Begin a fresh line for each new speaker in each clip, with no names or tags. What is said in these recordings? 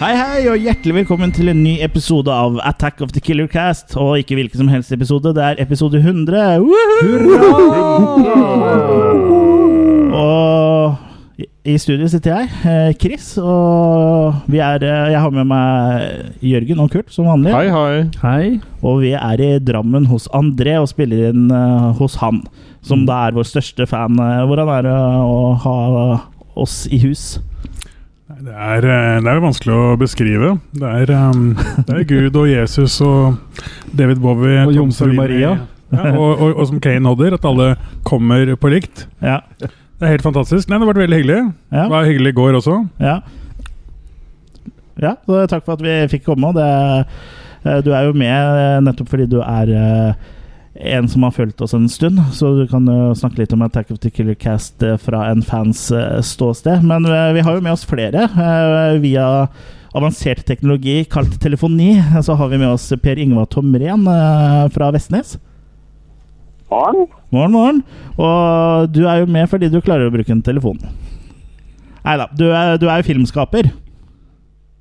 Hei og hjertelig velkommen til en ny episode av Attack of the Killer Cast. Og ikke hvilken som helst episode, det er episode 100. Woohoo! Og i- i studio sitter jeg, eh, Chris, og vi er eh, Jeg har med meg Jørgen og Kurt som vanlig.
Hei, hei.
Hei.
Og vi er i Drammen hos André og spiller inn eh, hos han, som da er vår største fan. eh, Hvordan er det å ha eh, oss i hus?
Nei, Det er, eh, det er jo vanskelig å beskrive. Det er, em, det er Gud og Jesus og David Bowie
Og
Tom
Jomfru
Savini.
Maria.
Ja, og, og, og som Kane Hodder, at alle kommer på likt.
Ja.
Det er helt fantastisk. Nei, Det har vært veldig hyggelig.
ja.
Det var hyggelig i går også.
Ja. ja så takk for at vi fikk komme. og Det, eh, du er jo med eh, nettopp fordi du er eh, en som har fulgt oss en stund, så du kan jo snakke litt om Attack of the Killer Cast eh, fra en fans eh, ståsted. Men eh, vi har jo med oss flere. eh, Via avansert teknologi kalt telefoni så har vi med oss Per Ingvar Tomren eh, fra Vestnes.
Barn?
Morgen, morgen. Og du er jo med fordi du klarer å bruke en telefon. Nei da, du er, du er jo filmskaper.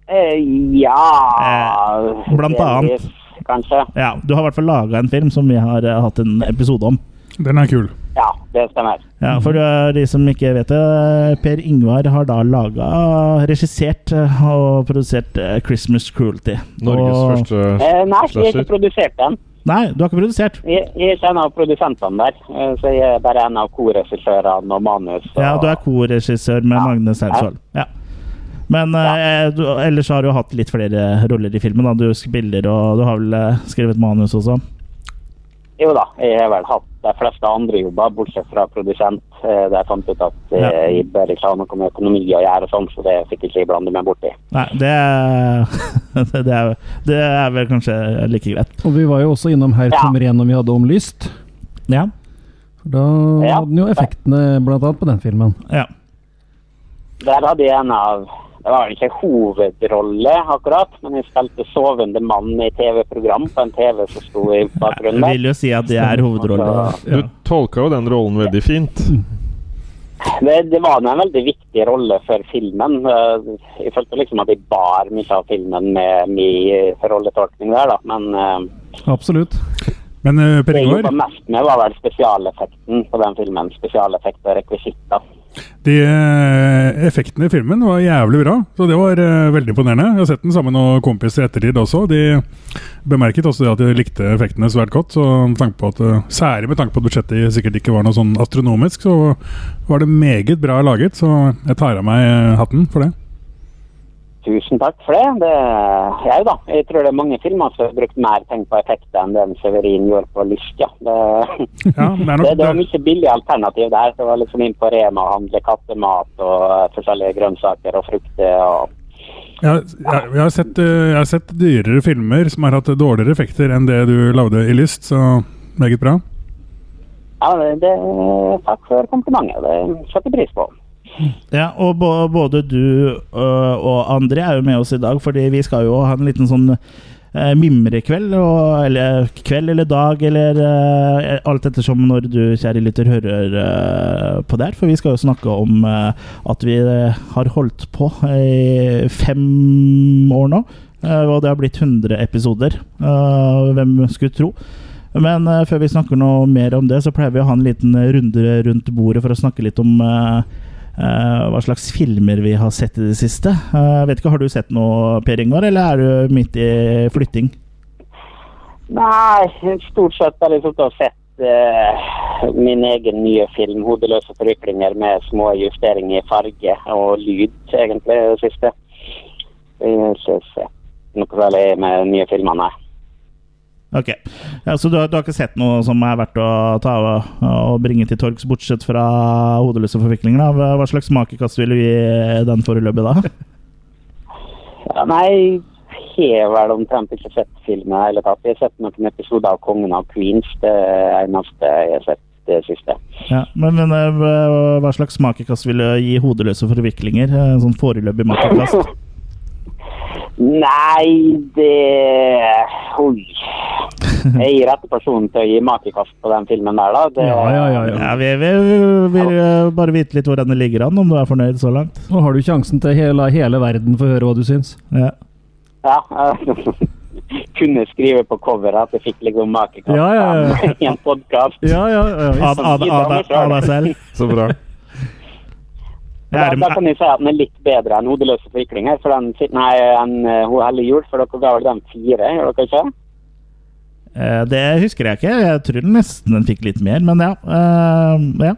Eh, ja
Eh, blant
delvis, Kanskje.
Ja, Du har i hvert fall laga en film som vi har eh, hatt en episode om.
Den er kul.
Ja, det stemmer.
Ja,
Mhm.
For eh, de som ikke vet det, eh, Per Ingvar har da laga, regissert eh, og produsert eh, 'Christmas Cruelty'.
Norges
og...
første
Eh, nei, jeg har ikke
Slasher.
produsert den.
Nei, du har ikke produsert.
Jeg, jeg er ikke en av produsentene der. eh, Så jeg er bare en av korregissørene og manus. Og,
Ja, Du er korregissør med
Ja.
Magne Steinsvold. Ja. Men eh, du, ellers har du hatt litt flere roller i filmen. da Du spiller og du har vel eh, skrevet manus også.
Jo da, jeg har vel hatt de fleste andre jobber, bortsett fra produsent. eh, Der jeg fant ut at eh,
Ja.
jeg bør ikke ha noe med økonomi å gjøre og sånn, så det fikk ikke jeg blande meg borti.
Nei, det, det, er, det er vel kanskje like greit.
Og vi var jo også innom her
Ja.
som ren om vi hadde om lyst.
Ja.
For da
Ja.
hadde den jo effektene blant annet på den filmen.
ja.
Der hadde jeg en av Det var vel ikke hovedrolle, akkurat, men jeg spilte sovende mann i TV-program på en TV som sto i bakgrunnen.
Jeg vil jo si at det er hovedrollen.
Du tolka jo den rollen veldig fint.
Det, det var en veldig viktig rolle for filmen. Eh, Jeg følte liksom at jeg bar mye av filmen med min eh, rolletolkning der, da. Men eh,
Absolutt.
Men eh, Per
det jeg jobba
Ingvar,
mest med, var vel spesialeffekten på den filmen. Spesialeffekt og rekvisitter.
de eh, effektene i filmen var jævlig bra. Så det var eh, veldig imponerende. Jeg har sett den sammen med noen kompiser i ettertid også. De bemerket også det at de likte effektene svært godt. Så med tanke på at, eh, særlig med tanke på at budsjettet sikkert ikke var noe sånn astronomisk, så var det meget bra laget. Så jeg tar av meg eh, hatten for det.
Tusen takk for det. det jeg, da. jeg tror det er mange filmer som har brukt mer penger på effekter enn den Severin gjorde på Lyst. Ja. Det,
Ja, det er
det,
nok
det var mye billig alternativ der. Det var liksom inn på Rema og handle kattemat og eh, forskjellige grønnsaker og frukter. og
jeg, jeg, jeg, har sett, eh, jeg har sett dyrere filmer som har hatt dårligere effekter enn det du lagde i Lyst, så meget bra.
Ja, det, det, takk for komplimentet. Det setter jeg pris på.
Ja, og bå- både du ø, og André er jo med oss i dag, fordi vi skal jo ha en liten sånn eh, mimrekveld, og, eller kveld eller dag, eller eh, alt ettersom når du, kjære lytter, hører eh, på der. For vi skal jo snakke om eh, at vi eh, har holdt på i fem år nå, eh, og det har blitt 100 episoder. Eh, hvem skulle tro? Men eh, før vi snakker noe mer om det, så pleier vi å ha en liten runde rundt bordet for å snakke litt om eh, eh, hva slags filmer vi har sett i det siste. Eh, jeg vet ikke, Har du sett noe, Per Ingvar, eller er du midt i flytting?
Nei, stort sett har jeg sittet og sett eh, min egen nye film, 'Hodeløse forviklinger', med små justeringer i farge og lyd, egentlig, det siste. Jeg har ikke sett noe særlig med de nye filmene.
Ok, ja, Så du har, du har ikke sett noe som er verdt å ta av eh, og bringe til torgs, bortsett fra hodeløse forviklinger? da? Hva- Hva slags makekast vil du gi den foreløpig, da?
Ja, nei, jeg har vel omtrent ikke sett filmen i det hele tatt. Jeg har sett noen episoder av 'Kongen av Queens'. Det er det eneste jeg har sett det siste.
Ja, men, men eh, hva hva slags makekast vil du gi hodeløse forviklinger? Eh, Sånn foreløpig makekast?
Nei, det Oi. Jeg gir rette personen til å gi makekast på den filmen der, da. Det...
Ja, ja, ja, ja.
Ja, vi, vi, vi vil eh, bare vite litt hvordan det ligger an, om du er fornøyd så langt.
Nå har du sjansen til å la hele verden få høre hva du syns.
Ja.
Ja. eh, Kunne skrive på coveret at jeg fikk liksom makekaffe
Ja, ja, ja.
i en podkast.
Ja, ja, ja visst.
Av, av, av, deg- av deg selv.
Så bra.
Jeg
Da,
er,
da kan jeg si at den er litt bedre enn Hodeløse fryklinger. For den, sit- nei, en, eh, Ho hellig jul, for dere ga vel den fire, gjør dere ikke?
Eh, det husker jeg ikke. Jeg tror nesten den fikk litt mer, men ja. eh, ja.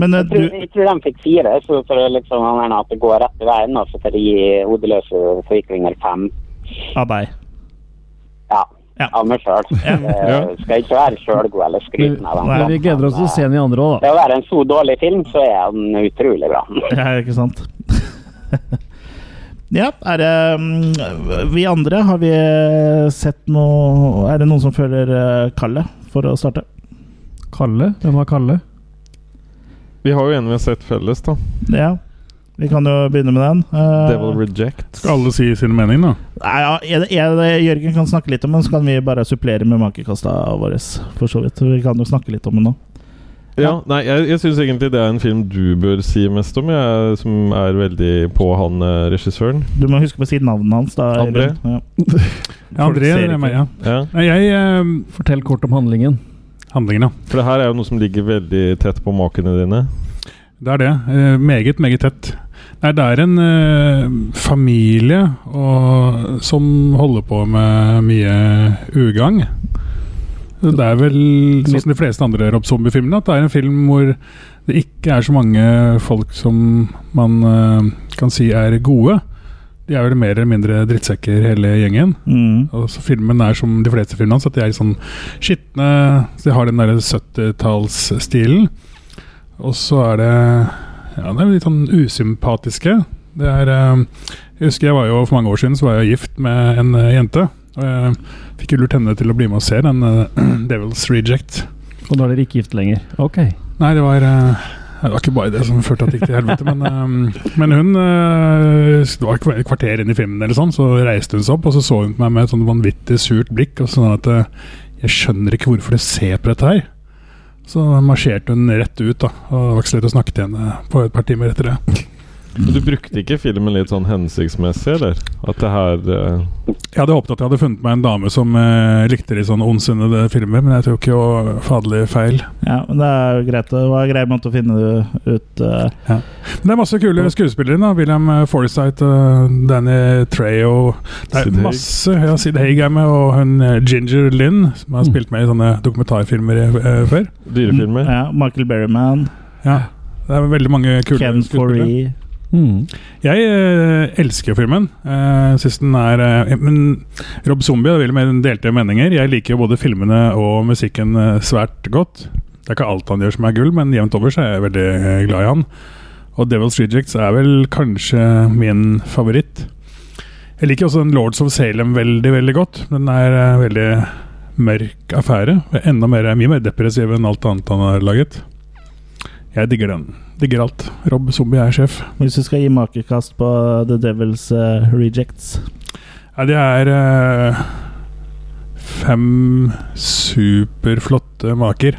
Men eh,
Jeg tror,
du
jeg tror den fikk fire, så for å liksom, han mener at det går rett i veien, da, så for å gi Hodeløse fryklinger fem.
Av deg.
Ja.
Ja.
Av meg sjøl.
Ja.
Skal ikke være sjølgod eller skryten av den.
Men vi gleder oss til å se den i andre òg, da.
Det å være en så dårlig film, så er den utrolig bra.
Ja, ikke sant? ja, er det mm, Vi andre, har vi eh, sett noe Er det noen som føler eh, kallet for å starte?
Kalle? Hvem var Kalle?
Vi har jo en vi har sett felles, da.
Ja. Vi kan jo begynne med den. Eh,
Devil Reject.
Skal alle si sin mening, da?
Nei, ja, er det, er det, Jørgen kan snakke litt om den, så kan vi bare supplere med makekasta vår. For så vidt. Vi kan jo snakke litt om den nå.
Ja, nei, jeg, jeg syns egentlig det er en film du bør si mest om, jeg, som er veldig på han eh, regissøren.
Du må huske på å si navnet hans. da
André.
Jørgen. Ja.
Ja,
Folk
André,
ser
det er
ikke.
meg, ja.
Ja.
Nei, jeg eh,
Fortell kort om handlingen.
Handlingen, ja.
For det her er jo noe som ligger veldig tett på makene dine.
Det er det. Eh, meget, meget tett. Nei, det er en eh, familie og, som holder på med mye ugagn. Det er vel sånn som de fleste andre Rob Zombie-filmene, at det er en film hvor det ikke er så mange folk som man eh, kan si er gode. De er vel mer eller mindre drittsekker, hele gjengen.
Mm.
Og så Filmen er som de fleste filmene hans, at de er sånn skitne. Så de har den der 70-tallsstilen. Og så er det Ja, det er litt sånn usympatiske. Det er eh, Jeg husker jeg var jo for mange år siden så var jeg gift med en eh, jente. Og jeg fikk jo lurt henne til å bli med og se den eh, Devil's Reject.
Og da er dere ikke gift lenger. Ok.
Nei, det var eh, det var ikke bare det som førte at det gikk til helvete, men, eh, men hun eh, Det var et kvarter inn i filmen, eller sånn, så reiste hun seg opp og så så hun på meg med et sånn vanvittig surt blikk. og sånn at eh, Jeg skjønner ikke hvorfor du ser på dette her. Så marsjerte hun rett ut, da. Og det var ikke så lett å snakke til henne på et par timer etter det.
Men du brukte ikke filmen litt sånn hensiktsmessig, eller? At det her eh,
Jeg hadde håpet at jeg hadde funnet meg en dame som eh, likte de sånne ondsinnede filmer, men jeg tok jo fadelig feil.
Ja, men det er jo greit. Det var en grei måte å finne det ut eh,
Men det er masse kule skuespillere. da William eh, Forsythe, eh, Danny Trejo Det er
Sid Haig.
masse ja, Sid Haig er med, og hun eh, Ginger Lynn, som har spilt med i sånne dokumentarfilmer eh, før.
dyrefilmer?
Ja, Michael Berryman,
Ja det er veldig mange kule
Ken
skuespillere.
Foree
Mm.
Jeg eh, elsker filmen. Uh, synes den er eh, Men Rob Zombie har veldig mer delte meninger. Jeg liker jo både filmene og musikken eh, svært godt. Det er ikke alt han gjør som er gull, men jevnt over så er jeg veldig eh, glad i han. Og Devil's Rejects er vel kanskje min favoritt. Jeg liker også den Lords of Salem veldig, veldig godt. Den er eh, veldig mørk affære. og Enda mer, eh, mye mer depressiv enn alt annet han har laget. Jeg digger den. Digger alt. Rob Zombie er sjef.
Hvis du skal gi makekast på The Devils eh, Rejects
Ja, det er eh, fem superflotte maker.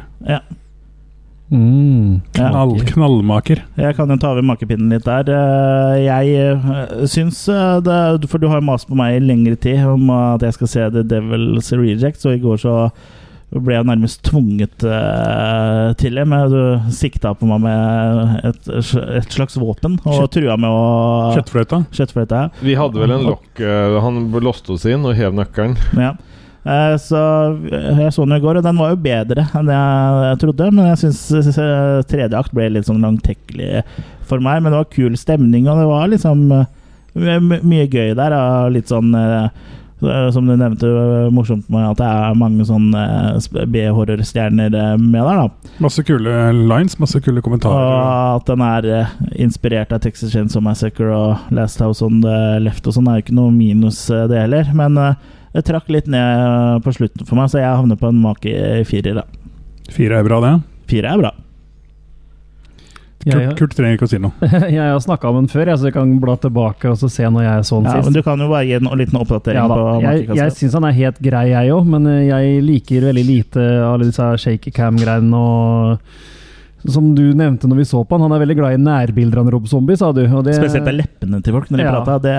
Mm.
Ja.
Knall, knallmaker.
Jeg kan jo ta over makepinnen litt der. Eh, Jeg eh, syns eh, det For du har jo mast på meg i lengre tid om at jeg skal se The Devil's Rejects, og i går så ble jeg nærmest tvunget eh, til det. Men du sikta på meg med et, et slags våpen og
Kjøtt-
trua med å
Kjøttfløyta.
Kjøttfløyte. ja.
Vi hadde vel en lokk eh, Han låste oss inn og hev nøkkelen.
Ja. Eh, Så eh, jeg så den i går, og den var jo bedre enn jeg trodde. Men jeg syns eh, tredje akt ble litt sånn langtekkelig for meg. Men det var kul stemning, og det var liksom eh, my- mye gøy der. Og litt sånn eh, eh, som du nevnte, eh, morsomt med at det er mange sånne eh, sp- B-horrorstjerner eh, med der, da.
Masse kule lines, masse kule kommentarer.
Og at den er eh, inspirert av Texas Chainsaw Massacre og Last House on the Left og sånn, er jo ikke noe minus eh, det heller. Men eh, det trakk litt ned eh, på slutten for meg, så jeg havner på en make firer. da.
Fire er bra, det.
Fire er bra.
Kurt,
Jeg,
Kurt trenger ikke å si noe.
jeg har snakka om den før, jeg, så jeg kan bla tilbake og så se når jeg så den
Ja, men
sist.
du kan jo bare gi en liten oppdatering
Ja da,
på altså.
jeg jeg
makekassa.
syns han er helt grei, jeg òg, men eh, jeg liker veldig lite alle disse shaky cam-greiene og som du nevnte når vi så på han, han er veldig glad i nærbilder av en Rob Zombie, sa du. Og det,
Spesielt av leppene til folk når de
eh, Ja.
prater. Det,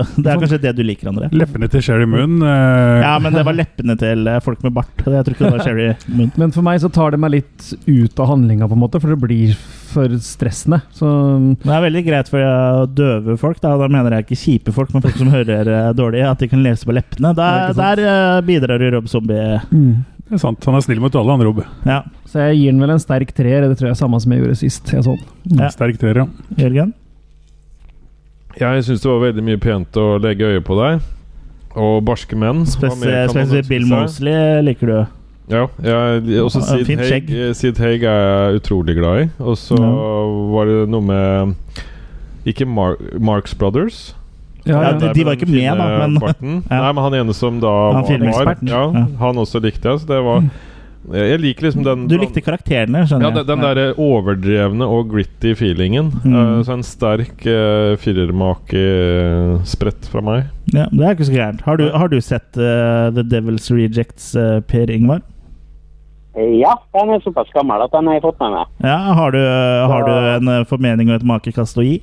det, det er kanskje det du liker, André.
Leppene til Sherry Moon eh,
Ja, men det var leppene til eh, folk med bart. Jeg tror ikke det var Sherry Moon.
Men for meg så tar det meg litt ut av handlinga, på en måte, for det blir for stressende. Så
Det er veldig greit for eh, døve folk, da, da mener jeg ikke kjipe folk, men folk som hører eh, dårlig, at de kan lese på leppene. Der,
Det er
der eh, bidrar jo Rob Zombie.
Mm.
Det er sant. Han er snill mot alle, han Rob.
Ja,
Så jeg gir den vel en sterk treer. Det tror jeg er samme som jeg gjorde sist. Jeg så den.
Ja.
Sterk treer, ja.
Jørgen?
Jeg syns det var veldig mye pent å legge øye på deg. Og barske menn. Hva mer kan man
Spesielt spesielt Bill
ønske seg?
Mosley liker du.
Ja. jeg- også
Han har
Sid
fint
Haig,
skjegg.
Sid Haig er jeg utrolig glad i. Og så
Ja.
var det noe med Ikke Mar Marx Brothers.
Ja,
Ja,
ja.
Han
de-
der
de
med
var
den
ikke med,
fine
da, men-
farten.
Ja.
Nei, men han ene som da
Han
var-
filmeksperten.
Ja,
Ja.
Han også likte jeg, så det var Jeg jeg liker liksom den
Du likte karakterene, skjønner
ja, den, den der eh, overdrevne og gritty feelingen.
Mm.
Eh, så en sterk uh, firermakesprett fra meg.
Ja, det er ikke så gærent. Har du, har du sett eh, The Devil's Rejects, eh, Per Ingvar?
Ja, den er såpass gammel at den har jeg fått med meg.
Ja, Har du, har du en eh, formening og et makekast å gi?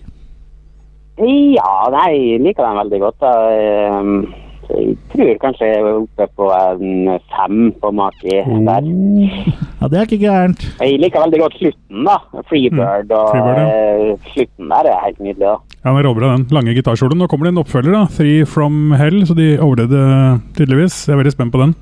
Ja, nei, jeg liker den veldig godt. Da. Ehm, så Jeg tror kanskje jeg er oppe på en fem på maki der.
Ja, det er ikke gærent.
Jeg liker veldig godt slutten, da. Freebird og
Freebird, ja.
eh, Slutten der er helt nydelig, da.
Ja, Den råbra, den lange gitarkjolen. Nå kommer det en oppfølger, da. 'Three From Hell', så de overlevde eh, tydeligvis. Jeg er veldig spent på den.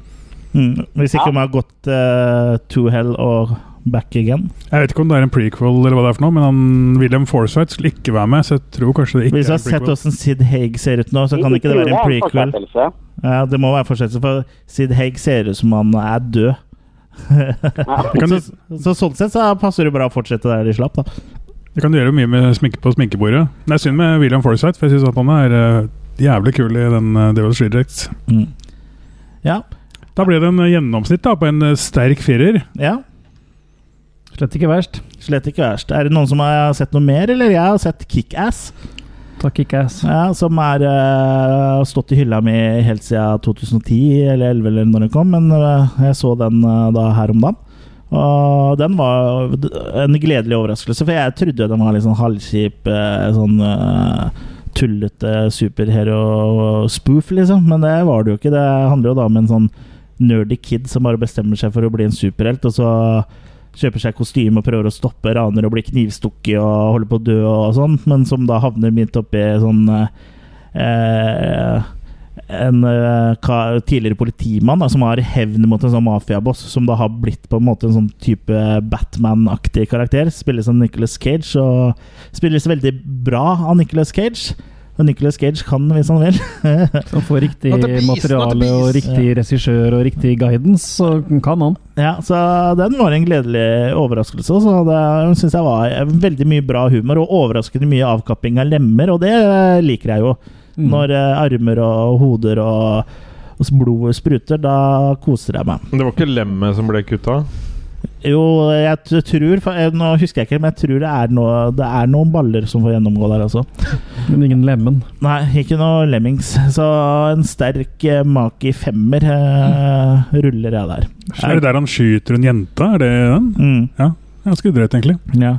Mm. Hvis ikke
Ja.
man har gått eh, to hell og back again.
Jeg vet ikke om det er en prequel, eller hva det er for noe, men han, William Forsythe skulle ikke være med, så jeg tror kanskje det ikke
Hvis du
er
har
en
sett
prequel.
hvordan Sid Haig ser ut nå, så kan
Jeg
ikke det
tror
være en
er
prequel.
fortsettelse.
Ja, det må være fortsettelse, for Sid Haig ser ut som han er død.
Det kan,
så, så sånn sett så passer det bra å fortsette der de slapp, da.
det kan du gjøre mye med sminke på sminkebordet. Det er synd med William Forsythe, for jeg syns han er eh, jævlig kul i den uh, Devil's Rejects.
Mm. Ja.
Da ble det en eh, gjennomsnitt da, på en eh, sterk firer.
ja.
Slett ikke verst.
Slett ikke verst. Er det noen som har sett noe mer, eller? Jeg har sett Kickass.
Takk, ikke ass.
Ja, som er eh, stått i hylla mi helt siden 2010 eller 2011 eller når den kom, men eh, jeg så den eh, da her om dagen. Og den var d- en gledelig overraskelse, for jeg trodde jo den var litt sånn halvkjip, eh, sånn eh, tullete superhero-spoof, liksom, men det var det jo ikke. Det handler jo da om en sånn nerdy kid som bare bestemmer seg for å bli en superhelt, og så kjøper seg kostyme og prøver å stoppe raner og blir knivstukket og holder på å dø og sånn, men som da havner midt oppi sånn eh, en eh, ka- tidligere politimann da, som har hevn mot en sånn mafiaboss, som da har blitt på en måte en sånn type Batman-aktig karakter. Spilles av Nicholas Cage, og spilles veldig bra av Nicholas Cage. Og Nicholas Cage kan hvis han vil.
Som får riktig
Not a beast, not a
materiale
beast.
og riktig regissør og riktig guidance, så kan han.
Ja, så den var en gledelig overraskelse. Så det syns jeg var eh, veldig mye bra humor, og overraskende mye avkapping av lemmer, og det eh, liker jeg jo.
Mm.
Når eh, armer og hoder og, og blod spruter, da koser jeg meg.
Men det var ikke lemmet som ble kutta?
Jo, jeg t- tror for, eh, Nå husker jeg ikke, men jeg tror det er, noe, det er noen baller som får gjennomgå der, altså.
Mm. Men ingen lemen.
Nei, ikke noe lemmings. Så en sterk eh, maki femmer eh, ruller jeg der.
Er det der han skyter en jente? Er det den?
Mm.
Ganske drøyt, egentlig.
Ja.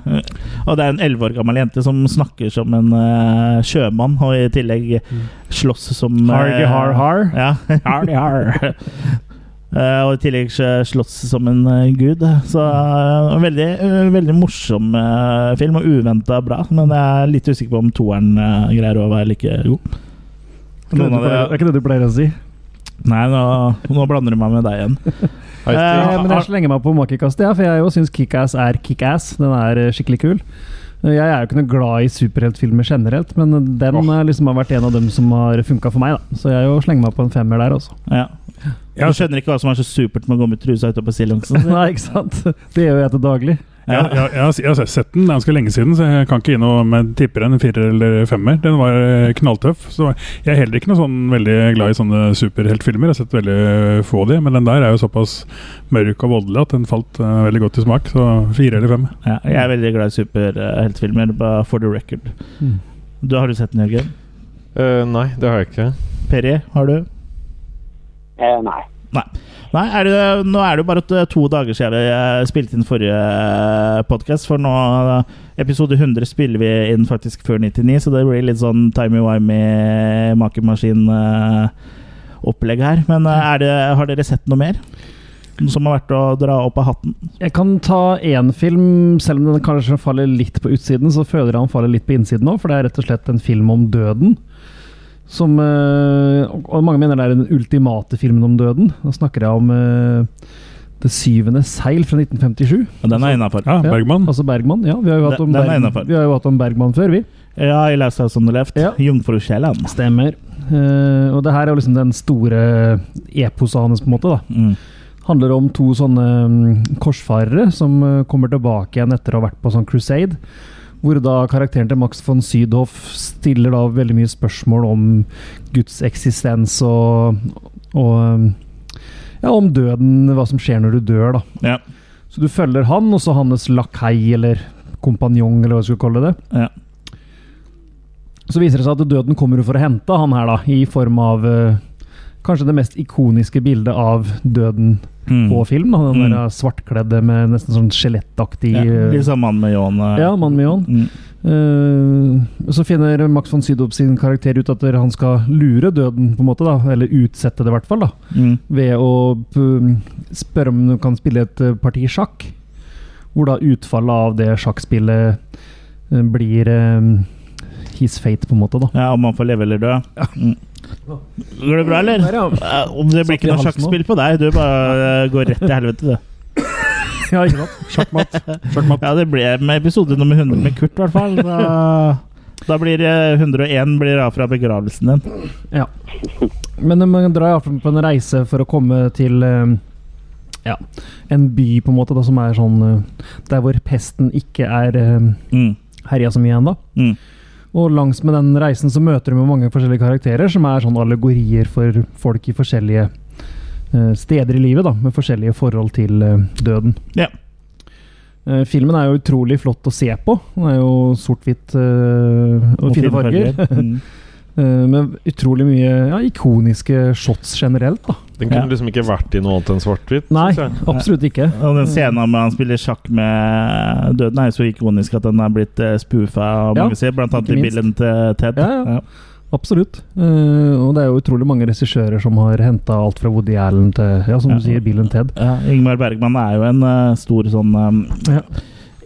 Og det er en elleve år gammel jente som snakker som en eh, sjømann, og i tillegg slåss som eh,
Hargi har har.
Ja.
Hargi har.
Eh, og i tillegg så slåss som en eh, gud. Så eh, veldig, eh, veldig morsom eh, film, og uventa bra. Men jeg er litt usikker på om toeren eh, greier å være like god.
Det er ikke det du pleier- det er ikke det du pleier å si.
Nei, nå, nå blander du meg med deg igjen.
Hei,
Eh,
Stig.
Eh, men jeg slenger meg på makekastet, ja, for jeg jo syns Kickass er Kickass. Den er eh, skikkelig kul. Eh, Jeg er jo ikke noe glad i superheltfilmer generelt, men den eh, liksom har vært en av dem som har funka for meg. da. Så jeg jo slenger meg på en femmer der også.
Ja.
Ja.
Du skjønner ikke hva som er så supert med å gå med trusa utapå stillongsen?
Nei, ikke sant? Det gjør jeg til daglig.
Jeg, jeg, jeg, har- jeg har sett den det er ganske lenge siden, så jeg kan ikke gi noe med tipper en firer eller femmer. Den var eh, knalltøff. Så jeg er heller ikke noe sånn veldig glad i sånne superheltfilmer. Jeg har sett veldig få av de, men den der er jo såpass mørk og voldelig at den falt eh, veldig godt i smak. Så fire eller fem.
Ja, jeg er veldig glad i superheltfilmer, bare for the record.
Mm.
Du, har du sett den, Jørgen?
Eh, nei, det har jeg ikke.
Perry, har du?
Eh, nei.
Nei. Nei er det, nå er det jo bare at, eh, to dager siden vi eh, spilte inn forrige podkast. For nå eh, Episode 100 spiller vi inn faktisk før 99, så det blir litt sånn timey-wimey makemaskin-opplegg her. Men eh, er det, har dere sett noe mer? Noe som har vært å dra opp av hatten?
Jeg kan ta én film, selv om den kanskje faller litt på utsiden, så føler jeg han faller litt på innsiden òg, for det er rett og slett en film om døden. Som eh, Og og mange mener det er den ultimate filmen om døden. Da snakker jeg om eh, Det syvende seil fra 1957.
Men den er innafor.
Ja,
Ja,
Bergman.
Altså Bergman. Ja, vi har jo hatt
Den-
om,
den er
Berg
innenfor.
vi har jo hatt om Bergman før, vi.
Ja, i Last House on the Left.
Ja.
Jungfrukjelleren.
Stemmer. Eh, og det her er jo liksom den store eh, eposet hans, på en måte. da
Mm.
handler om to sånne mm, korsfarere som eh, kommer tilbake igjen etter å ha vært på sånn crusade. Hvor da karakteren til Max von Sydhoff stiller da veldig mye spørsmål om Guds eksistens og, og eh, ja, om døden, hva som skjer når du dør, da.
Ja.
Så du følger han, og så hans lakei eller kompanjong, eller hva du skulle kalle det.
Ja.
Så viser det seg at døden kommer jo for å hente han her, da, i form av eh, kanskje det mest ikoniske bildet av døden
Mm.
på film. Da. Den
Mm.
der svartkledde med nesten sånn skjelettaktig
ja.
eh,
Litt sånn mann med ljåen. eh.
Ja, mann med ljåen.
Mm.
Eh, så finner Max von Sydow sin karakter ut at han skal lure døden, på en måte, da, eller utsette det i hvert fall, da,
Mm.
ved å p- spørre om du kan spille et eh, parti sjakk. Hvor da utfallet av det sjakkspillet eh, blir eh, his fate, på en måte. da.
Ja, om man får leve eller dø. Mm. Går det bra, eller?
Der, ja.
Ja, Om det blir
Satt i
ikke noe
halsen nå.
sjakkspill på deg, du bare eh, går rett til helvete, du.
ja, ikke sant?
Sjakkmatt. Sjakkmatt.
Ja, det ble med episode nummer 100 med Kurt, i hvert fall. Da, da blir eh, 101 blir av fra begravelsen din.
Ja. Men man drar iallfall på en reise for å komme til eh, ja, en by på en måte da, som er sånn eh, Der hvor pesten ikke er eh,
Mm.
herja så mye ennå.
Mm.
Og langs med den reisen så møter du med mange forskjellige karakterer som er sånn allegorier for folk i forskjellige eh, steder i livet, da, med forskjellige forhold til eh, døden.
Ja.
Eh, filmen er jo utrolig flott å se på. Den er jo sort-hvitt eh, og fine farger.
Mm.
Eh, Med utrolig mye ja, ikoniske shots generelt. da.
Den kunne
Ja.
liksom ikke vært i noe annet enn svart-hvitt.
Nei,
synes jeg.
absolutt ikke.
Og den scenen med han spiller sjakk med døden, er jo så ikonisk at den er blitt eh, spoofa av
Ja,
mange sider, blant annet
ikke
i
minst.
bilden til Ted.
Ja, ja. Absolutt. Eh, og det er jo utrolig mange regissører som har henta alt fra Woody Allen til ja, som
Ja.
du sier, Bill and Ted.
Ja, Ingmar Bergman er jo en eh, stor sånn eh,
Ja.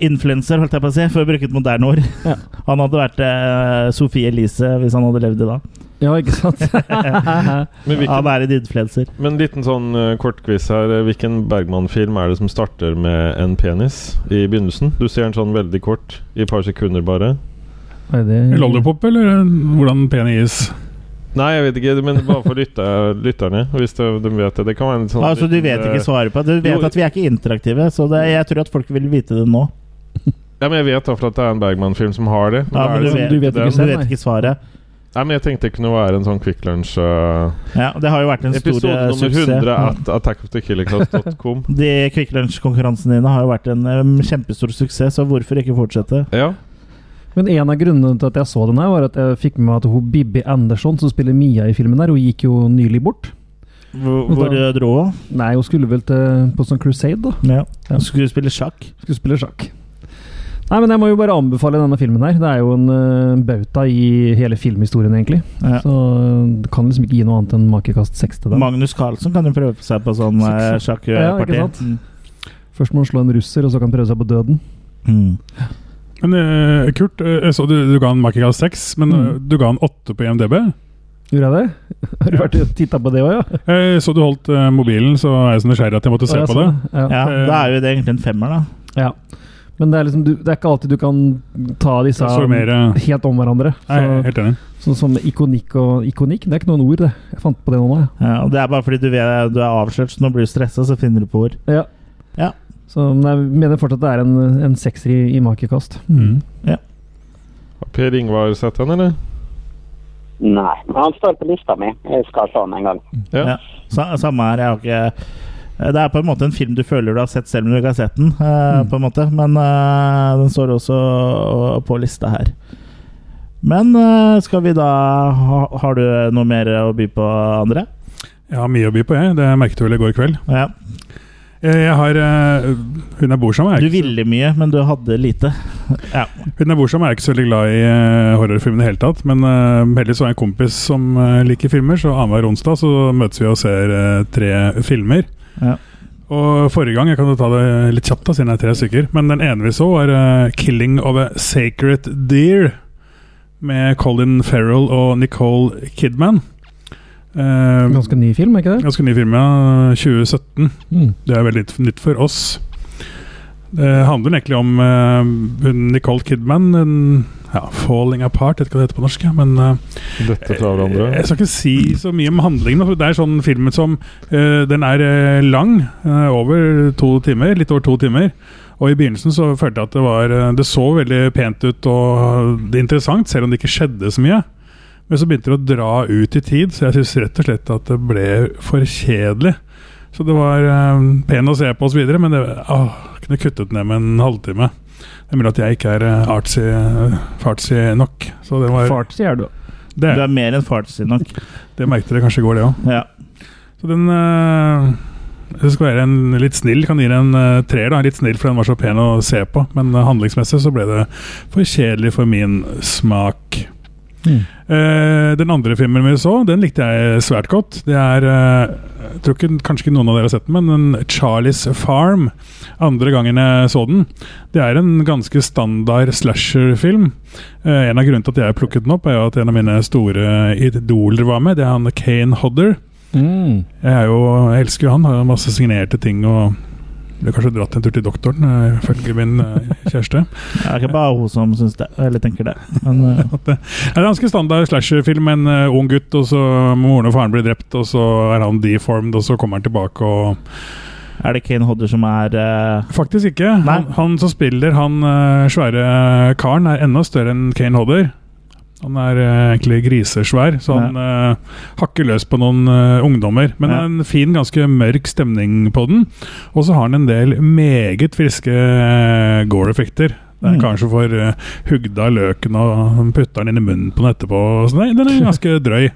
influenser, holdt jeg på å si, for å bruke et moderne ord.
Ja.
Han hadde vært eh, Sophie Elise hvis han hadde levd i dag.
Ja, ikke sant?
Men, hvilken,
Han er en influenser.
men liten sånn uh, kortquiz her. Hvilken Bergman-film er det som starter med en penis i begynnelsen? Du ser den sånn veldig kort, i et par sekunder bare.
Nei, det-
Lollipop, eller hvordan penis
Nei, jeg vet ikke, men bare for lytter, lytterne, hvis de, de vet det. Det kan være en sånn
Altså, du
liten,
vet
eh,
ikke svaret på det. Du vet
Jo.
at vi er ikke interaktive, så det, jeg tror at folk vil vite det nå.
Ja, men Jeg vet derfor at det er en Bergman-film som har det.
Ja,
Da
men du
er det
vet,
sånn-
du vet
det-
Men
ikke selv,
du vet
nei.
ikke svaret.
Nei, men Jeg tenkte det kunne være en sånn Quick Lunch uh,
Ja, det har jo vært en stor
Episode
eh,
nummer
suksess.
100
Ja.
at attackofthekillercast.com.
De Quick Lunch-konkurransene dine har jo vært en em, kjempestor suksess, så hvorfor ikke fortsette?
Ja.
Men en av grunnene til at jeg så den her, var at jeg fikk med meg at hun Bibi Andersson, som spiller Mia i filmen her, hun gikk jo nylig bort.
Hvor, hvor
Da-
eh, dro hun?
Nei, hun skulle vel til, på sånn crusade, da.
Ja.
Ja.
Skulle spille sjakk.
Skulle spille sjakk. Nei, men jeg må jo bare anbefale denne filmen her. Det er jo en eh, bauta i hele filmhistorien, egentlig.
Ja.
Så du kan liksom ikke gi noe annet enn makekast 6 til den.
Magnus Carlsen kan jo prøve seg på sånn eh,
Ja,
sjakkparti.
ikke sant? Først må han slå en russer, og så kan han prøve seg på døden.
Mm.
Men eh, Kurt, eh, jeg så du, du ga han Makikas 6, men
Mm.
eh, du ga han 8 på IMDb.
Gjorde jeg det? Har du vært og titta på det òg, ja?
Eh, så du holdt eh, mobilen, så er jeg så nysgjerrig at jeg måtte se
Ja,
på det.
sånn, Ja.
Ja, da er jo det egentlig en femmer, da.
Ja. Men det er liksom du, Det er ikke alltid du kan ta disse
Så mer eh,
helt om hverandre.
Nei, jeg er
Så,
helt enig.
sånn som ikonikk og ikonikk, det er ikke noen ord, det. Jeg fant på det nå, jeg.
Ja, og det er bare fordi du, vet, du er avslørt, så nå blir du stressa, så finner du på ord.
Ja.
Ja.
Så men jeg mener fortsatt det er en, en sekser i, i makekast.
Mm.
Har Per Ingvar sett den, eller?
Nei, men han står på lista mi. Jeg skal ta den en gang.
Ja.
Ja. Sa- Samme her, jeg har ikke eh, det er på en måte en film du føler du har sett selv om du ikke har sett den. eh,
Mm.
på en måte Men eh, den står også på lista her. Men eh, skal vi da ha, Har du noe mer å by på, André?
Jeg har mye å by på, jeg. Det merket jeg vel i går kveld.
Ja.
Jeg, jeg har, eh, hun jeg bor sammen med, er
Du
ikke så-
ville mye, men du hadde lite. Ja.
Hun jeg bor sammen med, er ikke så veldig glad i eh, horrorfilmer i det hele tatt. Men eh, heldigvis har jeg en kompis som eh, liker filmer, så annenhver onsdag så møtes vi og ser eh, tre filmer.
Ja.
Og forrige gang, jeg kan jo ta det litt kjapt, da, siden det er tre stykker. Men den ene vi så, var eh, 'Killing of a Sacred Deer'. Med Colin Farrell og Nicole Kidman. Eh,
Ganske ny film, er ikke det?
ganske ny film, ja. 2017.
Mm.
Det er veldig nytt- nytt for oss. Det handler egentlig om eh, hun Nicole Kidman. En, ja, 'Falling Apart', jeg vet ikke hva det heter på norsk. ja, Men eh,
Dette fra
jeg,
hverandre.
skal ikke si så mye om handlingen. da, For det er sånn film som eh, Den er eh, lang. eh, over to timer. Litt over to timer. Og i begynnelsen så følte jeg at det var eh, Det så veldig pent ut og det er interessant, selv om det ikke skjedde så mye. Men så begynte det å dra ut i tid, så jeg syns rett og slett at det ble for kjedelig. Så det var eh, pen å se på osv., men det åh, kunne kuttet ned med en halvtime. Det er mulig at jeg ikke er eh, artsy, fartsy nok. Så det var
Fart, sier du.
det,
Du er mer enn fart sin nok.
det merket dere kanskje i går, det òg.
Ja.
Så den øh, Det skal være en litt snill. Kan gi den en øh, treer. da, Litt snill, for den var så pen å se på. Men øh, handlingsmessig så ble det for kjedelig for min smak.
Mm.
Eh, den andre filmen vi så, den likte jeg svært godt. Det er eh, Jeg tror ikke, kanskje ikke noen av dere har sett den, men den Charlies Farm. Andre gangen jeg så den. Det er en ganske standard slasher-film. Eh, en av grunnene til at jeg plukket den opp, er jo at en av mine store idoler var med. Det er han Kane Hodder.
Mm.
Jeg, er jo, jeg elsker jo han, har jo masse signerte ting og Ble kanskje dratt en tur til doktoren, eh, ifølge min eh, kjæreste.
Det er ikke bare hun som syns det, eller tenker det. Men eh,
Det er en ganske standard slasherfilm. En eh, ung gutt, og så moren og faren blir drept, og så er han deformed, og så kommer han tilbake og
er det Kane Hodder som er eh,
Faktisk ikke. Han,
Nei.
han som spiller han eh, svære karen, er enda større enn Kane Hodder. Han er eh, egentlig grisesvær, så han eh, hakker løs på noen eh, ungdommer. Men det
Ja.
er en fin, ganske mørk stemning på den. Og så har han en del meget friske eh, gore-effekter. Det er
Mm.
kanskje for eh, hugda løken og putter den inn i munnen på den etterpå. Så nei, den er ganske drøy.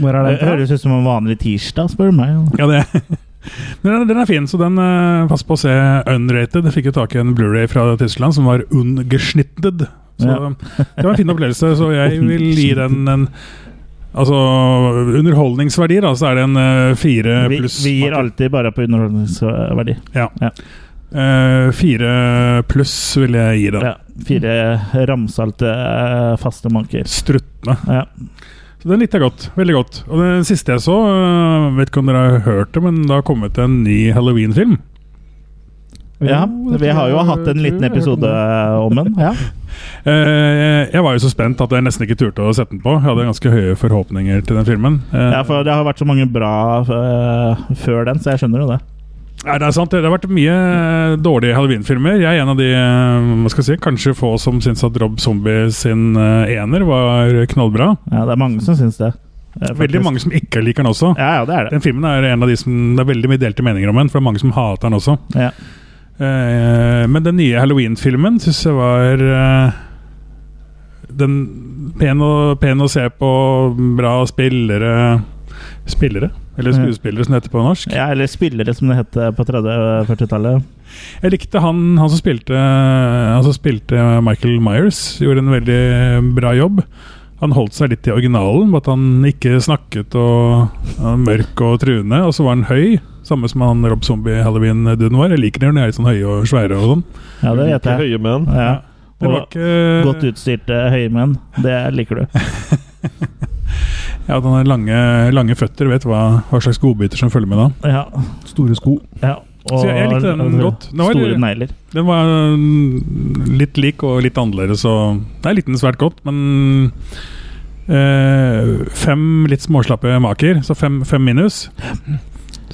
Hvor er
Det
den fra?
høres ut som en vanlig tirsdag, spør du meg.
Ja, det Men den, den er fin, så den eh, pass på å se unrated. Jeg fikk jo tak i en Blu-ray fra Tyskland som var ungeschnitted. Så
Ja.
det var en fin opplevelse, så jeg vil gi den en Altså underholdningsverdier, da, så er det en eh, fire
Vi,
pluss
vi gir alltid bare på underholdningsverdi.
Eh, Fire pluss vil jeg gi den.
Ja. Fire ramsalte eh, faste manker.
Struttende.
Ja.
Så den likte jeg godt. Veldig godt. Og den siste jeg så, eh, vet ikke om dere har hørt det, men det har kommet en ny Halloween-film.
ja.
Jo, det tror
Vi har jo
jeg-
hatt en
tror
liten
jeg hørte
episode
den.
om den. Ja.
Eh, jeg var jo så spent at jeg nesten ikke turte å sette den på. Jeg hadde ganske høye forhåpninger til den filmen. Eh,
Ja, for det har vært så mange bra eh, før den, så jeg skjønner jo det.
Nei, det er sant. Det har vært mye eh, dårlige Halloween-filmer. Jeg er en av de eh, hva skal jeg si, kanskje få som syns at Rob Zombie sin eh, ener var knallbra.
Ja, det er mange som syns det. eh,
Veldig
faktisk.
mange som ikke liker den også.
Ja, ja, det er det.
Den filmen er en av de som det er veldig mye delte meninger om den, for det er mange som hater den også.
Ja.
Eh, men den nye Halloween-filmen syns jeg var eh, den pen å, pen å se på, bra spillere Spillere? Eller skuespillere, som det heter på norsk.
Ja, eller spillere, som det het på 30-40-tallet.
Jeg likte han, han som spilte Han som spilte Michael Myers. Gjorde en veldig bra jobb. Han holdt seg litt i originalen, med at han ikke snakket og han var mørk og truende. Og så var han høy, samme som han Rob Zombie-halloween-duden var. Jeg liker det når de er sånn høye og svære og sånn.
Ja, det vet
Ikke
jeg.
høye menn.
Ja.
Det var
Og godt
ikke
utstyrte høymenn. Det liker du.
Ja, den har lange, lange føtter, vet hva, hva slags godbiter som følger med da.
Ja.
Store sko.
ja. Og altså,
Så jeg- jeg likte den godt. Nå er det-
store negler.
Den var mm, litt lik og litt annerledes, og jeg likte den svært godt, men eh, Fem litt småslappe maker, så fem, fem minus.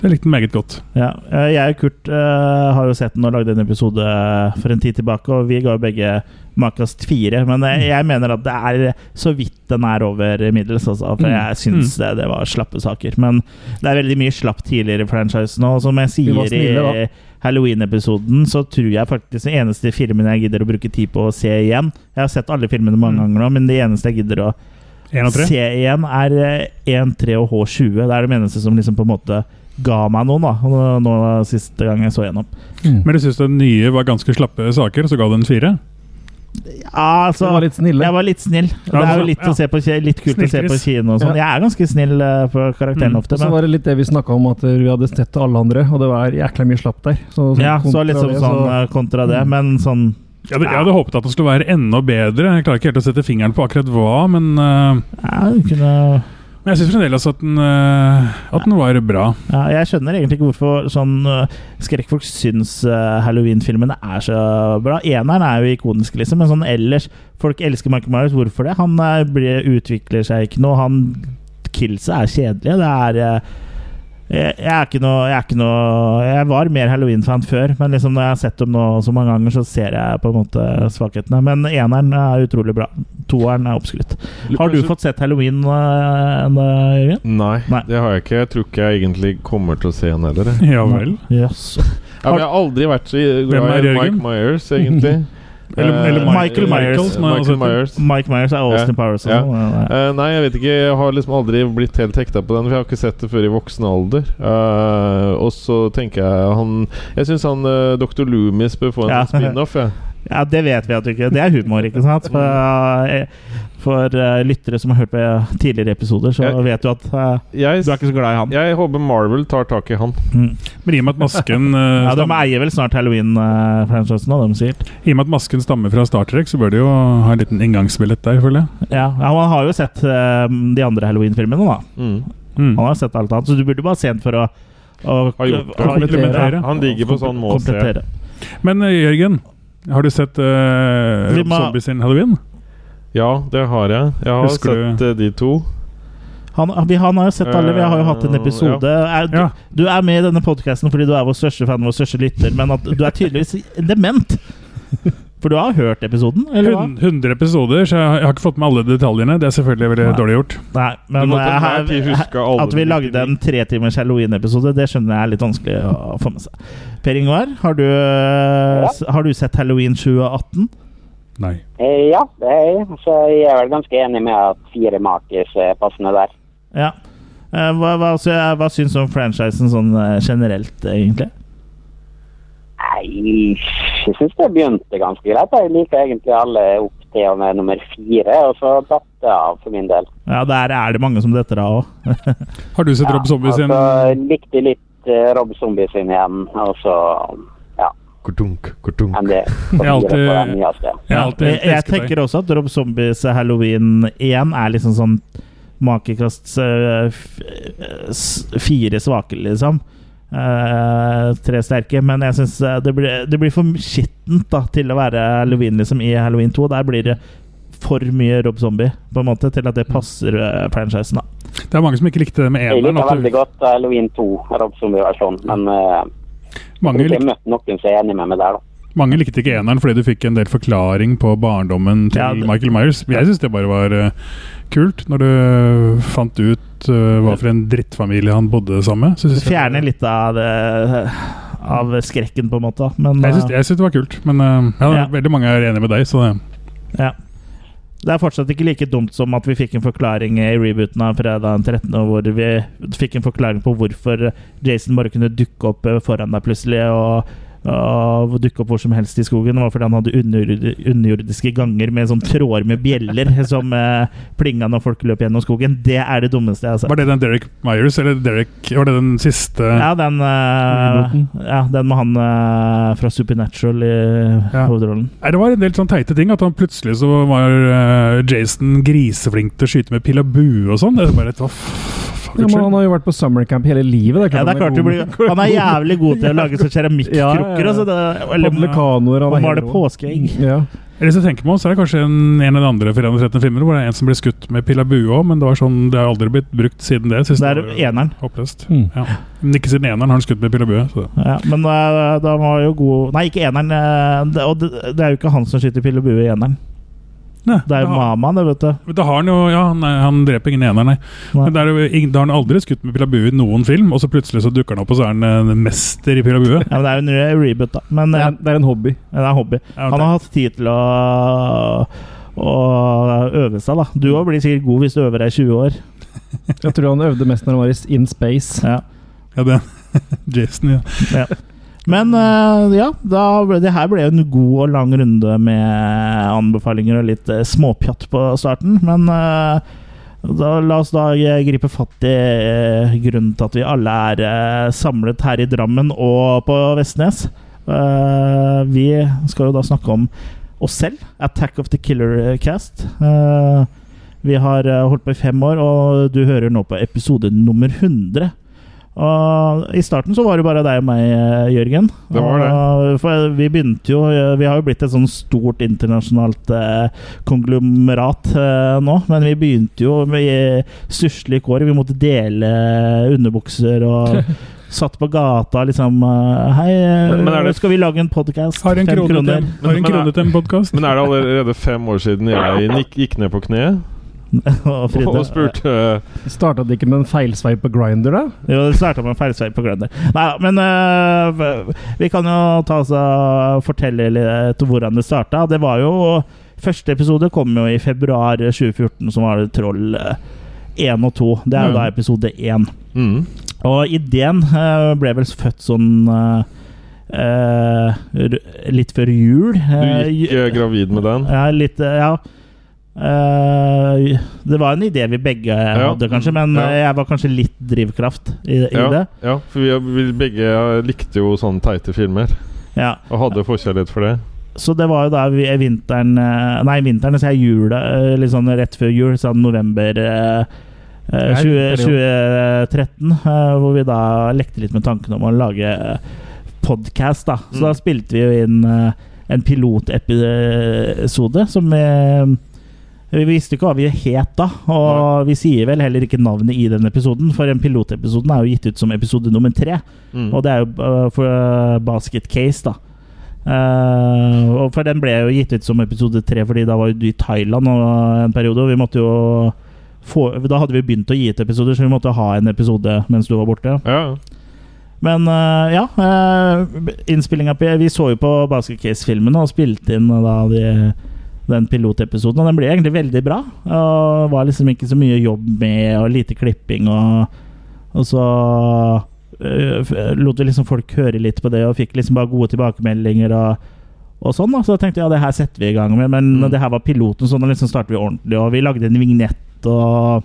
Så jeg likte den meget godt.
Ja. Eh, Jeg og Kurt eh, har jo sett den og lagde en episode eh, for en tid tilbake, og vi ga jo begge makast fire. Men jeg, jeg mener at det er så vidt den er over middels, altså. For
Mm.
jeg syns det, det var slappe saker. Men det er veldig mye slapp tidligere i franchisen nå. Og som jeg
Vi var
sier
snille, da.
i Halloween-episoden, så tror jeg faktisk den eneste
Mm.
filmen jeg gidder å bruke tid på å se igjen Jeg har sett alle filmene mange ganger nå, men det eneste jeg gidder å
Én av tre.
C1 er eh, 1, 3 og H20. Det er det eneste som liksom på en måte ga meg noen, da. Nå, nå siste gang jeg så gjennom.
Mm.
Men du syns den nye var ganske slappe saker, så ga du en fire?
Ja, altså,
Det var litt snille.
jeg var litt snill. Det er jo litt, å se på, ki- litt kult å se på
Snillkryss.
kino og sånn. Jeg er ganske snill eh, på karakteren
Mm.
ofte,
Og så
men
var det litt det vi snakka om, at vi hadde sett til alle andre, og det var jækla mye slapp der. Så,
ja, så
kontra
liksom
det, så- Mm.
sånn eh, kontra det, men sånn
Jeg hadde, jeg hadde håpet at den skulle være enda bedre. Jeg klarer ikke helt å sette fingeren på akkurat hva, men, øh,
ja, du kunne,
men jeg syns fremdeles at den, øh, at den var bra.
ja, Jeg skjønner egentlig ikke hvorfor sånn eh, skrekkfolk syns eh, Halloween-filmene er så bra. Eneren er jo ikonisk, liksom, men sånn ellers Folk elsker Michael Myers. Hvorfor det? Han eh, blir, utvikler seg ikke noe. Han Killsa er kjedelige. Det er eh, jeg, jeg er ikke noe Jeg, er ikke noe, jeg var mer Halloween-fan før, men liksom når jeg har sett dem nå så mange ganger, så ser jeg på en måte svakhetene. Men eneren er utrolig bra. Toeren er oppskrytt. Har du fått sett Halloween eh, ennå, Jørgen?
Nei,
Nei.
det har jeg ikke. Jeg tror ikke jeg egentlig kommer til å se han heller. jeg.
Ja vel.
Jaså.
Ja, men jeg har aldri vært så
Hvem er
glad i
Jørgen?
Mike Myers, egentlig.
Eller- eller
Eh,
Michael
Myers, altså- som er også
Michael
heter.
Myers.
Mike Myers er Austin Powers. og
ja.
sånn. Ja.
Eh, nei, jeg vet ikke. Jeg har liksom aldri blitt helt hekta på den. For jeg har ikke sett det før i voksen alder. Eh, og så tenker jeg han Jeg syns han eh, Dr. Loomis bør få en
Ja.
sånn spin-off. jeg.
ja, det vet vi at du ikke Det er humor, ikke sant? For, eh, for eh, lyttere som har hørt på tidligere episoder, så
Ja.
vet du at eh,
Jeg,
du er ikke så glad i han.
jeg håper Marvel tar tak i han.
Mm.
Men i og med at masken, øh,
Ja, De
stammer,
eier vel snart Halloween-franchisen nå, de sikkert.
i og med at masken stammer fra Star Trek, så bør de jo ha en liten inngangsbillett der, føler jeg.
Ja, ja, man har jo sett eh, de andre Halloween-filmene, da.
Mm.
Mm.
Han har sett alt annet, så du burde bare se den for å, å
Har gjort det.
å-
Komplementere.
ja,
Han digger på sånn må se.
komplettere.
Men øh, Jørgen, har du sett øh,
Vi
Rob
må-
Zombie sin Halloween?
Ja, det har jeg. Jeg har
Husker du-
sett eh, de to.
Han, vi, han har jo sett alle, vi har jo hatt en
Eh,
episode. Er, du,
Ja.
du er med i denne podkasten fordi du er vår største fan, vår største lytter, men at du er tydeligvis dement. For du har hørt episoden, eller hva?
100 episoder, så jeg har, jeg har ikke fått med alle detaljene. Det er selvfølgelig veldig
Nei.
dårlig gjort.
Nei, men
Du må
eh,
til enhver tid
her-
huske alle
at vi lagde en tretimers Halloween-episode, det skjønner jeg er litt vanskelig å få med seg. Per Ingvar, har du, eh, s- har du sett Halloween 2018?
Nei.
Eh, Ja, det er, så jeg er vel ganske enig med at fire makis er passende der.
Ja. Eh, Hva, hva, så, jeg- hva syns du om franchisen sånn eh, generelt, egentlig?
Nei, jeg syns det begynte ganske greit. Jeg liker egentlig alle opp til og med nummer fire, og så datt det av for min del.
Ja, der er det mange som detter av òg.
Har du sett Rob Zombie sin
altså, likte litt eh, Rob Zombie sin igjen, og så ja,
Kortunk, kortunk.
enn det.
Jeg er alltid-
på den nyeste.
Jeg har alltid
jeg, jeg
elsket deg.
tenker også at Rob Zombies Halloween 1 er liksom sånn makekast eh, f- eh, s- fire svake, liksom. Eh, tre sterke, men jeg syns eh, det, blir- det blir for skittent da til å være halloween liksom i Halloween 2. Der blir det for mye Rob Zombie på en måte til at
Mm.
det passer eh, franchisen. da
Det er mange som ikke likte det med
Jeg
eneren.
liker
at
veldig
det-
godt Halloween 2, Rob Zombie-versjonen, men eh,
Mange,
jeg har ikke
lik,
møtt noen som er enig med meg der, da.
mange likte ikke eneren fordi du fikk en del forklaring på barndommen til
Ja, det-
Michael Myers. Men Jeg syns det bare var eh, kult, når du fant ut eh, hva for en drittfamilie han bodde sammen med. så
Du
synes jeg-
fjerner litt av, det, av skrekken, på en måte. da. Men eh,
Jeg syns jeg syns det var kult, men eh, ja,
Ja.
veldig mange er enig med deg. Så det,
eh, ja. det er fortsatt ikke like dumt som at vi fikk en forklaring i rebooten av fredag den 13., og hvor vi fikk en forklaring på hvorfor Jason bare kunne dukke opp eh, foran deg plutselig. og og dukke opp hvor som helst i skogen. Det var fordi han hadde underjord- underjordiske ganger med sånn tråder med bjeller som eh, plinga når folk løp gjennom skogen. Det er det dummeste jeg har sett.
var det den Derek Myers, eller Derek Var det den siste
Ja, den, eh,
Rebooten.
ja, den med han eh, fra Supernatural i
Ja.
hovedrollen.
Nei, Det var en del sånn teite ting. At han plutselig så var eh, Jason griseflink til å skyte med pil og bue og sånn. Det er bare et,
Ja, men han har jo vært på summercamp hele livet.
Ja, det er klart du blir, Han er jævlig god til å lage sånne
Ja, ja,
keramikkrukker.
ja.
altså, det- Eller
Padle kanoer han
og
er
male
helt rå.
påskeegg.
Ja.
Eller så tenker man, så er det kanskje en, en av de andre 413 filmene hvor det er en som blir skutt med pil og bue òg, men det var sånn, det har aldri blitt brukt siden det. Synes
Det er
var jo
eneren.
Håpløst.
Mm.
Ja. Men ikke siden eneren har han skutt med pil og bue. Så.
Ja, men eh, da var jo god Nei, ikke eneren. eh, det- Og det, det er jo ikke han som skyter pil og bue i eneren.
Nei,
Det er jo
da-
mamaen, det, vet du.
men Da har han jo Ja, han, er- han dreper ingen eneren, nei.
Nei.
Men det er jo, ingen- da har han aldri skutt med pil og bue i noen film, og så plutselig så dukker han opp, og så er han eh, en mester i pil og bue.
Ja, men det er jo en re- reboot, da. Men
Det,
eh,
er, det er en hobby.
det er hobby.
Ja,
Han har hatt tid til å og øve seg, da. Du òg blir sikkert god hvis du øver deg i 20 år.
Jeg tror han øvde mest når han var i In Space.
Ja.
Ja, det Jason, ja.
Ja. Men eh, ja, da ble, det her ble jo en god og lang runde med anbefalinger og litt eh, småpjatt på starten. Men eh, da, la oss da eh, gripe fatt i eh, grunnen til at vi alle er eh, samlet her i Drammen og på Vestnes. Eh, vi skal jo da snakke om oss selv. Attack of the Killer Cast. Eh, vi har eh, holdt på i fem år, og du hører nå på episode nummer 100. Og I starten så var det bare deg og meg, eh, Jørgen.
Det var det.
Og, for vi begynte jo eh, Vi har jo blitt et sånn stort internasjonalt eh, konglomerat eh, nå, men vi begynte jo med stusslige kår. Vi måtte dele underbukser og satt på gata liksom eh, Hei,
Men- men er det-
skal vi lage en podkast?
Har en krone til, har en
Men-
krone til en podkast.
Men er det allerede fem år siden jeg gikk- gikk ned på kne
og Frida-
og spurte
eh,
Starta det ikke med en feilsveip på Grinder, da?
Jo, det starta med en feilsveip på Grønner. Nei da, men øh, vi kan jo ta oss og fortelle litt hvordan det starta. Det var jo Første episode kom jo i februar 2014, som var det Troll øh, 1 og 2. Det er jo da
Mm.
episode 1.
mm.
Og ideen øh, ble vel født sånn øh, øh, r- litt før jul.
Du
Eh,
gikk eh, gravid med den.
ja, litt eh, Ja. Eh, det var en idé vi begge hadde, kanskje, men
Ja.
eh, jeg var kanskje litt drivkraft i, i
Ja,
det.
ja, for vi, vi begge likte jo sånne teite filmer
Ja.
og hadde forkjærlighet for det.
Så det var jo da vi, vinteren eh, Nei, vinteren, så jeg jula eh, litt sånn rett før jul, sånn november eh, eh,
Det er
20,
periode.
2013, eh, hvor vi da lekte litt med tanken om å lage podkast, da. Så
Mm.
da spilte vi jo inn eh, en pilotepisode som eh, vi visste ikke hva vi het da, og vi sier vel heller ikke navnet i den episoden, for den pilotepisoden er jo gitt ut som episode nummer tre.
Mm.
Og det er jo øh, for øh, Basket Case, da. Eh, og for den ble jo gitt ut som episode tre, Fordi da var jo du i Thailand og eh, en periode. Og vi måtte jo få, Da hadde vi begynt å gi ut episoder, så vi måtte ha en episode mens du var borte.
Ja,
Men øh, ja, uh, innspillinga Vi så jo på Basket Case-filmene og spilte inn øh, da de, den pilotepisoden. Og den ble egentlig veldig bra. Og var liksom ikke så mye jobb med, og lite klipping og Og så øh, f- lot vi liksom folk høre litt på det, og fikk liksom bare gode tilbakemeldinger og og sånn da, Så da tenkte jeg ja, det her setter vi i gang med, men
Mm.
det her var piloten, så nå liksom starter vi ordentlig. Og vi lagde en vignett og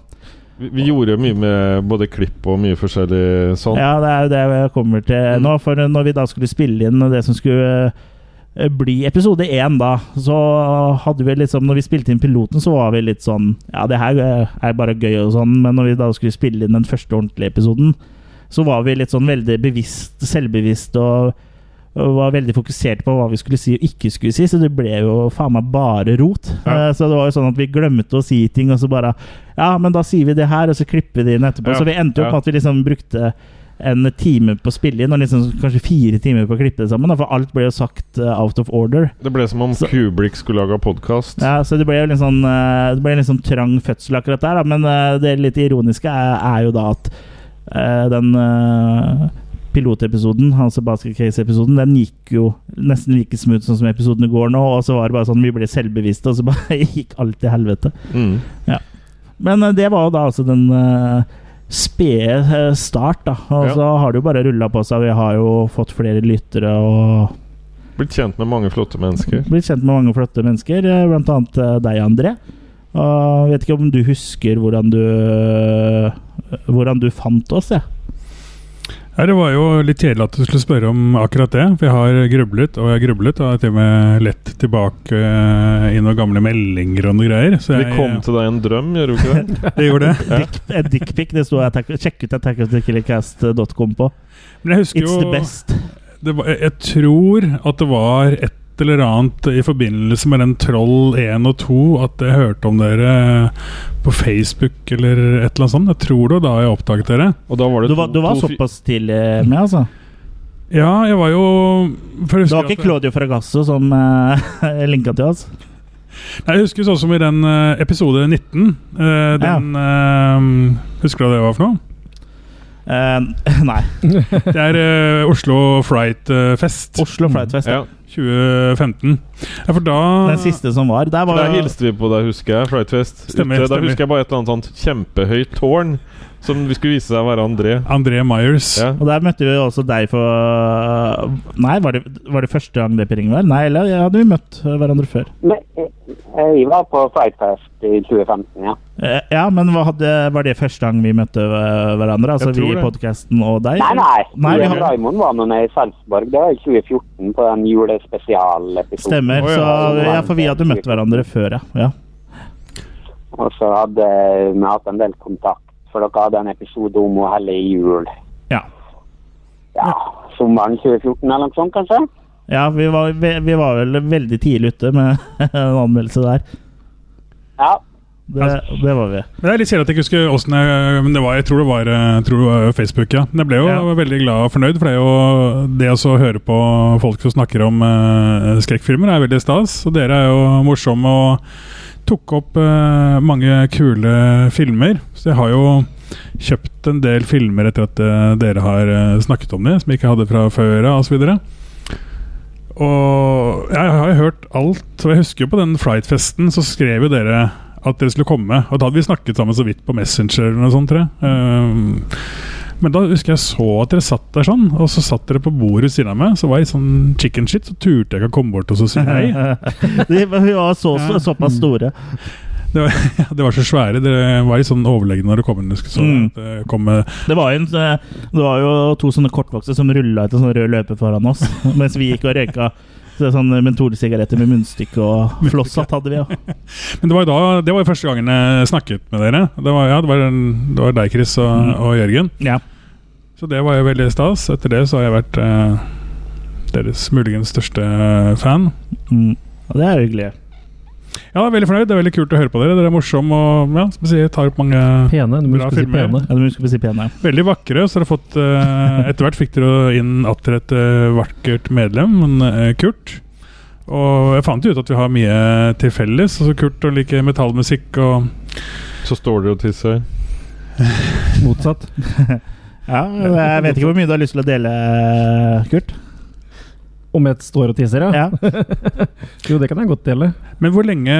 vi, vi gjorde mye med både klipp og mye forskjellig sånn.
Ja, det er jo det jeg kommer til
Mm.
nå. For når vi da skulle spille inn det som skulle eh, bli episode én, da, så hadde vi liksom Når vi spilte inn piloten, så var vi litt sånn Ja, det her eh, er bare gøy og sånn, men når vi da skulle spille inn den første ordentlige episoden, så var vi litt sånn veldig bevisst, selvbevisst og og var veldig fokusert på hva vi skulle si og ikke skulle si, så det ble jo faen meg bare rot.
Ja.
Eh, Så det var jo sånn at vi glemte å si ting, og så bare Ja, men da sier vi det her, og så klipper vi det inn etterpå.
Ja,
Så vi endte jo
ja.
på at vi liksom brukte en time på å spille inn, og liksom kanskje fire timer på å klippe det sammen. Da, for alt ble jo sagt eh, out of order.
Det ble som om
Så-
Kublik skulle laga podkast.
Ja, så det ble jo litt sånn eh, Det ble en litt sånn trang fødsel akkurat der, da. Men eh, det litt ironiske er, er jo da at eh, den eh, pilotepisoden, altså Basket Case-episoden, den gikk jo nesten like smooth sånn som episoden i går nå, og så var det bare sånn vi ble selvbevisste, og så bare gikk alt til helvete.
Mm.
Men eh, det var jo da altså den eh, spede eh, start, da. Og
Ja.
så har det jo bare rulla på seg. Vi har jo fått flere lyttere og
Blitt kjent med mange flotte mennesker.
blitt kjent med mange flotte mennesker, eh, blant annet eh, deg, André. Og jeg vet ikke om du husker hvordan du eh, Hvordan du fant oss, jeg.
Ja, det var jo litt kjedelig at du skulle spørre om akkurat det. For jeg har grublet og jeg har grublet, og jeg har til og med lett tilbake eh, i noen gamle meldinger og noen greier. Så
Vi
jeg,
kom til deg i en drøm, gjør vi ikke det?
det gjorde det.
Dick- eh, Dickpic. Det sto attack- Sjekk ut attackofthekillercast.com på.
Men jeg husker
It's the
jo
best.
det var, jeg- Jeg tror at det var et eller annet i forbindelse med den Troll 1 og 2 at jeg hørte om dere eh, på Facebook eller et eller annet sånt. Jeg tror det var da jeg oppdaget dere.
Og da var det
Du var, du var
to- to-
såpass tidlig med, altså.
Ja, jeg var jo for jeg
Det var
husker
ikke
at-
Claudio Fragasso som uh, linka til oss?
Nei, Jeg husker sånn som i den eh, episode 19. eh, den eh, Husker du hva det var for noe?
Eh, nei.
Det er eh, Oslo Fright eh, Fest
Oslo Fright Fest.
Ja.
2015. Ja, for da
Den siste som var. Der var
Der hilste vi på deg, husker jeg. Frightfest.
Stemmer,
Ute, Da
stemmer.
husker jeg bare et eller annet sånt kjempehøyt tårn som vi skulle vise seg å være André.
André Myers.
Ja.
Og der møtte vi også deg for eh, Nei, var det, var det første gang Beppe Ring var? Nei, eller ja, hadde vi møtt hverandre før?
Men eh, jeg var på Frightfest i 2015, ja.
Eh, Ja, men hva hadde, var det første gang vi møtte eh, hverandre? Altså
Jeg tror
vi i
det.
podkasten og deg?
Nei, nei.
Nei, vi
Jon
hadde,
Raymond var med meg i Salzburg. Det var i 2014 på den julespesialepisoden.
stemmer.
Å, ja.
Så ja, for vi hadde møtt hverandre før, ja. ja.
Og så hadde eh, vi hatt en del kontakt, for dere hadde en episode om å helle i jul.
Ja,
Ja, sommeren 2014 eller noe sånt, kanskje?
ja vi, var, vi, vi var vel veldig tidlig ute med en anmeldelse der.
Ja.
Det,
Altså-
det var vi.
Men Det er litt kjedelig at jeg ikke husker åssen jeg Men det var, jeg tror det var, eh, tror det var Facebook, ja. Men jeg ble jo
Ja.
veldig glad og fornøyd, for det er jo det å så høre på folk som snakker om eh, skrekkfilmer, er veldig stas. Og dere er jo morsomme og tok opp eh, mange kule filmer. Så jeg har jo kjøpt en del filmer etter at eh, dere har eh, snakket om det, som jeg ikke hadde fra før av, osv. Og jeg har jo hørt alt. Og jeg husker jo på den Fright-festen, så skrev jo dere at dere skulle komme. Og da hadde vi snakket sammen så vidt på Messenger eller noe sånt, tror jeg. Ehm, men da husker jeg så at dere satt der sånn, og så satt dere på bordet ved siden av meg. Så var jeg sånn chicken shit, så turte jeg ikke å komme bort og så si hei.
Vi vi var så, så, såpass store.
Det var, ja, det var så svære. Dere var litt sånn overlegne når det kom inn. Jeg skulle så
Mm.
at eh, det kom med
Det var, jo en, eh, det var jo to sånne kortvokste som rulla etter sånn rød løper foran oss, mens vi gikk og røyka så sånn mentolsigaretter med munnstykke og flosshatt hadde vi. Ja.
Men det var jo da, det var jo første gangen jeg snakket med dere. Det var, ja, det var, det var deg, Chris, og, og Jørgen.
Ja.
Så det var jo veldig stas. Etter det så har jeg vært eh, deres muligens største eh, fan.
Mm. Og det er jo hyggelig.
Ja, jeg er veldig fornøyd. Det er veldig kult å høre på dere. Dere er morsomme og ja, som jeg sier, tar opp mange
Pene. Du må
Bra
huske å si
filmer.
pene.
Ja, du husker på å si pene.
Veldig vakre. Så dere har fått eh, Etter hvert fikk dere inn atter et eh, vakkert medlem, men eh, Kurt. Og jeg fant jo ut at vi har mye til felles. Altså Kurt og liker metallmusikk og
Så står dere og tisser.
Motsatt.
Ja, jeg vet ikke hvor mye du har lyst til å dele, Kurt.
Om jeg står og tisser, ja.
Ja.
Jo, det kan jeg godt dele.
Men hvor lenge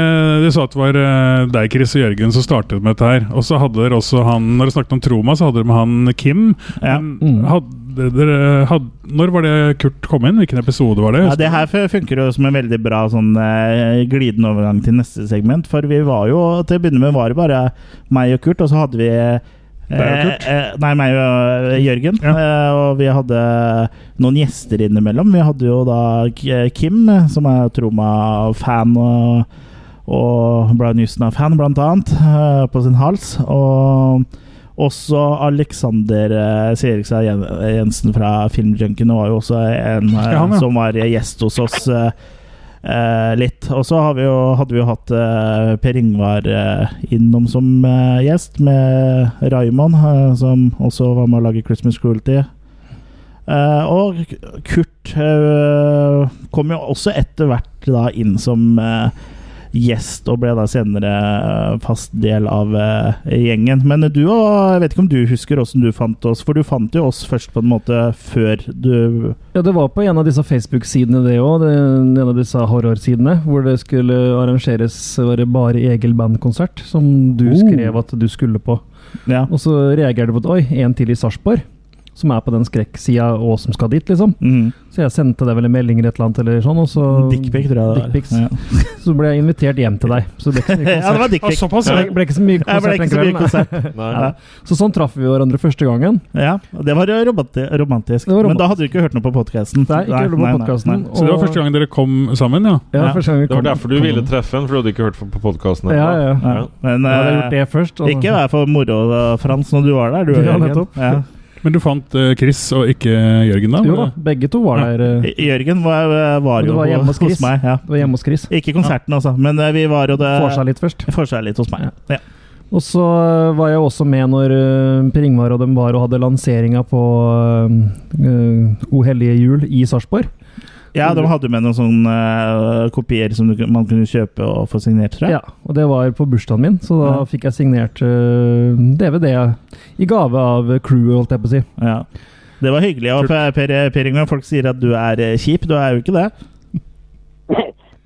Du sa at det var eh, deg, Chris og Jørgen som startet med dette her. Og så hadde dere også han Når dere snakket om Troma, så hadde dere med han Kim.
Ja.
Men
Mm.
Hadde dere, had- når var det Kurt kom inn? Hvilken episode var det?
Ja, det her funker jo som en veldig bra sånn, eh, glidende overgang til neste segment. For vi var jo til å begynne med var det bare meg og Kurt, og så hadde vi eh,
Deg og Kurt?
eh, nei, meg og eh, Jørgen. Eh, og vi hadde noen gjester innimellom. Vi hadde jo da K- Kim, som er Troma-fan og, og Brian Houston-fan, blant annet, eh, på sin hals. Og også Alexander eh, Sirikstad Jen- Jensen fra Filmjunken var jo også en eh,
Ja, han, ja.
som var gjest hos oss eh, eh, litt. Og så har vi jo, hadde vi jo hatt eh, Per Ingvar eh, innom som eh, gjest, med Raymond, eh, som også var med å lage 'Christmas Cruelty'. Eh, og Kurt eh, kom jo også etter hvert da inn som eh, gjest, og ble da senere eh, fast del av eh, gjengen. Men du og Jeg vet ikke om du husker åssen du fant oss, for du fant jo oss først på en måte før du
Ja, Det var på en av disse Facebook-sidene, det òg. En av disse horrorsidene. Hvor det skulle arrangeres var det bare Egil Band-konsert, som du
Oh.
skrev at du skulle på.
Ja.
Og så reagerte du på at oi, en til i Sarpsborg. Som er på den skrekksida og som skal dit, liksom.
Mm.
Så jeg sendte deg vel en melding eller et eller annet, eller sånn, og så
Dickpic, tror jeg det var.
Dickpics.
Ja.
Så ble jeg invitert hjem til deg. Så det ble ikke så
ja,
mye
det
konsert.
var dickpic.
såpass,
Så
Ah, ja.
det ble ikke så mye
Jeg ble
konsert
ikke
den
så mye
kvelden.
konsert.
Nei.
Ja. Så sånn traff vi hverandre første gangen.
Ja, og det var jo romanti- romantisk.
Det var
Men da hadde du ikke hørt noe på podkasten.
Nei, ikke hørte på podcasten.
Så det var første gang dere kom sammen, ja?
Ja,
Ja.
første gang vi
Det var
kom-
derfor du
kom.
ville treffe en, for du hadde ikke hørt på podkasten.
Ja, ja. ja.
Ja. Men
Da hadde jeg gjort
eh,
det først. og-
ikke vær for moro, da, Frans, når du var der. Du, og
Ja,
Jørgen.
nettopp.
Ja.
Men du fant eh, Chris og ikke Jørgen, da?
Jo da, begge to var
Ja.
der. eh,
Jørgen var, eh, var
Men du
jo
var hjemme hos Chris.
meg. Ja.
Det var hjemme hos Chris.
Ikke konserten, altså, men eh, vi var jo det
Får seg litt først.
for seg litt hos meg. Ja.
Og så eh, var jeg også med når eh, Per Ingvar og dem var og hadde lanseringa på eh, eh, O hellige jul i Sarpsborg.
Ja, de hadde med noen sånne eh, kopier som du, kun- man kunne kjøpe og få signert, tror jeg.
Ja, og det var på bursdagen min, så da
Ja.
fikk jeg signert eh, DVD i gave av crewet, holdt jeg på å si.
Ja. Det var hyggelig. Og per, per, per Inge, folk sier at du er eh, kjip. Du er jo ikke det.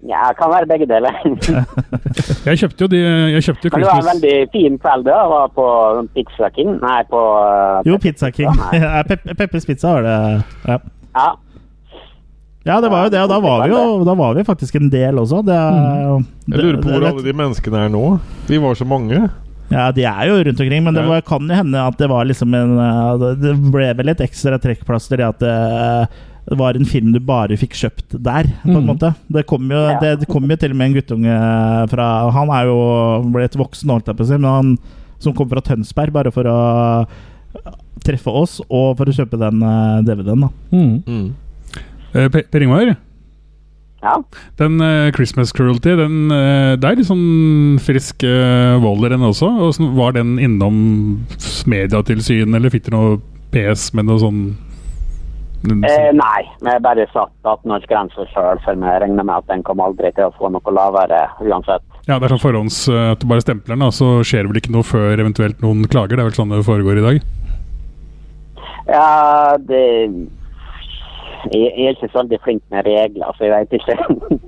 Ja, kan være begge deler.
Jeg kjøpte jo de Jeg kjøpte jo
Men det var en
Christmas
veldig fin kveld da, å være på sånn Pizza King. Nei, på eh,
Jo, Pizza King.
Nei.
Ja, Pep Peppers Pizza var det. Ja.
Ja.
ja, det var jo det. Og da var vi jo da var vi faktisk en del også. Det,
Jeg lurer på hvor
det-
alle de menneskene er nå. Vi var så mange.
Ja, de er jo rundt omkring, men det
Ja.
var, kan jo hende at det var liksom en eh, Det ble vel et ekstra trekkplaster i at det eh, var en film du bare fikk kjøpt der, på en
Mm.
Mhm.
måte. Det kom, jo,
Ja.
det, det kom jo til og med en guttunge fra Han er jo blitt voksen, holdt jeg på å si, men han som kom fra Tønsberg bare for å treffe oss og for å kjøpe den eh, DVD-en, da.
Mm.
Eh, Per Per Ingvar,
ja.
den eh, Christmas Cruelty, den, eh, det er litt sånn frisk eh, vold i den også. Og sånn, var den innom s- mediatilsyn, eller fikk du noe PS med noe sånn den-
Eh, nei, vi bare satt 18-årsgrense sjøl, for vi regner med at den kom aldri til å få noe lavere uansett.
Ja, det er sånn forhånds... eh, At du bare stempler den, og så skjer det vel ikke noe før eventuelt noen klager. Det er vel sånn det foregår i dag.
Ja, det Jeg jeg er ikke så veldig flink med regler, så jeg veit ikke.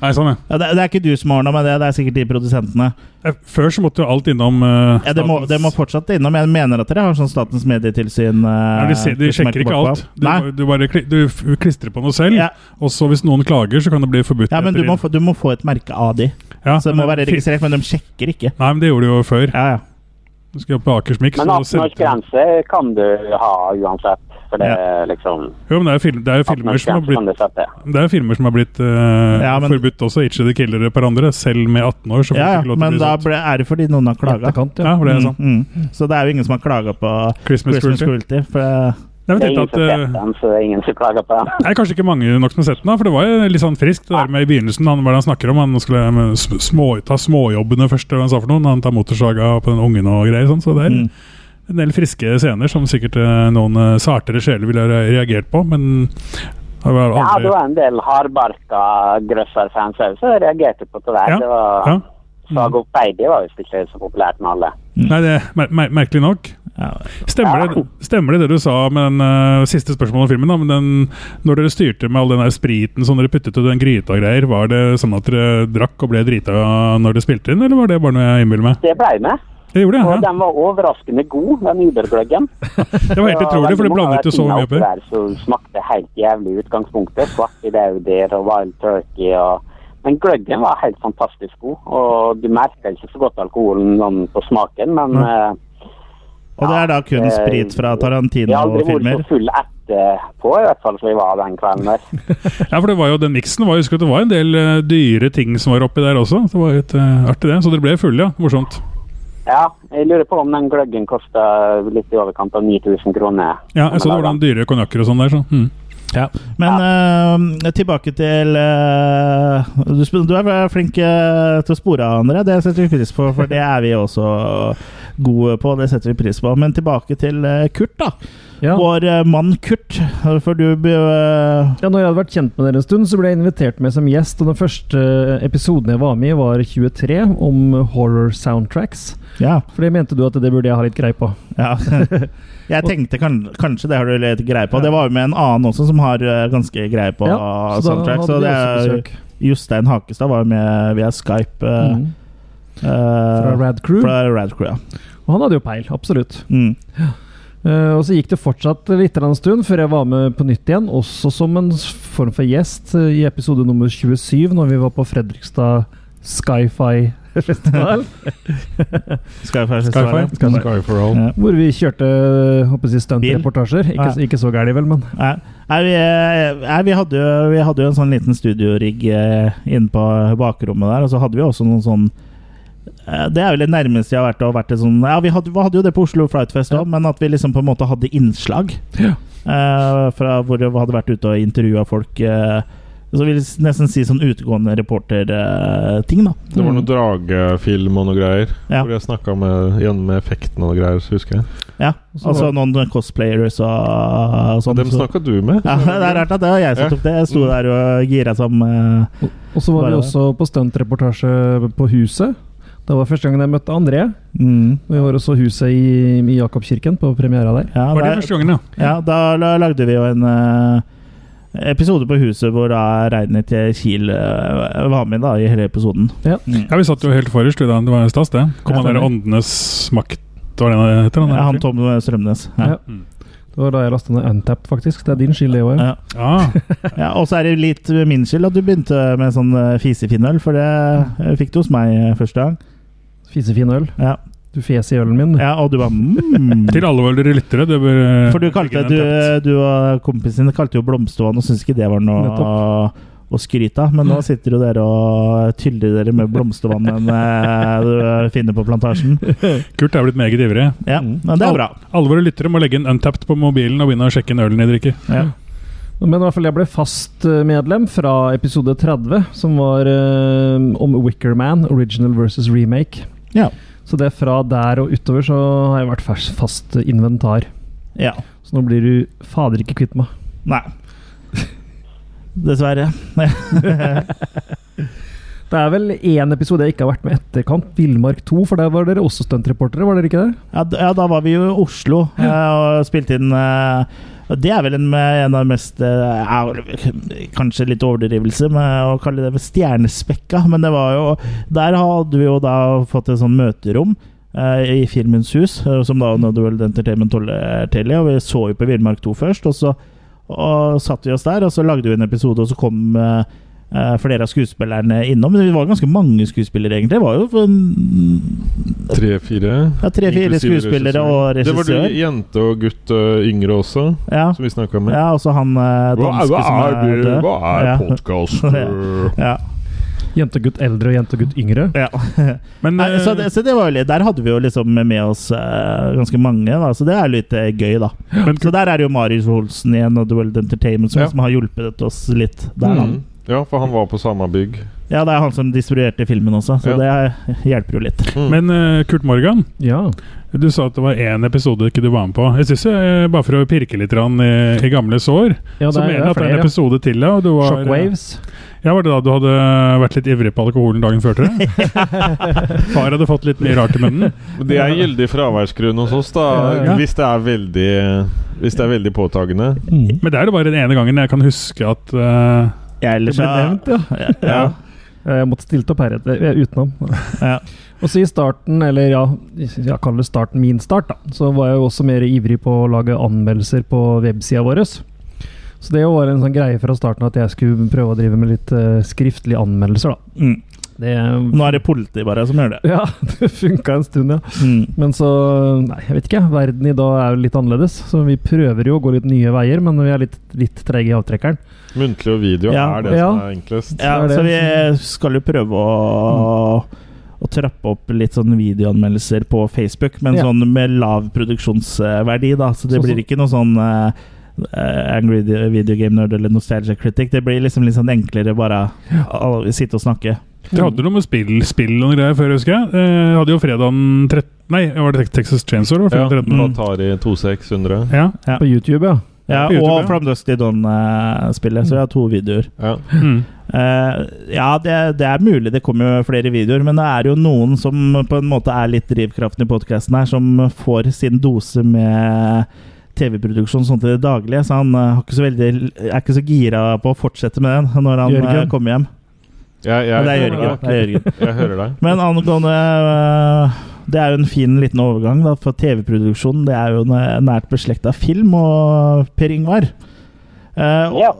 Nei, sånn, ja.
Ja, det, det er ikke du som ordna med det, det er sikkert de produsentene.
Eh, Før så måtte jo alt innom eh,
Ja, det må, det må
statens-
fortsatt innom. Jeg mener at dere har sånn Statens medietilsyn eh,
Ja, de, ser, de
som
sjekker ikke
bak på.
alt. Du,
Nei.
du bare kli- du f- klistrer på noe selv,
Ja.
og så hvis noen klager, så kan det bli forbudt.
Ja, men du
etter
må,
det.
få, du må få et merke av de.
Ja,
Så det må
men-
være registrert, men de sjekker ikke.
Nei, men det gjorde de jo før.
Ja, ja.
Du skulle opp på Akersmik.
Men
så sendte-
18-årsgrense kan du ha uansett, for det er liksom
Jo, men det er jo, film, det er jo filmer som har
18-årsgrense kan
blitt,
du sette.
det er jo filmer som har blitt eh,
Ja, men-
forbudt også. Itchy the Killer og et par andre. Selv med 18 år. Så får
ja,
du
ja.
ikke lov til å
Men
bli
da
sånt.
ble, er det fordi noen har klaga.
Etterkant,
Ja,
ja.
for det er sånn.
Mm, mm. Så det er jo ingen som har klaga på
Christmas,
Christmas
Cruelty.
Cruelty. For det-
Det er
Det
vel
er ingen
tenkt
som
at
setter
eh,
den, så det er ingen som klager på den.
det er kanskje ikke mange nok som har sett den, da, for det var jo litt sånn friskt. Det der med i begynnelsen, han, hva er det han snakker om? Han skulle eh, sm- små, ta småjobbene først, eller hva han sa for noe. Han tar motorsaga på den ungen og greier. Sånn, så det er
Mm.
en del friske scener som sikkert eh, noen eh, sartere sjeler ville ha reagert på, men det var
Ja, det
aldri
var en del hardbarka grøsserfans òg som reagerte på det der.
Ja,
Det var
ja. Mm.
Sagopeidi var visst ikke så populært med alle.
Nei, det er mer mer merkelig nok.
ja.
Stemmer det, stemmer det det du sa med den eh, siste spørsmålet om filmen? da, men den, Når dere styrte med all den der spriten som dere puttet i den gryta og greier, var det sånn at dere drakk og ble drita når dere spilte inn, eller var det bare noe jeg innbiller meg?
Det blei med.
Det gjorde
Og
jeg, ja.
den var overraskende god, den Uber-gløggen.
Det var helt utrolig, for det blandet jo så mye oppi.
Der, så smakte helt jævlig i utgangspunktet. Svarte dauder og Wild Turkey og Men gløggen var helt fantastisk god. Og du merka ikke så godt alkoholen sånn på smaken, men eh,
Og det er da kun
eh,
sprit fra
Jeg har aldri vært
Tarantino-filmer.
så full etterpå, i hvert fall som jeg var den kvelden der.
Ja, for det var jo den miksen. var- Jeg husker at det var en del eh, dyre ting som var oppi der også. Det var litt eh, artig, det. Så dere ble fulle, ja. Morsomt.
Ja, jeg lurer på om den gløggen kosta litt i overkant av 9000 kroner.
Ja, jeg så det var noen dyre konjakker og sånn der, så. Mm.
Ja. Men eh, tilbake til eh, du, sp- du er flink eh, til å spore av andre, det setter vi pris på, for det er vi også gode på. Det setter vi pris på. Men tilbake til eh, Kurt, da.
Ja.
Vår eh, mann Kurt. For du be- eh,
Ja, når jeg hadde vært kjent med dere en stund, så ble jeg invitert med som gjest. Og den første eh, episoden jeg var med i, var 23, om eh, horror soundtracks.
Ja.
For det mente du at det burde jeg ha litt greie på.
ja. Jeg tenkte kan, kanskje det har du litt greie på. Det var jo med en annen også som har eh, ganske greie på
Ja, så da
soundtrack.
hadde
Så
vi
det
også
er
besøk.
Jostein Hakestad var jo med via Skype. eh,
Mm.
eh,
Fra Rad Crew.
fra Rad Crew, ja.
Og han hadde jo peil, absolutt.
Mm.
Eh, og så gikk det fortsatt litt av en stund før jeg var med på nytt igjen, også som en s- form for gjest eh, i episode nummer 27, når vi var på Fredrikstad Skyfi festival.
Skyfire-festivalen.
Sky for all.
hvor vi kjørte eh, håper jeg,
Bil.
stuntreportasjer. Ikke,
Ah, ja.
ikke så gærent, vel, men
Nei, nei, vi, eh, nei vi, hadde jo, vi hadde jo en sånn liten studiorigg eh, inne på bakrommet der, og så hadde vi også noen sånn eh, det er vel det nærmeste jeg har vært. å ha vært et sånn, ja, vi hadde, vi hadde jo det på Oslo Flightfest òg,
Ja.
men at vi liksom på en måte hadde innslag. eh, fra hvor vi hadde vært ute og intervjua folk eh, Så vil jeg nesten si sånn utegående reporterting, da.
Det var noe dragefilm og noe greier.
Mm. Ja.
Hvor jeg snakka med, igjen med effekten og noe greier, husker jeg.
Ja, altså noen cosplayers og, og sånn.
Dem
så-
snakka du med?
Ja, det er rart at det var jeg som tok det. Jeg sto der og gira som eh,
Mm. Og så var
Bare
vi
det.
også på stuntreportasje på Huset. Det var første gangen jeg møtte André.
mm,
Og Vi var også Huset i, i Jakobkirken på premiera der.
ja,
Var det
der-
første gangen, ja?
Ja, da la- lagde vi jo en eh, episode på huset hvor da Reiner til Kiel eh, var med da, i hele episoden.
Ja.
Mm.
Ja, Vi satt jo helt forrest. du, da. Det var stas, det. Kom
Ja,
han der
stemmer.
Åndenes makt, var det han heter?
Ja,
Han
han
der? Mm.
Tom Strømnes.
Ja. Det var da jeg lasta ned Untapped, faktisk. Det er din skyld, det òg.
Ja.
Ja.
Ja, og så er det litt min skyld at du begynte med sånn eh, fisefinøl, for det eh, fikk du hos meg eh, første gang.
Fisefin øl.
Ja,
Du fes i ølen min.
ja og du var mm.
Til alle våre lyttere. Det bør, eh,
For du, kalte,
ligge
du,
ned
du og kompisen din kalte jo Blomstervann og syntes ikke det var noe å, å skryte av. Men nå sitter jo dere og tyller dere med blomstervannet eh, du finner på plantasjen.
tett. Kurt er blitt meget ivrig.
Ja, men det er bra.
Alle våre lyttere må legge inn Untapped på mobilen og begynne å sjekke inn ølen de drikker.
Ja.
Men i hvert fall jeg ble fast eh, medlem fra episode 30, som var eh, om Wickerman, original versus remake.
Ja.
Så det er fra der og utover så har jeg vært fers- fast inventar.
ja.
Så nå blir du fader ikke kvitt meg.
Nei. Dessverre.
Det er vel én episode jeg ikke har vært med i etterkant, Villmark 2, for der var dere også stuntreportere, var dere ikke det?
Ja, d- ja, da var vi jo i Oslo eh, og spilte inn eh, og Det er vel en, eh, en av de mest eh, ja, Kanskje litt overdrivelse med å kalle det stjernespekka, men det var jo Der hadde vi jo da fått et sånn møterom. eh, I Filmens hus, eh, som da nådde World Entertainment holder til. i, Og vi så jo på Villmark 2 først, og så og satte vi oss der. Og så lagde vi en episode, og så kom eh, eh, flere av skuespillerne innom. Men vi var ganske mange skuespillere, egentlig. Det var jo en
Tre-fire.
ja, tre-fire skuespillere og
Det var
regissør.
du, jente og gutt øh, yngre også,
Ja.
som vi snakka med.
ja, og så han eh, danske som er
det-
død.
hva er
Ja.
podcast?
Ja,
Jente og gutt eldre og jente og gutt yngre.
ja.
Men
Nei, så,
eh,
det, så det var jo litt Der hadde vi jo liksom med oss eh, ganske mange, da, så det er litt eh, gøy, da.
Men-
Så der er jo Marius Holsen igjen og The World Entertainment som,
Ja.
som har hjulpet oss litt der, da.
Mm. Ja, for han var på samme bygg.
Ja, det er han som distribuerte filmen også, så
Ja.
det hjelper jo litt.
Mm.
men eh, Kurt Morgan,
Ja.
du sa at det var én episode ikke du var med på. Jeg synes, eh, Bare for å pirke litt grann i, i gamle sår,
ja
så
det er,
mener jeg
det er
at det er en
flere.
episode til. Ja, og du var, eh,
Shockwaves.
ja, var det da du hadde vært litt ivrig på alkoholen dagen før til det? Far hadde fått litt mye rart i munnen.
Men Det er gyldig fraværsgrunn hos oss, da.
Ja, ja.
Hvis det er veldig Hvis det er veldig påtagende.
Mm.
Men det er jo bare den ene gangen jeg kan huske at eh,
Ja,
Det
ellers
ble nevnt, ja.
ja. Ja.
Eh, Jeg måtte stilt opp her etter, eh, utenom.
Ja.
Og så i starten, eller ja, jeg kaller det starten min start, da, så var jeg jo også mer ivrig på å lage anmeldelser på websida vår. Så det var en sånn greie fra starten at jeg skulle prøve å drive med litt eh, skriftlige anmeldelser, da.
Mm.
Det,
Nå er det politiet bare som gjør det.
ja, det funka en stund, ja.
Mm.
Men så Nei, jeg vet ikke. Verden i dag er jo litt annerledes. Så vi prøver jo å gå litt nye veier, men vi er litt, litt trege i avtrekkeren.
Muntlig og video
Ja,
er det
ja.
som er enklest.
Ja,
Det er
så vi
det
skal jo prøve å, å trappe opp litt sånn videoanmeldelser på Facebook, men
Ja.
sånn med lav produksjonsverdi, da. Så det
Så-
blir ikke noe sånn eh, eh, Angry Video Game Nerd eller Nostalgia Critic. Det blir liksom litt sånn enklere bare å å sitte og snakke.
Det hadde noe med spill, spill og noe greier før, husker jeg. Eh, hadde jo fredagen 13... Nei, var det Texas Chainsaw?
Ja,
Fredag 13.
Mm.
Atari 2600.
Ja.
Ja.
På YouTube, ja.
Ja,
På YouTube, ja.
og From Dusk Til Dawn-spillet, så vi har to videoer.
Ja.
Mm.
Eh, ja, det, det er mulig det kommer jo flere videoer, men det er jo noen som på en måte er litt drivkraften i podkasten her, som får sin dose med TV-produksjon sånn til det daglige. Så han eh, har ikke så veldig, er ikke så gira på å fortsette med den når han eh,
Jørgen.
kommer hjem.
Jeg, jeg,
Ja, det er
jeg,
Jørgen. Det er Jørgen.
jeg hører deg.
Men angående øh, Det er jo en fin liten overgang, da, for TV-produksjon det er jo næ- nært beslekta film og Per Ingvar. Eh, og-
Ja.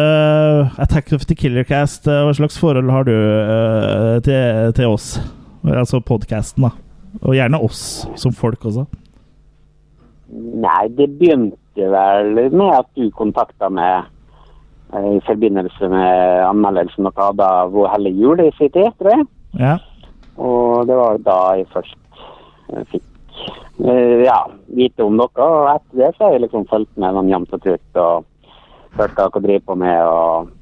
eh, 'Attack of the Killer Cast', eh, hva slags forhold har du eh, til, til oss? Altså podkasten, da. Og gjerne oss som folk også.
Nei, det begynte vel med at du kontakta meg eh, i forbindelse med anmeldelsen dere hadde av Vår hellige jul i sin tid, tror jeg.
Ja.
Og det var da jeg først eh, fikk eh, ja, vite om dere. Og etter det så har jeg liksom fulgt med dem jevnt og trutt og hørt hva dere driver på med. og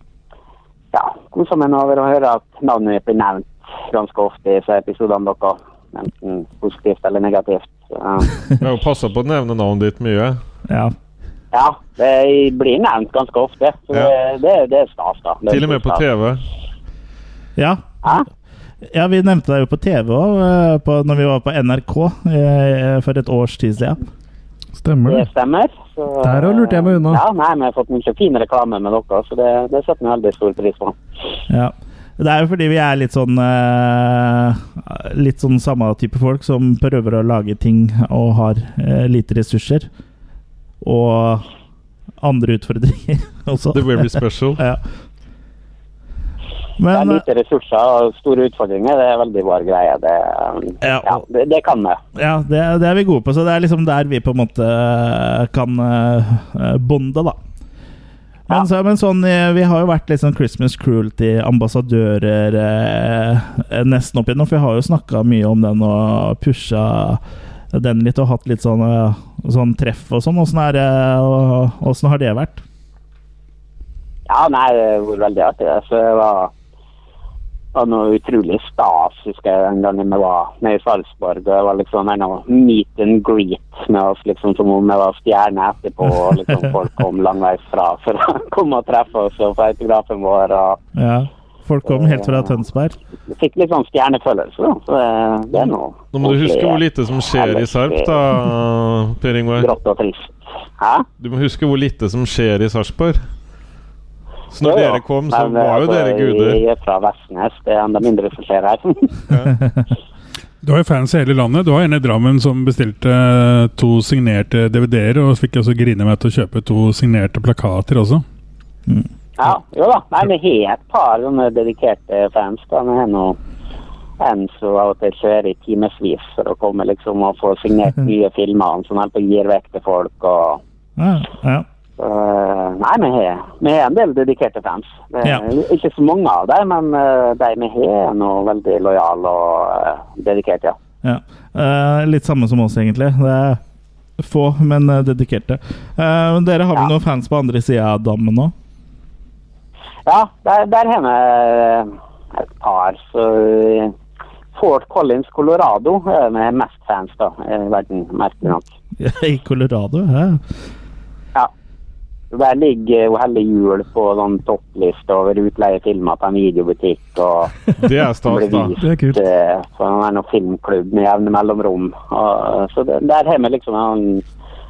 ja, koser meg nå over å høre at navnet mitt blir nevnt ganske ofte i disse episodene deres. Enten positivt eller negativt. Så,
Jeg har jo passa på å nevne navnet ditt mye.
Ja.
ja, det blir nevnt ganske ofte. Så det, det, det er stas, da. Det er
Til og med på
stas.
TV.
ja.
Hæ?
Ja, vi nevnte deg jo på TV òg, når vi var på NRK eh, for et års tid siden.
Stemmer
Det
det.
stemmer. Så,
Der har lurt jeg meg unna.
Ja, nei, Vi har fått mye fin reklame med dere, så det, det setter vi veldig stor pris på.
Ja. Det er jo fordi vi er litt sånn eh, Litt sånn samme type folk som prøver å lage ting og har eh, lite ressurser. Og andre utfordringer også.
The Very Special.
Ja.
Det er
Men
lite ressurser og store utfordringer. Det er veldig vår greie. Det,
Ja.
ja. det, det kan vi.
ja, det, det er vi gode på, så det er liksom der vi på en måte kan eh, bonde, da. Men,
Ja.
så, men sånn, eh, vi har jo vært litt sånn Christmas Cruelty-ambassadører eh, eh, nesten opp igjennom, for vi har jo snakka mye om den og pusha den litt og hatt litt sånn, eh, sånn treff og sånn. Åssen er det, og- åssen har det vært?
Ja, nei, det har vært veldig artig. det. Så det var, var noe utrolig stas, husker jeg, den gangen vi var nede i Salzburg. og Det var liksom en av meet and greet med oss, liksom som om vi var stjerner etterpå. og liksom Folk kom langveisfra for å komme og treffe oss og få autografen vår. og
Ja. Folk kom helt fra Tønsberg.
Vi fikk litt sånn stjernefølelse, da. Så eh, det, det er eh, noe
Nå må du huske hvor lite som skjer i Sarp, da, Per Ingvar.
eh, Grått og trist. Hæ?
Du må huske hvor lite som skjer i Sarpsborg. Så
Jo,
når
jo.
dere kom, så
Men,
var jo
altså,
dere guder.
Jeg er fra Vestnes. Det er enda mindre som skjer her.
Du har jo fans i hele landet. Du har en i Drammen som bestilte eh, to signerte DVD-er, og fikk altså grine meg til å kjøpe to signerte plakater også.
Ja, jo da. Nei, vi har et par sånne dedikerte fans. da. Vi har nå en som av og til kjører i timevis for å komme liksom og få signert nye filmer. og Som holder på å gi vekk til folk. og...
Ja, ja.
øh, nei, vi har, vi har en del dedikerte fans. Det er
Ja.
Ikke så mange av dem, men øh, de vi har, er nå veldig lojale og øh, dedikerte. ja.
Ja. Eh, litt samme som oss, egentlig. Det er få, men eh, dedikerte. Eh, men dere har vel
Ja.
noen fans på andre sida av dammen nå?
Ja, der, der har vi øh, et par. så... øh, Fort Collins, Colorado, er vi mest fans da, i verden, merkelig nok.
I Colorado? Ja.
Ja. Der ligger jo Helle Jul på sånn toppliste over utleiefilmer på en videobutikk. Og
Det er stas,
blir
da.
vist
Det er kult.
eh, på en sånn filmklubb med jevne mellomrom. Og, så det, der har vi liksom en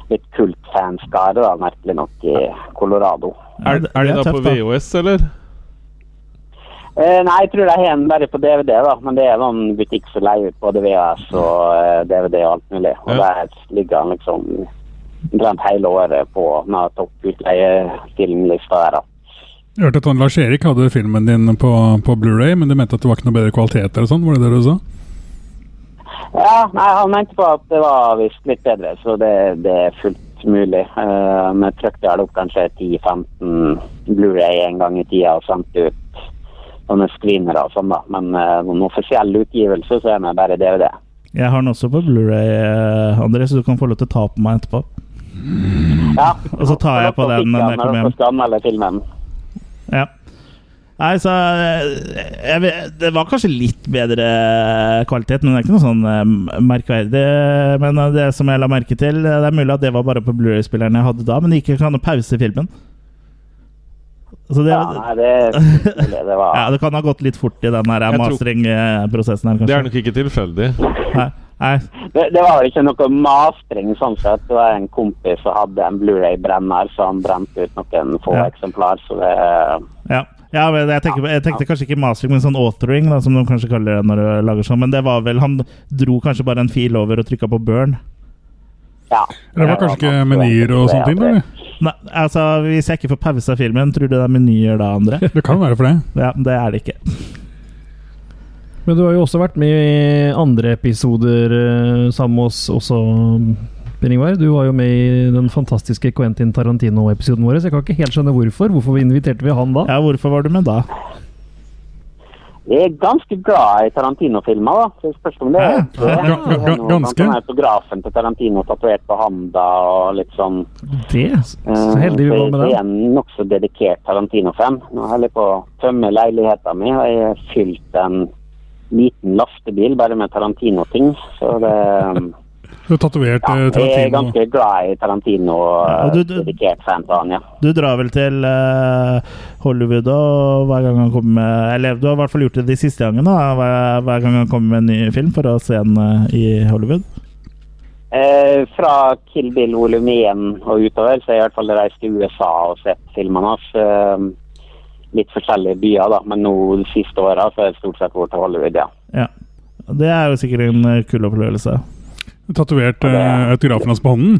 litt kultfanskare, da, merkelig nok, i Colorado.
Er,
det-
er de
det
da på
tøft, da.
VHS, eller?
Eh, nei, jeg tror de har den bare på DVD, da. Men det er noen butikk som leier ut både VHS og eh, DVD og alt mulig. Og
Ja.
der ligger han liksom omtrent hele året på den topp utleiefilmlista der, da.
Jeg hørte at han Lars Erik hadde filmen din på, på Blu-ray, men du mente at det var ikke noe bedre kvalitet eller sånn? Var det det du sa?
Ja, nei, han mente på at det var visst litt bedre, så det, det er fullt mulig. Eh, Vi trykte vel opp kanskje 10-15 Blu-ray en gang i tida og sendte ut sånne screenere og sånn, da. Men eh, noen offisiell utgivelse, så er vi bare DVD.
Jeg har den også på Blu-ray, eh, André, så du kan få lov til å ta på meg etterpå.
Ja,
Mm. Og så tar jeg på den når jeg kommer hjem.
Skal anmelde filmen.
Ja. Nei, så eh, jeg, vet- Det var kanskje litt bedre kvalitet, men det er ikke noe sånn eh, merkverdig. Men eh, det som jeg la merke til, eh, det er mulig at det var bare på Blu-ray-spilleren jeg hadde da, men det gikk ikke an å pause filmen. Så det,
Ja, nei, det, er fullt mulig, det var
Ja, det kan ha gått litt fort i den her
Jeg tror-
mastering-prosessen her,
Det
kanskje.
er nok ikke tilfeldig.
Nei, nei.
Det, det var vel ikke noe mastring sånn sett. Det var en kompis som hadde en Blu-ray-brenner, så han brente ut noen få
Ja.
eksemplar. Så det,
Ja. ja men jeg, tenkte, jeg tenkte kanskje ikke mastering, men sånn authoring, da, som de kanskje kaller det når du lager sånn. Men det var vel Han dro kanskje bare en fil over og trykka på burn.
ja.
Det var kanskje ikke menyer og sånne ting? da, eller?
Nei, altså, Hvis jeg ikke får pause av filmen, tror du det er menyer da, André?
Det kan være for det.
Ja, det er det ikke.
Men du har jo også vært med i andre episoder eh, sammen med oss også, Per Ingvar. Du var jo med i den fantastiske Quentin Tarantino-episoden vår, så jeg kan ikke helt skjønne hvorfor. Hvorfor inviterte vi han da?
Ja, hvorfor var du med da?
Jeg er ganske glad i Tarantino-filmer, da. Så det spørs om det
Hæ?
det er
Ga- ga- ga-
noe-
ganske?
Han er autografen til Tarantino tatovert på handa og litt sånn.
Det? Så heldig vi var med
den. Jeg
den.
er en nokså dedikert Tarantino-fan. Nå holder jeg på å tømme leiligheten min, og jeg har fylt en liten lastebil bare med Tarantino-ting. Så det
Du har tatovert
Ja,
eh,
jeg er
Tarantino.
ganske glad i Tarantino,
Ja,
og
du- du-
dedikert fan av han, ja.
Du drar vel til eh, Hollywood og hver gang han kommer med Eller du har i hvert fall gjort det de siste gangene. da, Hver, hver gang han kommer med en ny film for å se den eh, i Hollywood.
Eh, fra Kill Bill volum 1 og utover, så har jeg i hvert fall reist til USA og sett filmene hans. Eh, litt forskjellige byer, da, men nå de siste åra har jeg stort sett vært til Hollywood, ja.
Ja. Det er jo sikkert en eh, kul opplevelse.
Tatovert eh, autografen hans på hånden.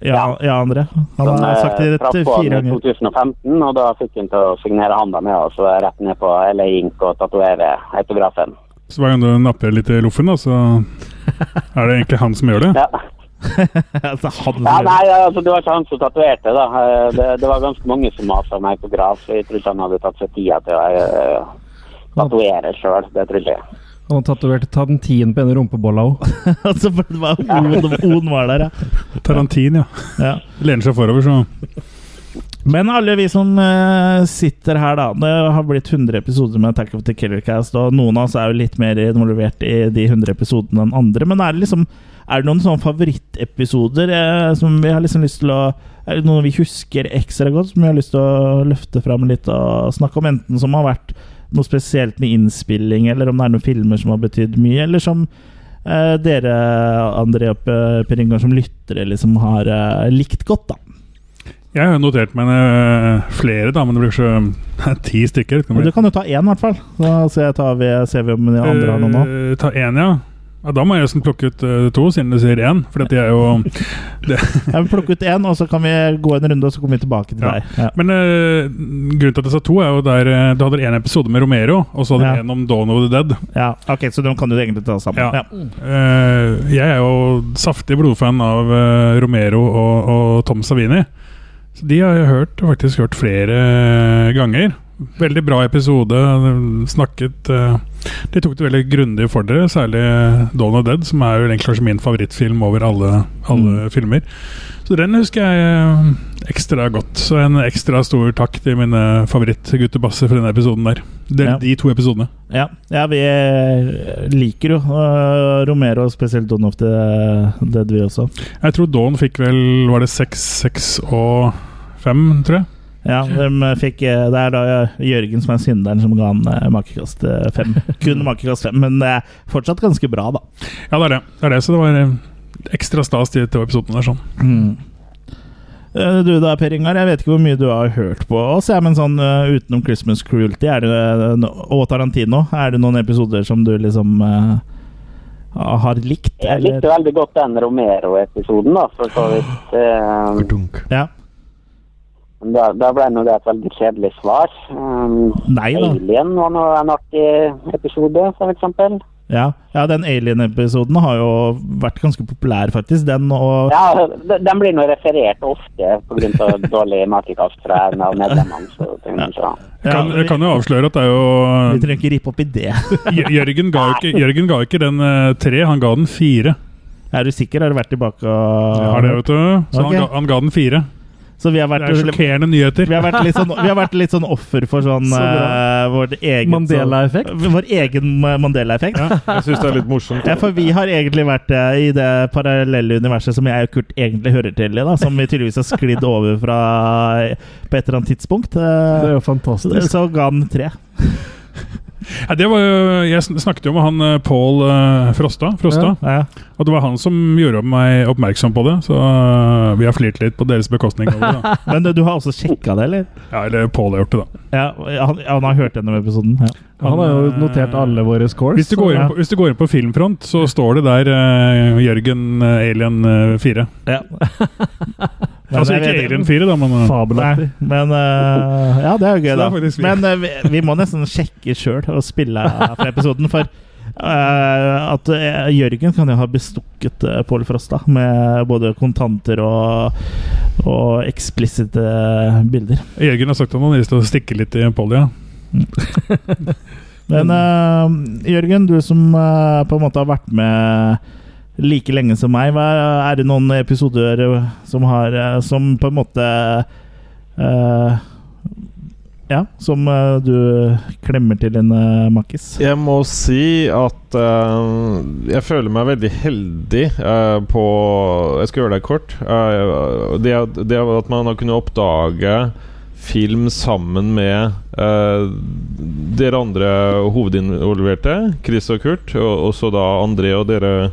Ja, ja André. Han
Han eh,
har sagt det
traff
rett
på
fire
han i
ganger.
2015, og da fikk han til å signere handa med oss, og så er jeg rett ned på LA Ink og tatovere autografen.
Så hver gang du napper litt i loffen, da, så er det egentlig han som gjør det.
Ja.
altså, han
ja, nei, altså, det var ikke han som tatoverte, da. Eh, Det, det var ganske mange som masa om autograf, så jeg tror ikke han hadde tatt seg tida til å eh, tatovere sjøl, det tror jeg.
Han tatoverte Tantin på en rumpebolla òg.
altså, for det var on, on var der, ja.
Tarantin, ja.
ja.
Lener seg forover, så
Men alle vi som eh, sitter her, da Det har blitt 100 episoder med Attack of the Killer Cast, og noen av oss er jo litt mer involvert i de 100 episodene enn andre. Men er det liksom Er det noen sånne favorittepisoder eh, som vi har liksom lyst til å Er det noen vi husker ekstra godt, som vi har lyst til å løfte fram litt og snakke om? Enten som har vært noe spesielt med innspilling, eller om det er noen filmer som har betydd mye, eller som eh, dere, André og P- Per Ingar, som lyttere, liksom har eh, likt godt, da.
Jeg har notert meg eh, flere, da, men det blir så ti stykker.
Men du kan jo ta én, i hvert fall. Så ser, jeg tar vi, ser vi om de andre har noen nå.
Eh, Ta én, ja. ja. Da må jeg nesten plukke ut eh, to, siden du sier én. For at de er jo
Jeg vil plukke ut én, og så kan vi gå en runde, og så kommer vi tilbake til
Ja.
deg. Ja.
Men eh, grunnen til at jeg sa to, er jo der eh, du hadde en episode med Romero, og så hadde
Ja.
du en om Dawn of the Dead.
Ja. Ok, så de kan du egentlig ta sammen.
Ja.
Ja.
Eh, jeg er jo saftig blodfan av eh, Romero og, og Tom Savini. Så de har jeg hørt, faktisk hørt flere ganger. Veldig bra episode. Snakket eh, De tok det veldig grundig for dere, særlig eh, Dawn of Dead, som er jo egentlig kanskje min favorittfilm over alle, alle filmer. Så den husker jeg eh, ekstra godt. Så en ekstra stor takk til mine favorittguttebasser for den episoden der. De,
Ja.
de to episodene.
Ja. ja, vi eh, liker jo eh, Romero, og spesielt Don of the Dead, vi også.
Jeg tror Dawn fikk vel Var det seks, seks og fem, tror jeg?
Ja, de fikk, eh, Det er da Jørgen som er synderen, som ga han eh, makekast eh, fem. Kun makekast fem, men det er fortsatt ganske bra, da.
Ja, det er det. det, er det så det var eh, ekstra stas de to episodene der. sånn
Mm. Eh, Du da, Per Ingar, jeg vet ikke hvor mye du har hørt på oss, jeg, men sånn eh, utenom Christmas Cruelty er det, eh, no- og Tarantino, er det noen episoder som du liksom eh, har likt?
Jeg likte veldig godt den Romero-episoden, da, for så vidt. Eh,
Ja.
da, da ble nå det et veldig kjedelig svar. Um,
Nei da.
Alien var nå en artig episode, for eksempel.
Ja, ja den Alien-episoden har jo vært ganske populær, faktisk. Den og
Ja, de- den blir nå referert ofte pga. dårlig matikast fra en av medlemmene. Så tenker jeg sånn.
Jeg kan,
Ja,
jeg kan jo avsløre at det
Vi
er jo
trenger ikke rippe opp i det.
Jø- Jørgen ga jo ikke, Jørgen ga jo ikke den eh, tre, han ga den fire.
Er du sikker? Har du vært tilbake og
Har det, vet du. Så
Ok.
han, ga, han ga den fire.
Så vi har
Det er
vært liksom,
sjokkerende nyheter.
vi har, vært litt sånn, vi har vært litt sånn offer for sånn
Så bra.
eh, vårt eget
Mandela-effekt.
sånn- Vår egen eh, Mandela-effekt.
Jeg syns det er litt morsomt.
Ja, for vi har egentlig vært eh, i det parallelle universet som jeg og Kurt egentlig hører til i, da, som vi tydeligvis har sklidd over fra eh, på et eller annet tidspunkt.
Det er
Eh,
jo fantastisk.
Så ga han tre.
Ja, det var jo, jeg sn- snakket jo med han eh, Paul eh, Frosta, Frosta
Ja.
og det var han som gjorde meg oppmerksom på det. Så eh, vi har flirt litt på deres bekostning. Over, det, da.
Men du, du har også sjekka det, eller?
Ja, eller Paul har gjort det, da.
Ja, han, han har hørt gjennom episoden. Ja.
Han har jo notert alle våre scores.
Hvis du, går inn på, hvis du går inn på Filmfront, så står det der eh, Jørgen eh, Alien eh, 4.
Ja. Men
altså
jeg
ikke
vet-
Alien 4, da, men eh,
Mm. Nei,
Fabelaktig.
men eh, Ja, det er jo gøy,
Så det
da.
er faktisk vi.
Men eh, vi, vi må nesten sjekke sjøl og spille av fra episoden, for eh, at eh, Jørgen kan jo ha bestukket uh, Pål Frosta med både kontanter og, og eksplisitte bilder.
Jørgen har sagt at han har lyst til å stikke litt i Polly. Ja.
Men eh, Jørgen, du som eh, på en måte har vært med like lenge som meg, hva, er det noen episoder som har eh, Som på en måte eh, Ja, som eh, du klemmer til en eh, makkis?
Jeg må si at eh, jeg føler meg veldig heldig eh, på Jeg skal gjøre det kort. Eh, det, at- det at man har kunnet oppdage film sammen med eh, dere andre hovedinvolverte, Chris og Kurt, og også da André og dere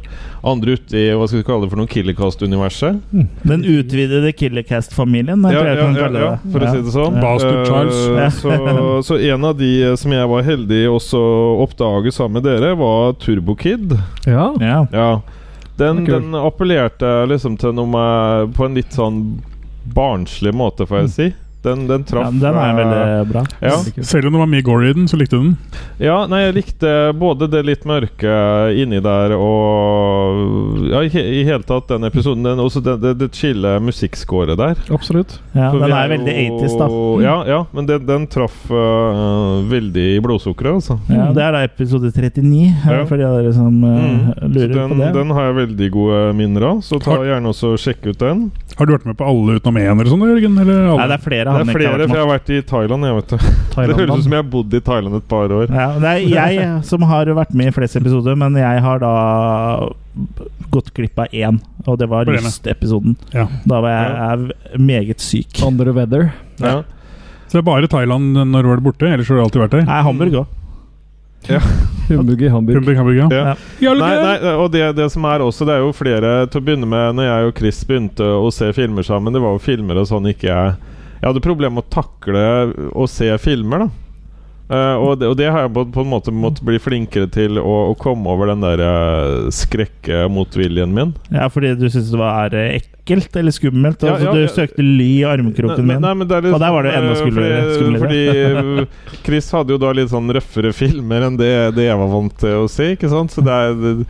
andre ute i hva skal vi kalle det for noe Killercast-universet.
Den utvidede Killercast-familien, jeg tror jeg kan kalle det.
for å si det sånn.
Ja.
Bastard
Eh,
Charles.
så, så en av de eh, som jeg var heldig også å oppdage sammen med dere, var Turbokid.
Ja.
Ja.
Ja. Den,
Det er kult.
den appellerte liksom til noe med, på en litt sånn barnslig måte, får jeg si. Den, den
Mm. ja,
traff
den er
eh,
veldig bra.
ja.
Selv om det var mye gore i den, så likte du den.
ja, nei, jeg likte både det litt mørke inni der og Ja, i, he- i hele tatt den episoden. Den, også det, det, det chille musikkscoret der.
Absolutt.
Ja,
For
den
vi
er veldig
jo-
80s, da. Mm.
Ja, ja men den, den traff eh, veldig i blodsukkeret, altså.
Ja, Det er da episode 39,
Ja.
for de av dere som eh,
Mm. Så
lurer
den,
på det.
den har jeg veldig gode minner av, så ta gjerne også og sjekk ut den.
Har du vært med på alle utenom én, eller sånn, Jørgen? Eller alle?
Nei, det er flere
Det
han
er
ikke har
flere,
vært
for
med.
jeg har vært i Thailand. Jeg vet det. Det høres ut som jeg har bodd i Thailand et par år.
Ja, det er jeg som har vært med i flest episoder, men jeg har da gått glipp av én, og det var
Hvor er det?
lystepisoden.
Ja.
Da var jeg er meget syk.
Sånn.
Under the weather.
Ja.
Så det er bare Thailand eh, når du var borte? Ellers har du alltid vært der?
Nei, Hamburg òg.
Humbug i Hamburg.
Humburg, Hamburg, ja.
Ja.
Ja, eller
Nei,
det?
nei, og det, det som er også, det er jo flere Til å begynne med, når jeg og Chris begynte å se filmer sammen Det var jo filmer og sånn ikke jeg Jeg hadde problemer med å takle å se filmer, da. Eh, og, det, og det har jeg på, på en måte måttet bli flinkere til å, å komme over den der eh, skrekkemotviljen min.
Ja, fordi du syntes det var eh, ekkelt eller skummelt.
Ja,
Altså,
ja, ja.
Du søkte ly i armkroken
Nei,
min.
nei, men det er litt
Og der var det jo enda
sånn,
skumlere-
eh, Fordi, fordi Chris hadde jo da litt sånn røffere filmer enn det, det jeg var vant til å se, ikke sant? Så det er, det,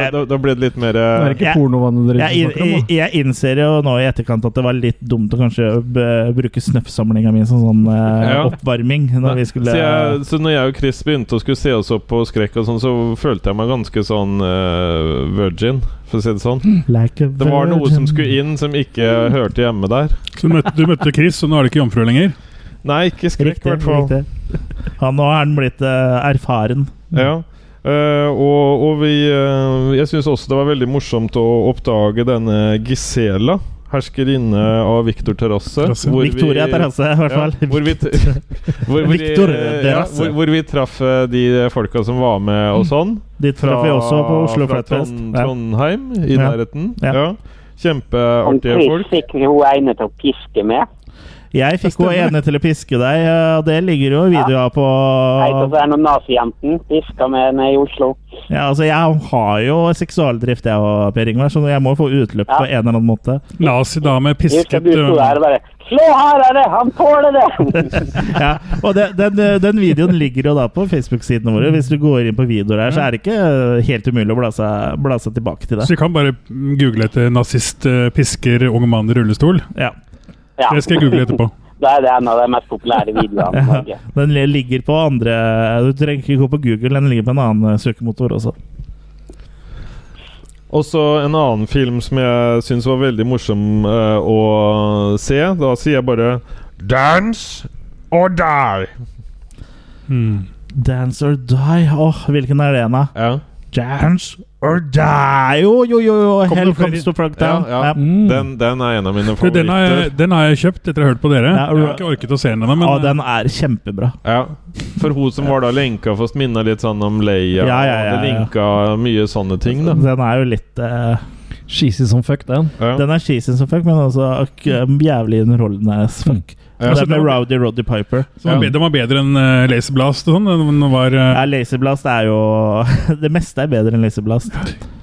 Jeg,
da, da ble det litt mer
Det
eh,
er ikke
Jeg-
pornovannet dere
jeg,
snakker om, da.
jeg innser jo nå i etterkant at det var litt dumt å kanskje b- bruke snøffsamlinga mi som sånn eh,
Ja.
oppvarming. Når vi skulle
så, jeg, så når jeg og Chris begynte å skulle se oss opp på skrekk og sånn, så følte jeg meg ganske sånn eh, virgin, for å si det sånn.
Like a
Det var noe
Mm. virgin.
som skulle inn som ikke hørte hjemme der.
Så du møtte, du møtte Chris, og nå er du ikke jomfru lenger?
Nei, ikke skrekk, i
Riktig.
hvert fall.
riktig. Han nå er han blitt eh, erfaren.
Ja. Eh, og, og vi eh, Jeg syns også det var veldig morsomt å oppdage denne Gisela, herskerinne av Victor Terrasse.
Terrasse.
hvor vi-
Victoria Terrasse, i hvert fall.
Ja, hvor vi, t- hvor, hvor,
Victor
eh, ja,
Terrasse.
hvor, hvor vi traff eh, de folka som var med og sånn.
Dit traff vi også på Oslo
fra
Flatfest.
Trond,
Ja.
Trondheim, i
Ja.
nærheten.
Ja.
Ja.
Han
Kjempeartige
Chris
folk.
fikk hun ene til å piske med.
Jeg fikk jo ene til å piske deg, eh, og det ligger jo videoer på
Hei, så er det nazijenten piska med henne i Oslo.
ja, altså, Jeg har jo seksualdrift, jeg og Per Ingvar, så jeg må få utløp
Ja.
på en eller annen måte.
Nazidame
Jeg husker
pisket eh,
du sto der og bare Slå hardere! Han tåler det!
Ja, og den, den, den videoen ligger jo da på Facebook-sidene våre. Hvis du går inn på videoer her, så er det ikke eh, helt umulig å bla seg, bla seg tilbake til det.
Så vi kan bare google etter 'nazist eh, pisker ung mann i rullestol'.
Ja.
Ja.
Det skal jeg google etterpå.
Da er det en av de mest populære videoene i Norge.
Den li- ligger på andre eh, Du trenger ikke gå på Google, den ligger på en annen eh, søkemotor også.
Også en annen film som jeg syns var veldig morsom eh, å se. Da sier jeg bare 'Dance or die'.
Hmm.
Dance or die. Åh, hvilken er det en av?
Ja.
Dance or die. Jo, jo, jo, jo.
Kom
Hell
det flere-
comes to Frogtown.
Ja, ja.
Mm.
Den, den er en av mine
For den, har
favoritter.
jeg, den har jeg kjøpt etter å ha hørt på dere.
Ja,
Jeg har ikke orket å se den ennå, men eh,
Å, den er kjempebra.
Ja. For hun som var da lenka fast, minna litt sånn om Leia.
Ja, ja,
og
ja,
det
ja.
linka mye sånne ting, da.
Den er jo litt eh,
Cheesy som fuck, den.
Ja.
Den er cheesy som fuck, men også ak- eh, jævlig underholdende as fuck.
Mm. Ja.
Det er med Rowdy Roddy Piper.
den var,
Ja.
bedre, den var bedre enn eh, Laserblast og sånn. Den var eh,
Ja, Laserblast er jo Det meste er bedre enn Laserblast.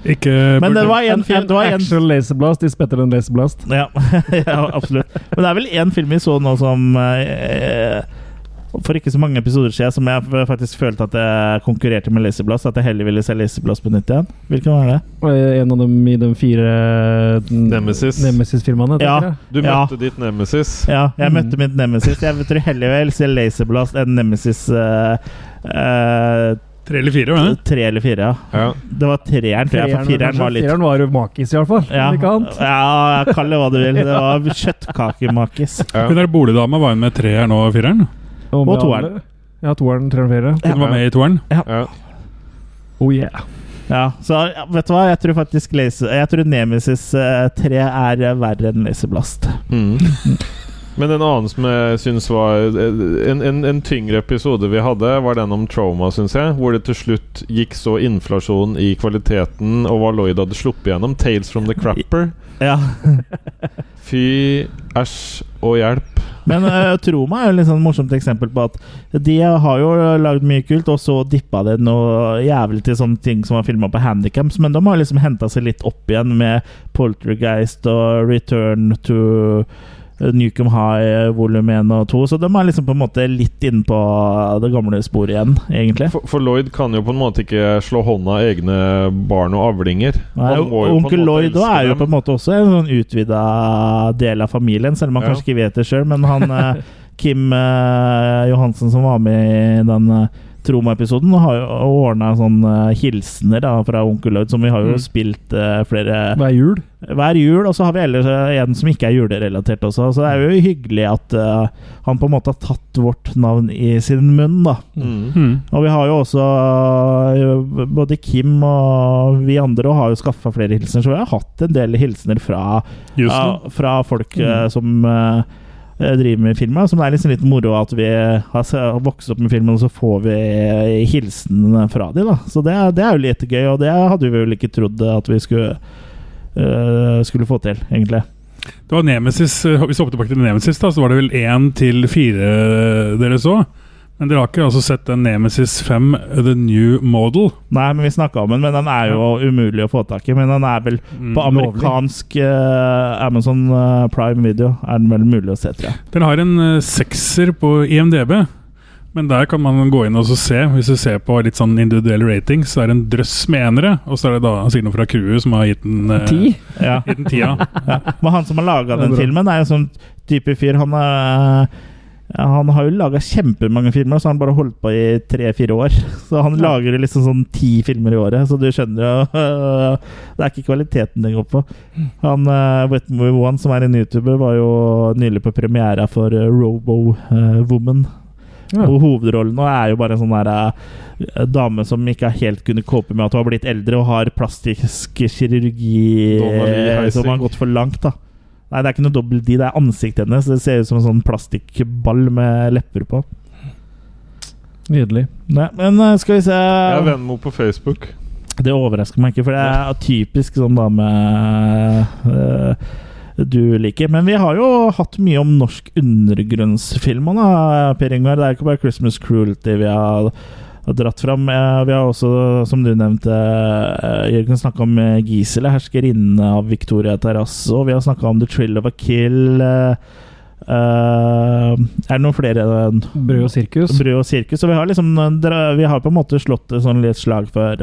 ikke
Men det var en, en, det var en
Actual laserblast is better than laserblast.
Ja, ja absolutt. Men det er vel én film vi så nå som eh, For ikke så mange episoder siden som jeg faktisk følte at jeg konkurrerte med Laserblast. At jeg heller ville se Laserblast på nytt igjen. Hvilken var det?
Og Eh, En av dem i de fire
Nemesis.
Nemesis-firmaene. tenker
Ja.
jeg.
Du
Ja.
møtte ditt nemesis.
Ja, jeg
Mm.
møtte mitt nemesis. Jeg tror heller jeg vil se Laserblast enn Nemesis eh, eh,
Tre eller fire, var det?
tre eller fire, ja.
Ja.
Det var treeren, tror jeg, for fireren var litt
Fireren var jo makis, i hvert fall.
ja.
om Ikke annet.
ja, kall det hva du vil. Det var kjøttkakemakis.
Ja.
Hun der boligdama var hun med tre her nå, fireren?
Og, med
toeren.
alle- Ja, toeren, treeren, fireren.
Hun var med i toeren?
Ja.
Oh yeah.
Ja, så ja, vet du hva? Jeg tror faktisk Laser, Jeg tror Nemesis eh, 3 er eh, verre enn Laserblast.
Mm. Men en annen som jeg syns var en, en, en tyngre episode vi hadde, var den om trauma, syns jeg. Hvor det til slutt gikk så inflasjon i kvaliteten og hva Lloyd hadde sluppet gjennom. 'Tales from the Crapper'.
Ja.
Fy, æsj og hjelp.
Men uh, Troma er jo et litt sånn morsomt eksempel på at de har jo lagd mye kult, og så dippa det noe jævlig til sånne ting som var filma på Handicams, men de har liksom henta seg litt opp igjen med Poltergeist og Return to Newcom High volum 1 og 2, så de er liksom på en måte litt inne på det gamle sporet igjen, egentlig.
For, for Lloyd kan jo på en måte ikke slå hånda av egne barn og avlinger.
Nei,
Han må jo på en
onkel
måte
Lloyd
elske
også er jo
dem.
på en måte også en sånn utvida del av familien, selv om han
Ja.
kanskje ikke vet det sjøl. Men han eh, Kim eh, Johansen som var med i den eh, Troma-episoden, har jo ordna sånne eh, hilsener da, fra onkel Lloyd, som vi har jo
Mm.
spilt eh, flere
Det er jul.
hver jul. Og så har vi ellers eh, en som ikke er julerelatert også, så det er jo hyggelig at eh, han på en måte har tatt vårt navn i sin munn, da.
Mm.
Mm.
Og vi har jo også øh, Både Kim og vi andre har jo skaffa flere hilsener, så vi har hatt en del hilsener fra,
Houston.
ja, fra folk øh, som øh, driver med film. Som det er liksom litt moro at vi har se- har vokst opp med filmen, og så får vi hilsen fra de da. Så det, er- det er jo litt gøy, og det hadde vi vel ikke trodd at vi skulle øh, skulle få til, egentlig.
Det var Nemesis, eh, Hvis vi hopper tilbake til Nemesis, da, så var det vel én til fire eh, dere så. Men dere har ikke altså sett den Nemesis 5 The New Model?
Nei, men vi snakka om den, men den er jo umulig å få tak i. Men den er vel På amerikansk eh, Amazon eh, Prime Video er den vel mulig å se, tror jeg.
Den har en eh, sekser på IMDb, men der kan man gå inn og så se. Hvis du ser på litt sånn individuell rating, så er det en drøss med enere. Og så er det da sikkert noen fra crewet som har gitt den eh,
Ti?
Ja.
gitt den tia.
Men han som har laga
Det er
den
bra.
filmen, er jo sånn type fyr Han, er, ja, han har jo laga kjempemange filmer, så han bare holdt på i tre-fire år. Så han lager jo liksom sånn ti filmer i året, så du skjønner jo eh, Det er ikke kvaliteten det går på. Han uh, Wetmore One, som er en YouTuber, var jo nylig på premiera for eh, Robo eh, Woman.
Ja.
Og hovedrollen nå er jo bare en sånn der, eh, dame som ikke helt kunne cope med at hun har blitt eldre og har plastisk kirurgi
Donnelly
eh, som
Heising.
har gått for langt. da Nei, det er ikke noe dobbelt D, det er ansiktet hennes. Det ser ut som en sånn plastikkball med lepper på.
Nydelig.
Nei, men eh, skal vi se
Jeg er Venmo på Facebook.
Det overrasker meg ikke, for det er typisk sånn dame eh, du liker. Men vi har jo hatt mye om norsk undergrunnsfilm òg, da, Per Ingvar. Det er ikke bare 'Christmas Cruelty' vi har dratt fram. Eh, Vi har også, som du nevnte, eh, Jørgen, snakka om eh, 'Gisele', 'Herskerinnen av Victoria Terrasso'. Vi har snakka om 'The Trill of a Kill'. eh, eh, er det noen flere eh, enn
Brød og sirkus.
Brød og sirkus. Og vi har liksom dra- Vi har på en måte slått et sånn litt slag for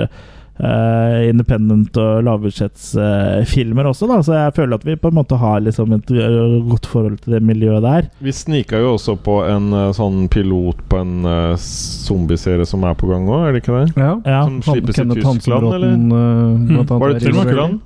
eh, independent og lavbudsjettsfilmer også, da. Så jeg føler at vi på en måte har liksom et eh, godt forhold til det miljøet der.
Vi snika jo også på en eh, sånn pilot på en eh, zombieserie som er på gang òg, er det ikke det?
Ja.
Ja.
Som slippes i
Kenneth
Tyskland, eller?
Hansenbråten, eh,
Hmm.
blant annet
Var det
er i Norge.
Tyskland?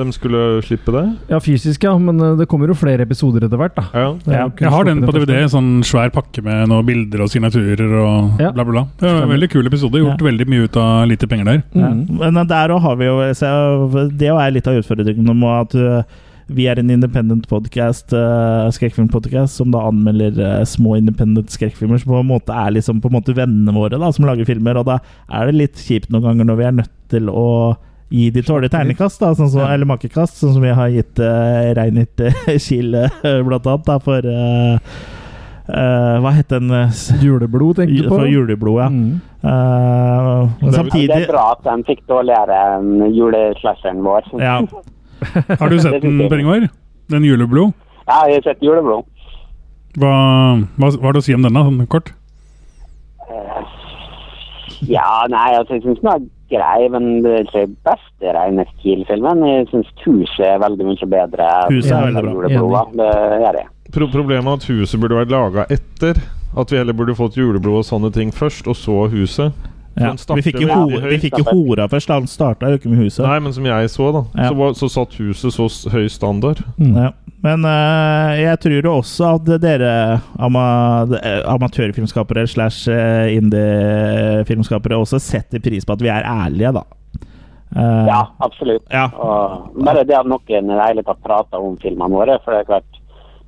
De skulle slippe det?
Ja, fysisk, ja. Men eh, det kommer jo flere episoder etter hvert, da.
Ja.
Det er
Ja,
jo kun
Jeg har den
sluppet
på DVD, en sånn svær pakke med noen bilder og signaturer og
Ja.
bla, bla, bla. Det var en veldig kul episode. Gjort veldig mye ut av lite penger der.
første.
Ja.
Mm.
Men eh, der òg har vi jo så Det er litt av utfordringen om at eh, vi er en independent podcast, eh, skrekkfilmpodcast, som da anmelder eh, små independent skrekkfilmer, som på en måte er liksom på en måte vennene våre da, som lager filmer. Og da er det litt kjipt noen ganger når vi er nødt til å gi de dårlige ternekast, da, sånn som, eller makekast, sånn som vi har gitt uh, Reinert eh, Kiel, eh, blant annet, da, for eh, eh, Hva het den? eh, s-
Juleblod, tenker du på?
For juleblodet, ja.
Mm.
Eh, men
Ja, Det
samtidig
er bra at de fikk dårligere enn juleslasheren vår.
ja.
Har du sett den, Per Ingvar? Den Juleblod?
Ja, jeg har sett juleblod.
Hva, hva, hva har du å si om denne, sånn kort?
Eh, Ja, nei, altså, jeg syns den er grei, men det er ikke den beste Reines Kiel-filmen. Jeg syns Huset er veldig mye bedre.
Huset er veldig bra.
Juleblodet, det er det.
Pro problemet er at huset burde vært laga etter. At vi heller burde fått juleblod og sånne ting først, og så huset. For
Ja.
han starter
Vi fikk jo
veldig
ho-
høyt. altså.
vi fikk jo hora først. Han starta jo ikke med huset.
Nei, men som jeg så, da,
Ja.
så, var, så satt huset så s- høy standard.
Ja. Men eh, jeg tror jo også at dere ama eh, amatørfilmskapere slash eh, indiefilmskapere også setter pris på at vi er ærlige, da. Eh,
Ja, absolutt.
ja.
Og bare det at noen i det hele tatt prater om filmene våre, for det er klart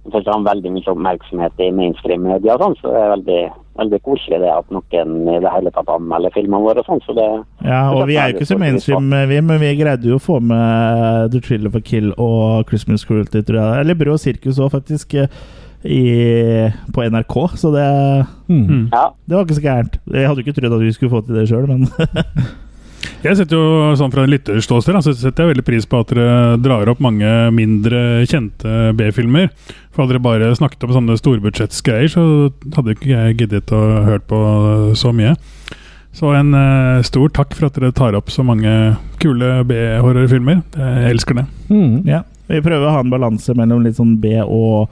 det får ikke veldig mye oppmerksomhet i mainstream-media, og sånn, så det er veldig, veldig koselig det at noen i det hele tatt anmelder filmene våre. og sånn, så det...
ja, og vi er jo ikke så mainstream, eh, vi, men vi greide jo å få med eh, The Thriller for Kill og Christmas Cruelty, tror jeg. Eller Brød og sirkus òg, faktisk, eh, i, på NRK, så det,
Mm.
Ja,
det var ikke så gærent. Jeg hadde jo ikke trodd at vi skulle få til det sjøl, men
Jeg setter jo sånn fra en lytters ståsted da, så setter jeg veldig pris på at dere drar opp mange mindre kjente B-filmer. For hadde dere bare snakket om sånne storbudsjettsgreier, så hadde ikke jeg giddet å hørt på så mye. Så en eh, stor takk for at dere tar opp så mange kule B-horrorfilmer. Jeg elsker det.
Mm.
Ja, vi prøver å ha en balanse mellom litt sånn B og,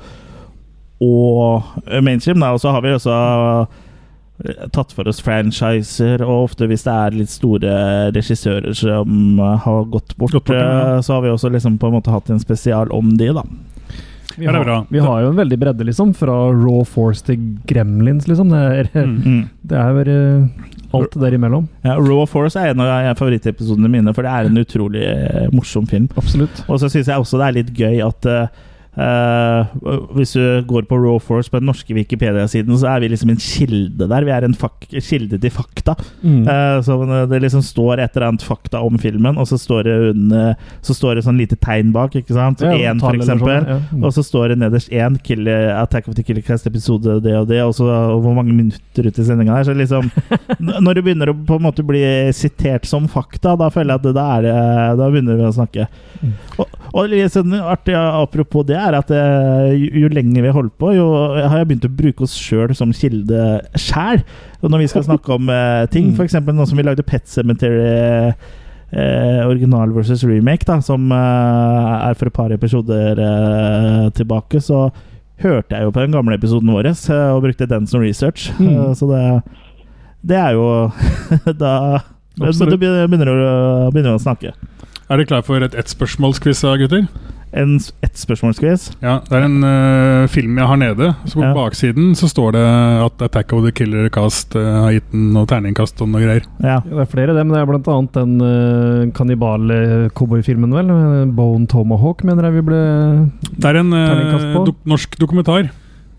og mainstream. Da. Og så har vi også eh, tatt for oss franchiser, og ofte hvis det er litt store regissører som eh, har gått bort,
Gått bort, ja.
eh, så har vi også liksom på en måte hatt en spesial om de, da.
Vi,
Ja, det er
har,
bra.
vi har jo en veldig bredde, liksom. Fra Raw Force til Gremlins, liksom. Det er,
Mm.
Mm.
det er jo eh, alt der imellom.
Ja, Raw Force er en av favorittepisodene mine, for det er en utrolig eh, morsom film.
Absolutt.
Og så syns jeg også det er litt gøy at eh, eh, hvis du går på Raw Force på den norske Wikipedia-siden, så er vi liksom en kilde der. Vi er en fak kilde til fakta.
Mm.
Eh, så eh, det liksom står et eller annet fakta om filmen, og så står det, under, så står det sånn lite tegn bak, ikke sant?
Ja,
Én,
tall
for
eller
eksempel.
sånn, ja. Mm.
Og så står det nederst én killer, Attack of the Killer Cast episode det og det, og så og hvor mange minutter ut i sendinga der. Så liksom n- Når du begynner å på en måte bli sitert som fakta, da føler jeg at det, da, er, det- da begynner vi å snakke.
Mm.
Og, og litt sånn artig apropos det, er at eh, jo, jo lenger vi holder på, jo har jeg begynt å bruke oss sjøl som kilde sjæl. Og Når vi skal snakke om eh, ting,
Mm.
f.eks. nå som vi lagde Pet Cemetery eh, original versus remake, da, som eh, er for et par episoder eh, tilbake, så hørte jeg jo på den gamle episoden vår eh, og brukte den som research.
Mm.
Eh, så det, det er jo Da men
Absolutt.
Du begynner å, begynner å snakke.
Er dere klar for et ettspørsmålsquiz, da, gutter?
En, s- ett spørsmålsquiz.
Ja, Det er en eh, film jeg har nede. Så På
Ja.
baksiden så står det at Attack of the Killer Cast eh, har gitt den noe terningkast og noe greier.
Ja.
Ja, det er flere, det, men det er blant annet den uh, kannibal-cowboyfilmen, vel? eh, Bone Tomahawk, mener jeg vi ble
Det er en eh,
Terningkast på?
dok norsk dokumentar.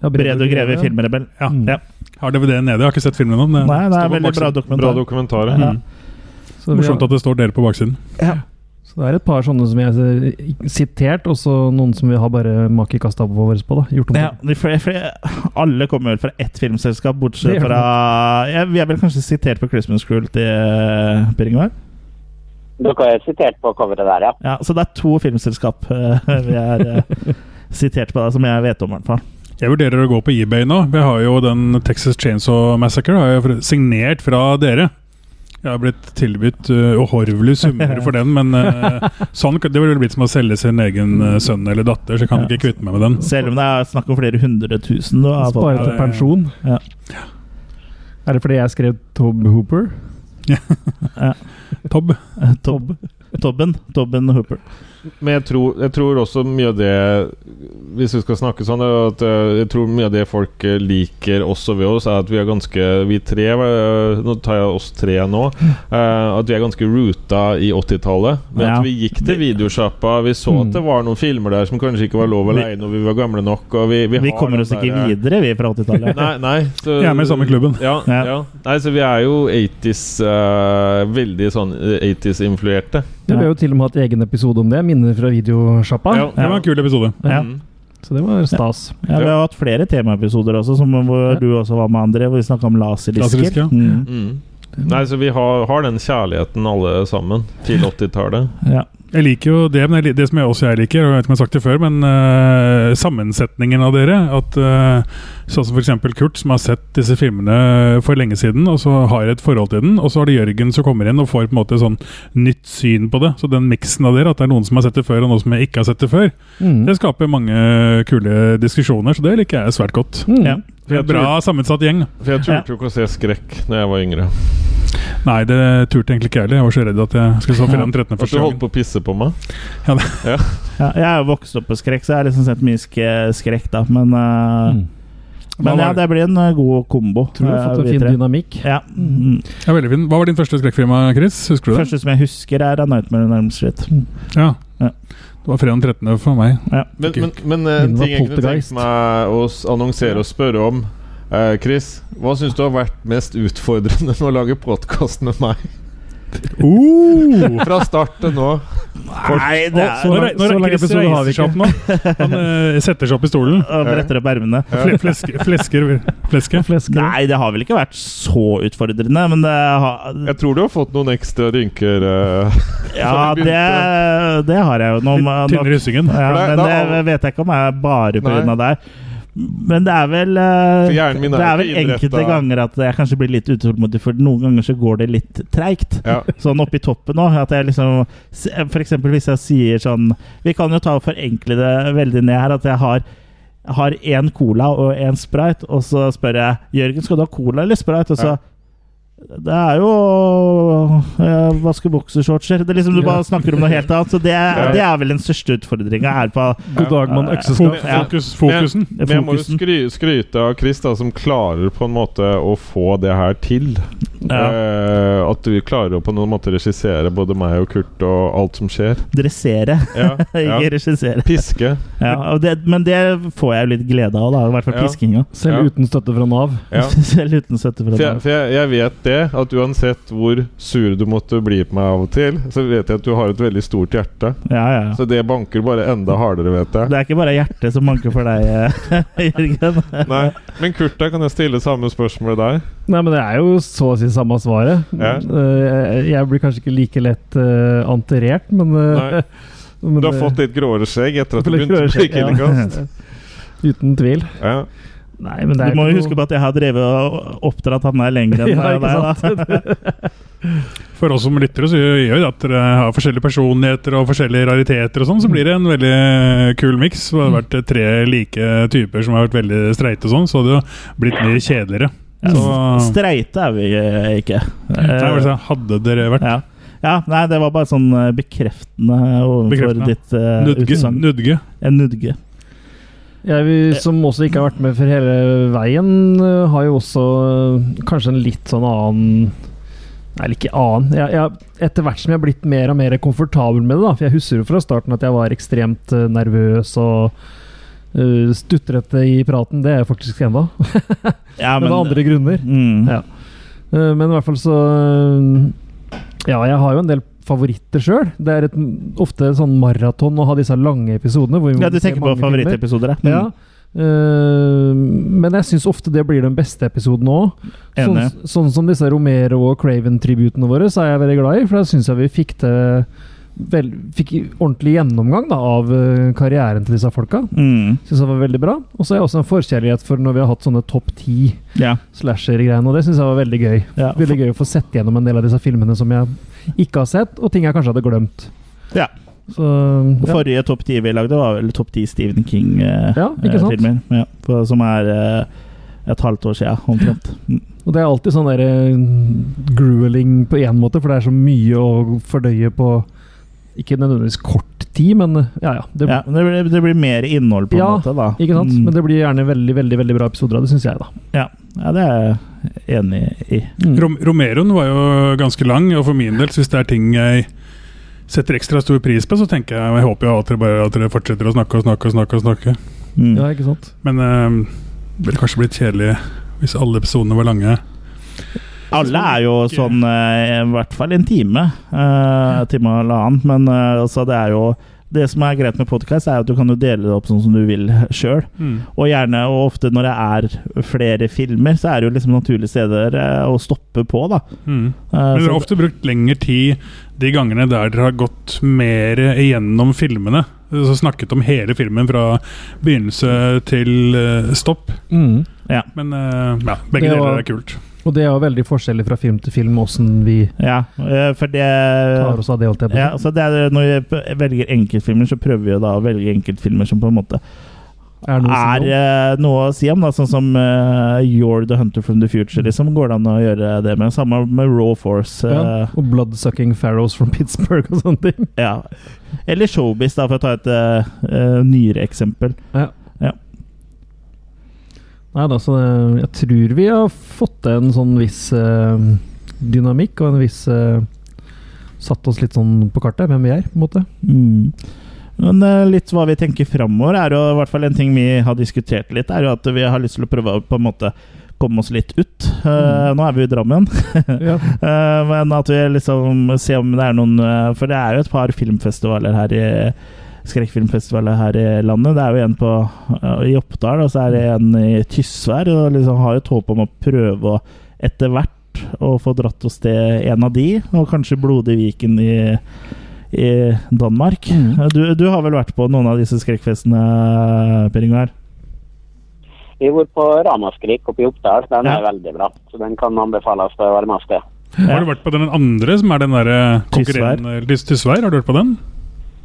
ja,
Brede og Greve,
ja.
filmrebell.
Ja.
Mm.
Ja.
Jeg har DVD nede, jeg har ikke sett filmen ennå. men
Nei, det
Står
er
på
veldig bra
baksiden. Bra
dokumentar. Mm.
dokumentarer.
Ja.
Så,
det er
vi,
Morsomt
har-
at det står dere på baksiden.
så det er et par sånne som jeg ser sitert, og så noen som vi har bare makekasta på våre på. da, gjort om
Ja, de fle- fle- alle kommer vel fra ett filmselskap,
Det
bortsett
gjør
fra ja, Vi er vel kanskje sitert på Christmas Cruel til eh, Per Ingvar?
dere er sitert på coveret der, ja.
Ja, så det er to filmselskap eh, vi er eh, sitert på, da, som jeg vet om, i hvert fall.
Jeg vurderer å gå på eBay nå. Vi har jo den Texas Chainsaw Massacre har jeg fr- signert fra dere. Jeg har blitt tilbudt eh, uhorvelige summer for den, men eh, sånn, kan- det ville blitt som å selge sin egen eh, sønn eller datter, så jeg kan
Ja.
ikke kvitte meg med den.
Selv om det er snakk om flere hundre tusen. Du
det.
har
Spare
fått.
til pensjon.
Ja.
Er det fordi jeg skrev Tob Hooper?
Tobb.
Eh, Tob. Tobben. Tobben Hooper.
Men jeg tror, jeg tror også mye av det Hvis vi skal snakke sånn, er jo at eh, jeg tror mye av det folk eh, liker også ved oss, er at vi er ganske Vi tre, eh, nå tar jeg oss tre nå, eh, at vi er ganske roota i 80-tallet. Men
Ja.
at vi gikk til videosjappa, vi så
Mm.
at det var noen filmer der som kanskje ikke var lov å
Vi-
leie når vi var gamle nok, og vi, vi,
Vi
har
kommer
den
oss ikke
der- eh,
videre, vi, fra 80-tallet.
Nei, nei så,
Jeg er med i samme klubben.
Ja, ja.
Ja.
Nei, så vi er jo 80s eh, Veldig sånn 80s-influerte.
Det ble jo til og med hatt egen episode om det. Minner fra videosjappa.
Det var en kul episode.
Ja.
Mm.
Så det var stas.
Ja, vi har hatt flere temaepisoder også, som hvor
Ja.
du også var med, André, hvor vi snakka om laserdisker.
Laserdisk, ja.
Mm.
Mm. Nei, så vi har, har den kjærligheten alle sammen til 80-tallet.
Ja.
Jeg liker jo det, men jeg li- det som jeg også jeg liker, og jeg vet ikke om jeg har sagt det før, men eh, sammensetningen av dere At eh, Sånn som f.eks. Kurt, som har sett disse filmene for lenge siden, og så har et forhold til den. Og så har det Jørgen som kommer inn og får på en måte sånn nytt syn på det. Så den miksen av dere, at det er noen som har sett det før, og noen som ikke har sett det før,
Mm.
det skaper mange kule diskusjoner. Så det liker jeg svært godt.
Mm.
Ja.
Det er
Jeg
et bra sammensatt gjeng.
For jeg turte jo ikke å se skrekk Når jeg var yngre.
Nei, det turte egentlig ikke jeg heller. Jeg var så redd at jeg skulle så film 13.
At du
første
holdt
gang.
på å pisse på meg.
Ja, jeg er jo vokst opp på skrekk, så jeg har liksom sett mye sk- skrekk, da. Men, eh,
Mm.
Hva
men ja,
var-
det blir en eh, god kombo.
Tror du har
eh,
fått en
vi
fin
tre.
dynamikk.
Ja. Mm.
Ja, veldig fin. Hva var din første skrekkfilm, Chris? Husker du det?
Første som jeg husker, er A Nightmare on Elm Street.
Ja.
Ja.
Det var fredag den 13. for meg.
Men, men, men eh,
Min
en
var
ting jeg kunne
poltergeist.
tenkt meg å s- annonsere og spørre om eh, Chris, hva syns du har vært mest utfordrende med å lage podkast med meg?
Oh!
Uh!
Fra start til nå.
Nei, det
Å,
er
så lang- nå
så lang
rekker
episode
episoden
har vi
reiser seg opp nå. Han eh, setter seg opp i stolen.
Og bretter opp ermene.
Fle fleske, flesker fleske.
Flesker.
Nei, det har vel ikke vært så utfordrende, men det har
Jeg tror du har fått noen ekstra rynker. eh.
Ja, det, det har jeg jo. Nå, nå,
Litt tynnere i syngingen.
ja,
For det-
men
det er
det
all-
vet jeg ikke om jeg er bare
Nei.
pga. deg. Men det er vel eh,
For hjernen min er
Det er
jo
vel
ikke
enkelte
innrettet-
ganger at jeg kanskje blir litt utålmodig, for noen ganger så går det litt treigt.
Ja.
Sånn oppi toppen òg. At jeg liksom F.eks. hvis jeg sier sånn Vi kan jo ta og forenkle det veldig ned her. At jeg har jeg har én cola og én sprite, og så spør jeg Jørgen skal du ha cola eller sprite. Og så
Ja.
Det er jo eh, vaske boksershortser. Det er liksom Du bare snakker om noe helt annet. Så det, det er vel den største utfordringa her på
God dag, mann
Fo-
økseskaft.
Ja.
Fokus, fokusen.
Men jeg må jo
fokusen.
skry skryte av Chris, da, som klarer på en måte å få det her til.
Ja.
Eh, at du klarer å på noen måte regissere både meg og Kurt og alt som skjer.
Dressere,
Ja,
ikke
ja.
regissere.
Piske.
Ja, og det, men det får jeg jo litt glede av, da. I hvert fall
Ja.
piskinga.
Selv
Ja.
uten støtte fra Nav.
Ja.
Selv uten støtte fra
For, jeg,
deg.
for jeg, jeg vet det, at uansett hvor sur du måtte bli på meg av og til, så vet jeg at du har et veldig stort hjerte.
Ja, ja, ja.
Så det banker bare enda hardere, vet jeg.
Det er ikke bare hjertet som manker for deg, eh, Jørgen.
Nei. Men Kurt, da kan jeg stille samme spørsmål til deg.
Nei, men det er jo så å si samme svaret.
Ja.
Eh, Jeg blir kanskje ikke like lett eh, anterert, men, eh, men
Du har
det-
fått litt gråere skjegg etter at du
Litt
begynte å bli
ja.
killekast.
Uten tvil.
Ja.
Nei, men det er
Du må
ikke
jo
noe-
huske på at jeg har drevet og oppdratt han der lenger enn
Ja,
deg.
ikke
da.
For oss som lyttere så gjør gjør det at dere har forskjellige personligheter og forskjellige rariteter og sånn, så blir det en veldig eh, kul miks. Det har vært eh, tre like typer som har vært veldig streite og sånn, så det har blitt mye kjedeligere. Så,
Streite er vi eh, ikke.
nei,
Eh,
hva er det jeg sa? hadde dere vært
ja. ja, nei, det var bare sånn eh, bekreftende overfor
Bekreftende.
ditt eh,
nudge,
utsagn.
nudge
En nudge.
Jeg vil, som også ikke har vært med for hele veien, øh, har jo også øh, kanskje en litt sånn annen Nei, eller ikke annen. Jeg, jeg, etter hvert som jeg har blitt mer og mer komfortabel med det, da, for jeg husker jo fra starten at jeg var ekstremt øh, nervøs og øh, stutrete i praten. Det er jeg faktisk ennå,
Ja,
men, men av andre grunner.
Mm.
Ja. Eh, Men i hvert fall så eh, Ja, jeg har jo en del favoritter sjøl. Det er et, ofte sånn maraton å ha disse lange episodene. Hvor vi må
Ja, du
se
tenker på
mange filmer.
favorittepisoder, ja.
Ja. eh, men jeg syns ofte det blir den beste episoden òg. Sånn,
Enig.
sånn som disse Romero og Craven-tributene våre, så er jeg veldig glad i. For da syns jeg vi fikk til vel, Fikk ordentlig gjennomgang da, av eh, karrieren til disse folka.
Mm.
Syns jeg var veldig bra. Og så er jeg også en forkjærlighet for når vi har hatt sånne topp ti
Ja.
slasher-greiene, og det syns jeg var veldig gøy.
Ja.
Veldig gøy å få sett gjennom en del av disse filmene som jeg ikke har sett, og ting jeg kanskje hadde glemt.
Ja.
Så, ja.
Forrige topp 10 vi lagde, var vel topp 10 Stephen King-filmer.
Ja, ikke sant?
ja, på- som er eh, et halvt år siden, omtrent. Mm.
Og det er alltid sånn der eh, grueling på én måte, for det er så mye å fordøye på ikke nødvendigvis kort tid, men eh, ja, ja. Det,
Ja, men det, blir, det blir mer innhold, på en
Ja,
måte. da
Ikke sant?
Mm.
Men det blir gjerne veldig veldig, veldig bra episoder av det, syns jeg, da.
ja. ja, det er jeg enig i.
Mm.
Rom Romeroen var jo ganske lang, og for min del, så hvis det er ting jeg setter ekstra stor pris på, så tenker jeg Jeg håper jo at dere, bare, at dere fortsetter å snakke og snakke og snakke. og snakke.
Mm.
Ja, ikke sant?
Men eh, det ville kanskje blitt kjedelig hvis alle episodene var lange.
Alle er jo sånn eh, i hvert fall en time. Eh, time og halvannen. Men eh, altså, det er jo det som er greit med podkast, er jo at du kan jo dele det opp sånn som du vil sjøl.
Mm.
Og gjerne, og ofte når det er flere filmer, så er det jo liksom naturlige steder eh, å stoppe på, da.
Mm.
Eh,
Men dere
så-
har ofte brukt lengre tid de gangene der dere har gått mer igjennom filmene, så snakket om hele filmen fra begynnelse til eh, stopp.
Mm.
Men eh, ja, begge
Det var-
deler er kult.
Og det er jo veldig forskjellig fra film til film åssen vi
Ja, eh, for det
tar oss av det. holdt jeg på å
ja, så det er, Når jeg p- velger enkeltfilmer, så prøver vi jo da å velge enkeltfilmer som på en måte
si. Er det noe
er
som-
eh, noe å si om, da, sånn som eh, You're the Hunter from the Future. Liksom går det an å gjøre det med. Samme med Raw Force. eh,
ja. Og 'Bloodsucking Pharaohs from Pittsburgh' og sånne ting.
ja. Eller Showbiz, da, for å ta et eh, eh, nyere eksempel.
Nei da, så eh, jeg tror vi har fått til en sånn viss eh, dynamikk og en viss eh, Satt oss litt sånn på kartet, hvem vi er, på en måte.
Mm. Men eh, litt hva vi tenker framover, er jo i hvert fall en ting vi har diskutert litt, er jo at vi har lyst til å prøve å på en måte komme oss litt ut. Eh,
Mm.
Nå er vi jo i Drammen. Eh, men at vi liksom ser om det er noen eh, For det er jo et par filmfestivaler her i skrekkfilmfestivaler her i landet. Det er jo en på, eh, i Oppdal, og så er det en i Tysvær. Og liksom har jo et håp om å prøve å etter hvert å få dratt oss til en av de, og kanskje Blodig Viken i i Danmark.
Mm.
Eh, Du, du har vel vært på noen av disse skrekkfestene, Per Ingvar?
Vi har vært på Ramaskrik oppe i Oppdal. Den er
Ja.
veldig bra. Så den kan anbefales å være med oss til.
Ja.
Har du vært på den andre, som er den eh, derre
Tysvær.
konkurrerende Tysvær? Har du hørt på den?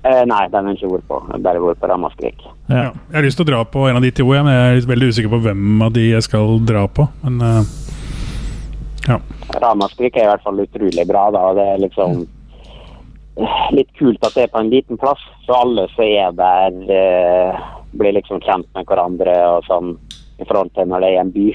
Eh, nei, den har jeg ikke vært på. Jeg har bare vært på Ramaskrik.
Ja.
Ja. Jeg har lyst til å dra på en av de to, jeg, men jeg er veldig usikker på hvem av de jeg skal dra på. Men eh,
Ramaskrik er i hvert fall utrolig bra, da. og Det er liksom eh, litt kult at det er på en liten plass. Så alle som er der, eh, blir liksom kjent med hverandre og sånn i forhold til når det er i en by.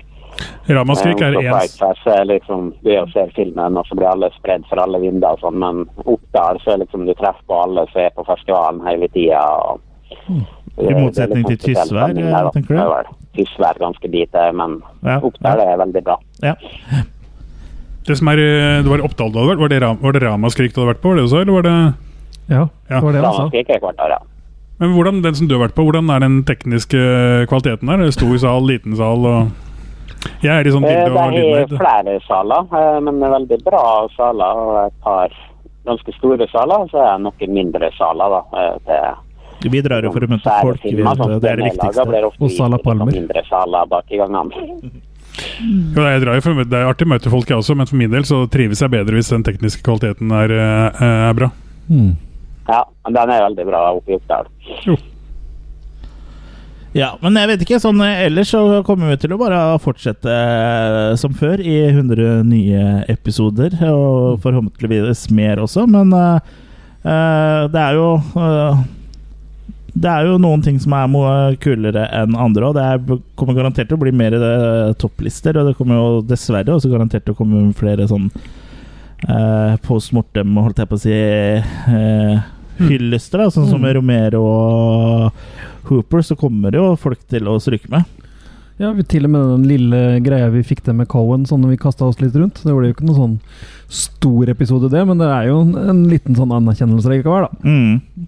Ramaskrik er
Eh, Oslo
én
Pride Fest er liksom, Du er og ser filmen, og så blir alle spredd for alle vinduer og sånn, men Oppdal så er liksom du treffer på alle som er på festivalen hele tida. og- Det er- det er
Hmm. motsetning
litt
til
spesiell
Tysvær, eh,
stemning der, da.
tenker du?
Det er vel Tysvær ganske lite, men
Ja.
Oppdal er veldig bra.
Ja.
Det som er, eh, det var i Oppdal du hadde vært? Var det, Ra- var det Ramaskrik du hadde vært på? Var det du sa, eller var det
Ja, det var
altså.
det altså. han sa.
Ramaskrik er hvert år, ja.
Men hvordan, den som du har vært på, hvordan er den tekniske eh, kvaliteten her? Er det Stor sal, liten sal og Jeg er i sånn
Eh,
bilde og
Det er
lydnerd.
flere saler, eh, men det er veldig bra saler. og Et par ganske store saler, og så er det noen mindre saler. da, eh, til
Vi drar jo for å møte
svære
folk. vi
filmer,
vet
sånn
det. Det er det
som
viktigste.
blir ofte
Og Sala
vist i litt
Palmer.
Mindre saler bak i gangene.
Jo, jeg drar jo for, det er artig å møte folk, jeg også, men for min del så trives jeg bedre hvis den tekniske kvaliteten er, eh, er bra.
Mm.
Ja, men den er veldig bra oppe i Oppdal.
Ja, men jeg vet ikke. Sånn, eh, ellers så kommer vi til å bare fortsette eh, som før i 100 nye episoder, og forhåpentligvis mer også, men eh, eh, det er jo eh, det er jo noen ting som er mo- kulere enn andre, og det er, kommer garantert til å bli mer eh, topplister. Og det kommer jo dessverre også garantert til å komme flere sånn eh, post mortem, holdt jeg på å si, eh, hyllester. Da, sånn som Romero og Hooper, så kommer jo folk til å stryke med.
Ja, vi, til og med den lille greia vi fikk til med Cohen, sånn når vi kasta oss litt rundt. Det ble jo ikke noen sånn stor episode, det, men det er jo en, en liten sånn anerkjennelse likevel, da.
Mm.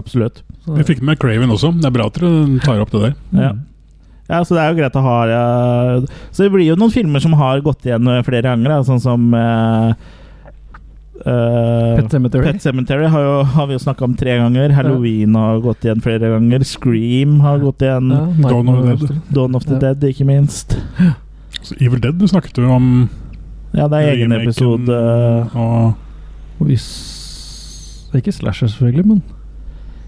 Absolutt.
Så,
Vi fikk med Craven også. Det er bra at dere tar opp det der.
Ja.
Mm.
ja, så det er jo greit å ha eh, Så det blir jo noen filmer som har gått igjen eh, flere ganger, da, sånn som eh, eh,
Pet Cemetery.
Pet Cemetery har, jo, har vi jo snakka om tre ganger. Halloween har gått igjen flere ganger. Scream har gått igjen.
Ja, Night
Dawn of the
Mare.
Dead.
Dawn of the
Ja.
Dead, ikke minst.
Så Evil Dead, du snakket jo om
Ja, det er egen
remaken
episode.
og
Og vi s- Det er ikke slasher, selvfølgelig, men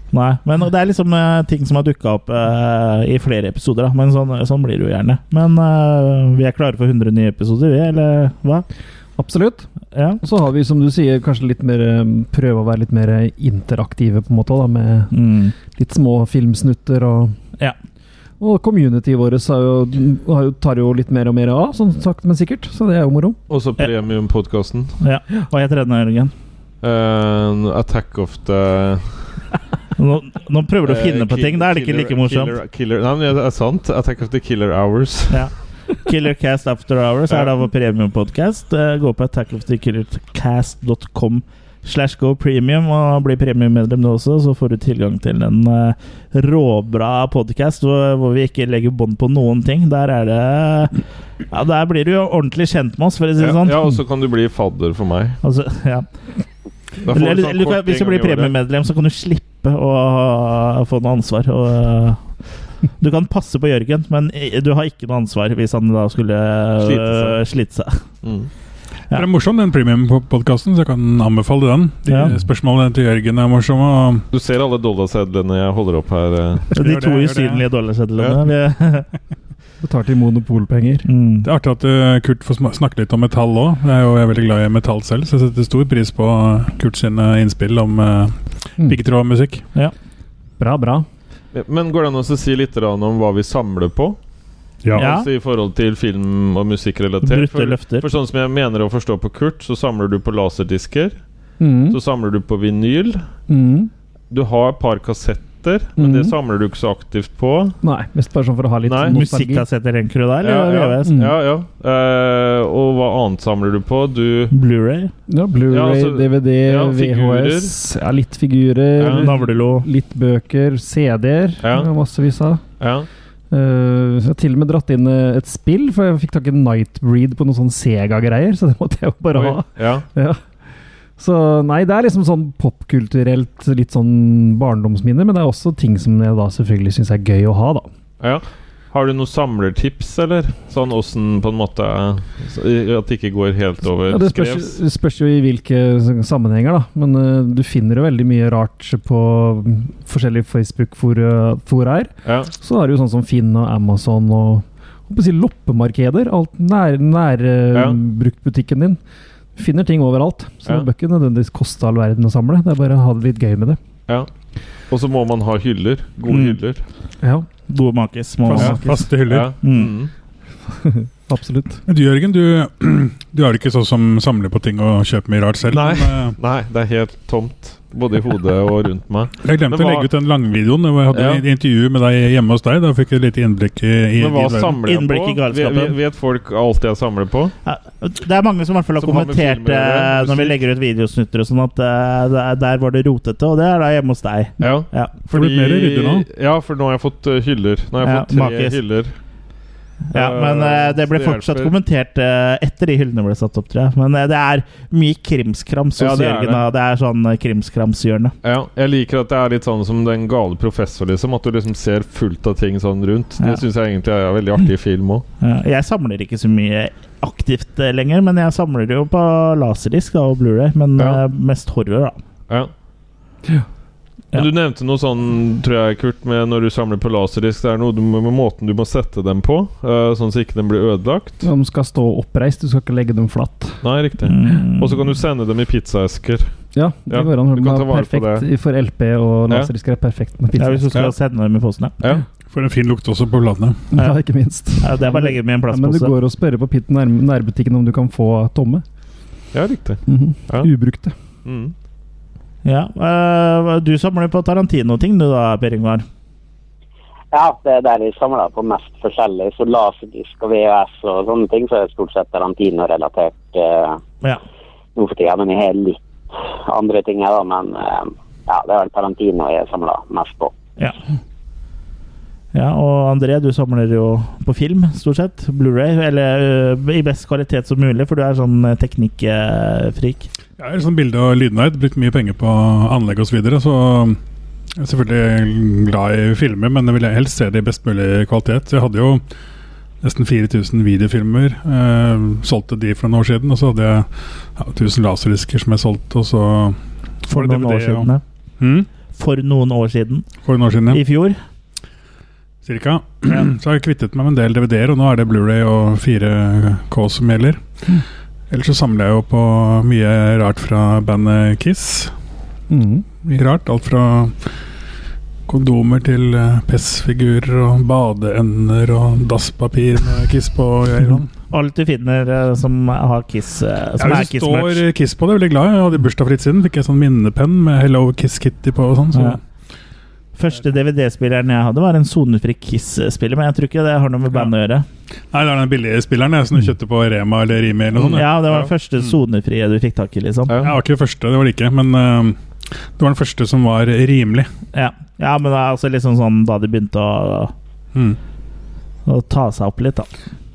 Nei, men det er liksom eh, ting som har dukka opp eh, i flere episoder, da. Men sånn, sånn blir det jo gjerne. Men eh, vi er klare for 100 nye episoder, vi, eller hva?
absolutt.
Ja.
Og så har vi, som du sier, kanskje litt mer eh, prøve å være litt mer interaktive, på en måte, da, med
Mm.
litt små filmsnutter og
Ja.
Og communityet vårt har jo, har jo, tar jo litt mer og mer av, som sagt, men sikkert. Så det er jo moro.
Også premiumpodkasten.
ja. Hva heter denne, Jørgen?
Uh, attack of the
Nå, nå prøver du å finne
eh,
på
kill-
ting. Da er det ikke
killer-
like morsomt.
Killer, killer, nei, men det er sant. Attack of the Killer Hours.
Ja. Killer Cast After Hours er da vår premiumpodkast. Eh, Gå på attackofthekillercast.com slash go premium og bli premiummedlem du også, så får du tilgang til en eh, råbra podkast hvor, hvor vi ikke legger bånd på noen ting. Der er det Ja, der blir du jo ordentlig kjent med oss, for å si det
Ja,
sånn.
ja, og så kan du bli fadder for meg.
Altså, ja.
Da får du
Eller,
sånn
eller, du kan,
kort
hvis du
en
blir
gang i året.
premiemedlem, så kan du slippe å ha- få noe ansvar. Og, eh, du kan passe på Jørgen, men i- du har ikke noe ansvar hvis han da skulle eh,
Slite
slite seg.
Mm.
Ja.
Det er morsom, den premium-podkasten, så jeg kan anbefale den. De
Ja.
Spørsmålene til Jørgen er morsomme. og
Du ser alle dollarsedlene jeg holder opp her. eh.
De
Gjør det,
to
gjør det.
usynlige dollarsedlene. Vi-
Betalte i monopolpenger.
Mm.
Det er artig at eh, Kurt får sma- snakke litt om metall òg. Jeg er jo jeg er veldig glad i metall selv, så jeg setter stor pris på Kurt sine innspill om uh,
Mm.
piggtrådmusikk.
Bra, bra.
Men går det an å si litt grann om hva vi samler på?
Ja.
Altså I forhold til film- og musikkrelatert?
Brutte
For,
løfter.
for sånn som jeg mener å forstå på Kurt, så samler du på laserdisker.
Mm.
Så samler du på vinyl.
Mm.
Du har et par kassetter, men det
Mm.
Mhm.
samler du ikke så aktivt på.
Nei, mest bare sånn for å ha litt
Nei,
nostalgi.
Musikkassetter, tenker du da? Eller
Ja, ja.
VHS?
Mm.
Ja, ja. Eh, og hva annet samler du på? Du
Blu-ray?
Ja, Blu-ray,
Ja, altså,
DVD,
ja,
VHS, ja, litt figurer,
Ja.
Navlelo?
litt bøker, CD-er.
Ja.
Ja. Massevis av.
Ja.
Eh, så jeg har til og med dratt inn eh, et spill, for jeg fikk tak i Nightbreed på noen sånn Sega-greier. Så det måtte jeg jo bare
Oi,
ha.
ja.
Ja. Så nei, det er liksom sånn popkulturelt litt sånn barndomsminner, men det er også ting som jeg da selvfølgelig syns er gøy å ha, da.
ja. Har du noen samlertips, eller? Sånn åssen på en måte eh, så- i- At det ikke går helt over
Ja, det spørs,
skrevs?
det spørs jo i hvilke sammenhenger, da. Men eh, du finner jo veldig mye rart på mm, forskjellige Facebook-foraer.
Ja.
Så er det jo sånn som Finn og Amazon og jeg holdt på å si loppemarkeder. Alt nær, nær eh,
Ja.
bruktbutikken din. Du finner ting overalt. Så
Ja.
det bør ikke nødvendigvis koste all verden å samle. Det er bare å ha det litt gøy med det.
ja. Og så må man ha hyller. Gode
Mm.
hyller.
Ja,
Gode makis. Må
Fast,
ja.
Ja.
Faste hyller.
Ja.
Mm.
Mm.
absolutt.
Men Du Jørgen, du, du er vel ikke sånn som samler på ting og kjøper mye rart selv?
Nei.
Men, eh,
Nei, det er helt tomt. Både i hodet og rundt meg.
jeg glemte
Men
å
hva-
legge ut den langvideoen. hvor Jeg hadde
Ja.
et intervju med deg hjemme hos deg. Da fikk jeg et lite innblikk i, i
Men hva
din verden.
samler jeg
Innblikk i
på?
galskapen.
Vet- Vet folk alt jeg samler på?
Ja, Det er mange som i hvert fall har
Som har med
kommentert
filmer å gjøre,
eh, når vi
musikk.
legger ut videosnutter og sånn, at eh, det er- der var det rotete, og det er da hjemme hos deg.
Ja.
Ja.
Får du blitt mer ryddig nå?
Ja, for nå har jeg fått eh, hyller. Nå har jeg
Ja,
fått tre
makis.
hyller.
Ja,
Eh,
men eh, det ble
så
fortsatt
hjelper.
kommentert eh, etter de hyllene ble satt opp, tror jeg. Men eh, det er mye krimskrams
Ja,
hos
det er
Jørgen.
det.
da. Det er sånn eh, krimskramshjørne.
Ja, jeg liker at det er litt sånn som Den gale professor, liksom. At du liksom ser fullt av ting sånn rundt.
Ja.
Det syns jeg egentlig er veldig artig i film òg.
Ja, jeg samler ikke så mye aktivt eh, lenger, men jeg samler jo på laserdisk da, og Blu-ray Men
Ja.
eh, mest horror, da.
Ja.
Ja.
Men Du nevnte noe sånn, tror jeg, Kurt, med når du samler på laserdisk. Det er noe du, må- med måten du må sette dem på, eh, sånn så ikke den blir ødelagt.
De skal stå oppreist, du skal ikke legge dem flatt.
Nei, riktig.
Mm.
Og så kan du sende dem i pizzaesker.
Ja, det
Ja,
går an.
du kan ta
De er
vare på
perfekt for LP og
Ja.
laserdisk er perfekt med
ja,
pizza.
Hvis du skal
Ja.
sende dem i posen, ja.
Ja.
For en fin lukt også på bladene.
Ja, ikke minst.
ja. Det er bare å legge dem i en
Ja, men du
plastpose.
går og spør på pit nær nærbutikken om du kan få tomme.
ja, riktig. Ja.
Ubrukte.
Mm.
Ja, eh, du samler på Tarantino-ting du da, Per Ingvar.
Ja, det er der vi samler på mest forskjellig. Så laserdisk og VHS og sånne ting, så er det stort sett Tarantino-relatert eh,
Ja.
nå for tida. Men jeg har litt andre ting her, da. Men eh, ja, det er vel Tarantino jeg samler mest på.
Ja. ja, og André, du samler jo på film, stort sett. Blu-ray, eller ø, i best kvalitet som mulig, for du er sånn teknikkfrik.
Jeg er sånn bilde- og lydnerd. Brukt mye penger på anlegg osv. Så, videre, så jeg er selvfølgelig glad i filmer, men jeg ville helst se det i best mulig kvalitet. Så jeg hadde jo nesten 4000 videofilmer. Eh, solgte de for noen år siden, og så hadde jeg ja, 1000 laserdisker som jeg solgte, og så
For
Får du
noen
DVD,
år
ja.
siden. ja.
mm,
For noen år siden.
For noen år siden, ja.
I fjor.
Cirka. Så har jeg kvittet meg med en del DVD-er, og nå er det Blu-ray og 4K som gjelder.
Mm.
Ellers så samler jeg jo på mye rart fra bandet Kiss.
Mhm.
Mye rart. Alt fra kondomer til eh, pessfigurer og badeender og dasspapir med Kiss på. sånn. Jeg,
Alt du finner ø, som har Kiss, ø, som
ja,
er
hvis det står
Kiss-merch.
Kiss på det, er jeg veldig glad. Jeg hadde bursdag for litt siden, fikk jeg sånn minnepenn med 'Hello Kiss Kitty' på og sånn. Så.
Ja. Første DVD-spilleren jeg hadde, var en sonefri Kiss-spiller, men jeg tror ikke det har noe med bandet å gjøre.
Nei, det er den billige spilleren jeg,
Mm.
som du kjøpte på Rema eller Rimi eller sånn, noe sånt.
Ja, Det var den
Ja.
Mm.
første sonefrie du fikk tak i, liksom.
Jeg var ikke det første, det var det ikke, men eh, det var den første som var rimelig.
Ja, ja men det er altså liksom sånn da de begynte å,
Mm.
å ta seg opp litt, da.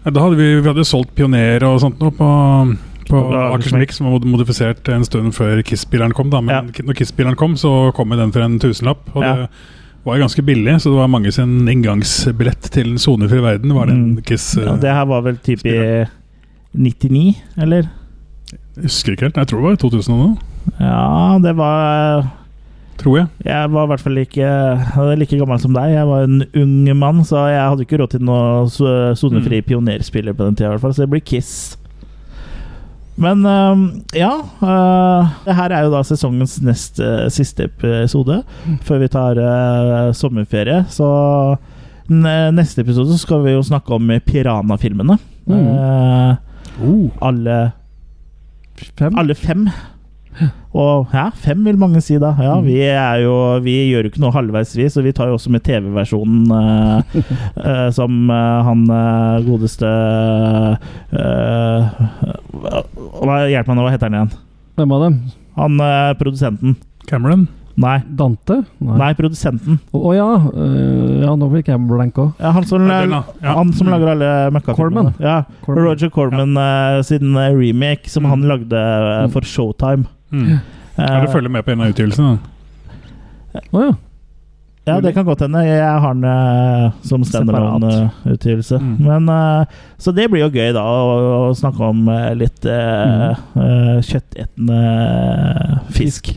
Ja, Da hadde vi, vi hadde solgt Pioner og sånt nå på På Akersmik, som var mod- modifisert en stund før Kiss-bileren kom. Da. Men
Ja.
ki- når Kiss-bileren kom, så kom jo den for en tusenlapp. Og
Ja.
det var jo ganske billig, så det var mange sin inngangsbillett til en sonefri verden. Var den
Mm.
Kiss
Ja,
eh,
det her var vel typ i 99, eller?
Jeg eh, husker ikke helt. Jeg tror det var i 2000 og noe.
Ja, det var
Tror jeg.
Jeg var i hvert fall ikke jeg var like gammel som deg. Jeg var en ung mann, så jeg hadde ikke råd til noe so- sonefri pionerspiller på den tida, i hvert fall, så det blir Kiss. Men øhm, ja øh, Det her er jo da sesongens nest øh, siste episode før vi tar øh, sommerferie. Så n- neste episode så skal vi jo snakke om Piranha-filmene.
Mm.
Eh, alle
Fem?
alle fem. Og ja, fem vil mange si da.
Mm.
Ja, vi, er jo, vi gjør jo ikke noe halvveis, vi, så vi tar jo også med TV-versjonen eh, eh, som eh, han eh, godeste eh, hva- hva, Hjelp meg nå, hva heter han igjen?
Hvem av dem?
Han eh, produsenten.
Cameron.
Nei.
Dante?
Nei, produsenten.
Å å ja. øh, ja, nå fikk jeg blank òg.
Ja, han som,
Ja, den da. Ja.
han som lager alle møkkafilmene.
Mm. Corman. Mm.
Ja, Roger Corman eh, sin eh, remake som han lagde eh, for Showtime.
Mm. Ja, du
Eh,
følger med på en av utgivelsene. da.
Å ja.
Ja, det kan godt hende. Jeg har den eh, som standalone-utgivelse.
Mm.
Men, eh, Så det blir jo gøy, da, å, å snakke om eh, litt
Mm.
eh, eh, kjøttetende fisk.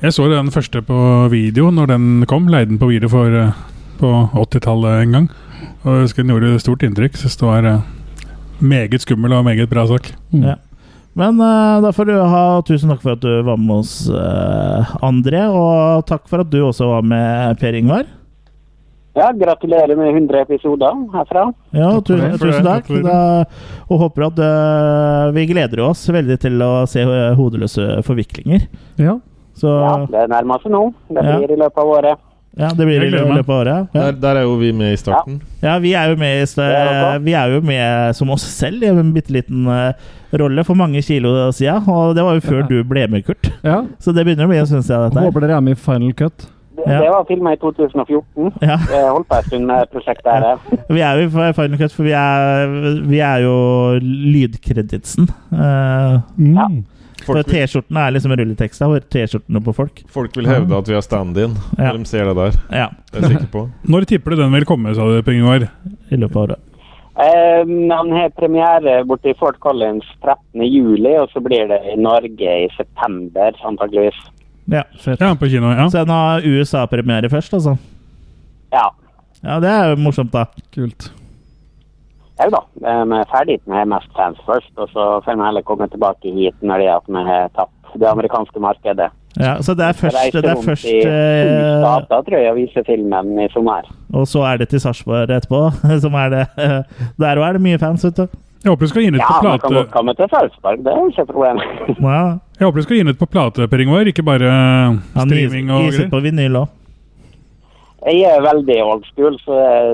Jeg så den første på video når den kom. Leide den på video for eh, på 80-tallet en gang. Og jeg husker den gjorde stort inntrykk. Syns det var eh, meget skummel og meget bra sak.
Mm.
Ja. Men eh, da får du ha tusen takk for at du var med oss, eh, André. Og takk for at du også var med, Per Ingvar.
Ja, gratulerer med 100 episoder herfra.
Ja,
for
tusen,
det. Takk for
tusen
det.
takk.
Takk for det.
Da, og håper at eh, vi gleder oss veldig til å se eh, hodeløse forviklinger.
ja.
Så
Ja, det nærmer seg nå. Det
Ja.
blir i løpet av året.
ja, det blir i
Jeg gleder meg.
løpet av året. Ja.
Der, der er jo vi med i starten.
Ja, vi er jo med, i st-
Det er bra.
vi er jo med som oss selv i en bitte liten eh, rolle for mange kilo siden. Og det var jo før du ble med, Kurt.
ja.
Så det begynner å bli en stund siden dette her.
Håper dere er med i Final Cut.
Det,
Ja.
det var filma i 2014.
Ja,
Jeg holdt på en stund med prosjektet her. ja.
vi er jo i Final Cut, for vi er, vi er jo lydkreditsen. Eh,
Mm.
Ja.
for
Folk, vil,
T-skjortene er liksom rulleteksta, og T-skjortene på folk.
folk vil hevde at vi har stand-in
Ja.
når de ser det der.
Ja,
Det er jeg sikker på.
Når tipper du den vil komme, sa du, Per Ingvar?
i løpet av året.
Eh, han har premiere borte i Fort Collins 13. juli, og så blir det i Norge i september, antakeligvis.
Ja.
Ja, på kino. Ja.
Så den har USA-premiere først, altså.
Ja.
Ja, det er jo morsomt, da.
Kult.
Jau da. Vi er ferdig med Mest Fans først, og så får vi heller komme tilbake hit når det er at vi har tatt det amerikanske markedet.
Ja, så det er først, det er
rundt
først
i to
eh,
stater, tror jeg, og vise filmen i sommer.
Og så er det til Sarpsborg etterpå. Som er det. Der òg er det mye fans, vet du.
Jeg håper du skal gi den ut
Ja,
på
vi kan godt
plate,
komme til Sarpsborg, det er jo ikke et problem.
Ja,
Jeg håper du skal gi den ut på plate, Per Ingvar. Ikke bare
han
streaming
gis-
og
giser
greier.
på vinyl òg.
Jeg er veldig old school, så eh,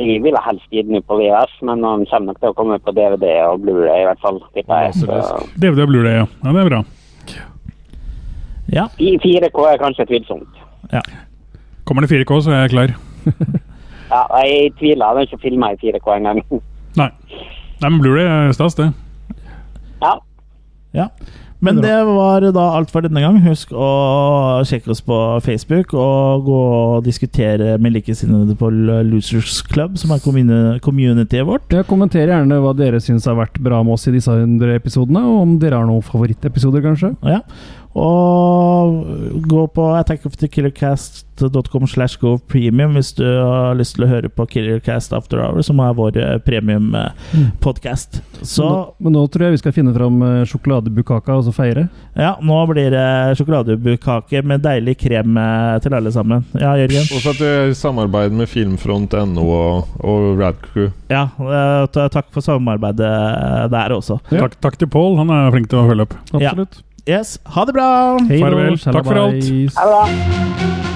jeg ville helst gitt den ut på VHS, men han kommer nok til å komme på DVD og Blu-ray i hvert fall. tipper jeg. Så
DVD og Blu-ray, ja. ja. Det er bra.
Ja.
I 4K er kanskje tvilsomt.
Kommer det 4K, så er jeg klar.
Ja, jeg tviler, han har ikke filma i 4K engang.
Nei. Nei, men Blu-ray er stas, det.
Ja,
ja. Men det var da alt for denne gang. Husk å sjekke oss på Facebook, og gå og diskutere med likesinnede på L- Losers Club, som er communi- communityet vårt.
Ja, kommenter gjerne hva dere syns har vært bra med oss i disse 100 episodene, og om dere har noen favorittepisoder, kanskje.
Ja. Og gå på attackofthekillercast.com slash go premium hvis du har lyst til å høre på Killercast After Hour, som er vår
Mm.
premiumpodkast. Så
Men nå- Men nå tror jeg vi skal finne fram eh, sjokoladebukaka og så feire.
Ja, nå blir det sjokoladebukkake med deilig krem eh, til alle sammen. Ja, Jørgen?
Og så at du samarbeider med Filmfront.no og, og Radcrew.
Ja, eh, ta- takk for samarbeidet eh, der også.
Ja.
Takk, takk til Pål, han er flink til å følge opp.
Ja.
Absolutt.
Yes, ha det bra!
Hei
Farvel.
då,
Takk for alt.
sjalabais.
ha det bra.
Hei.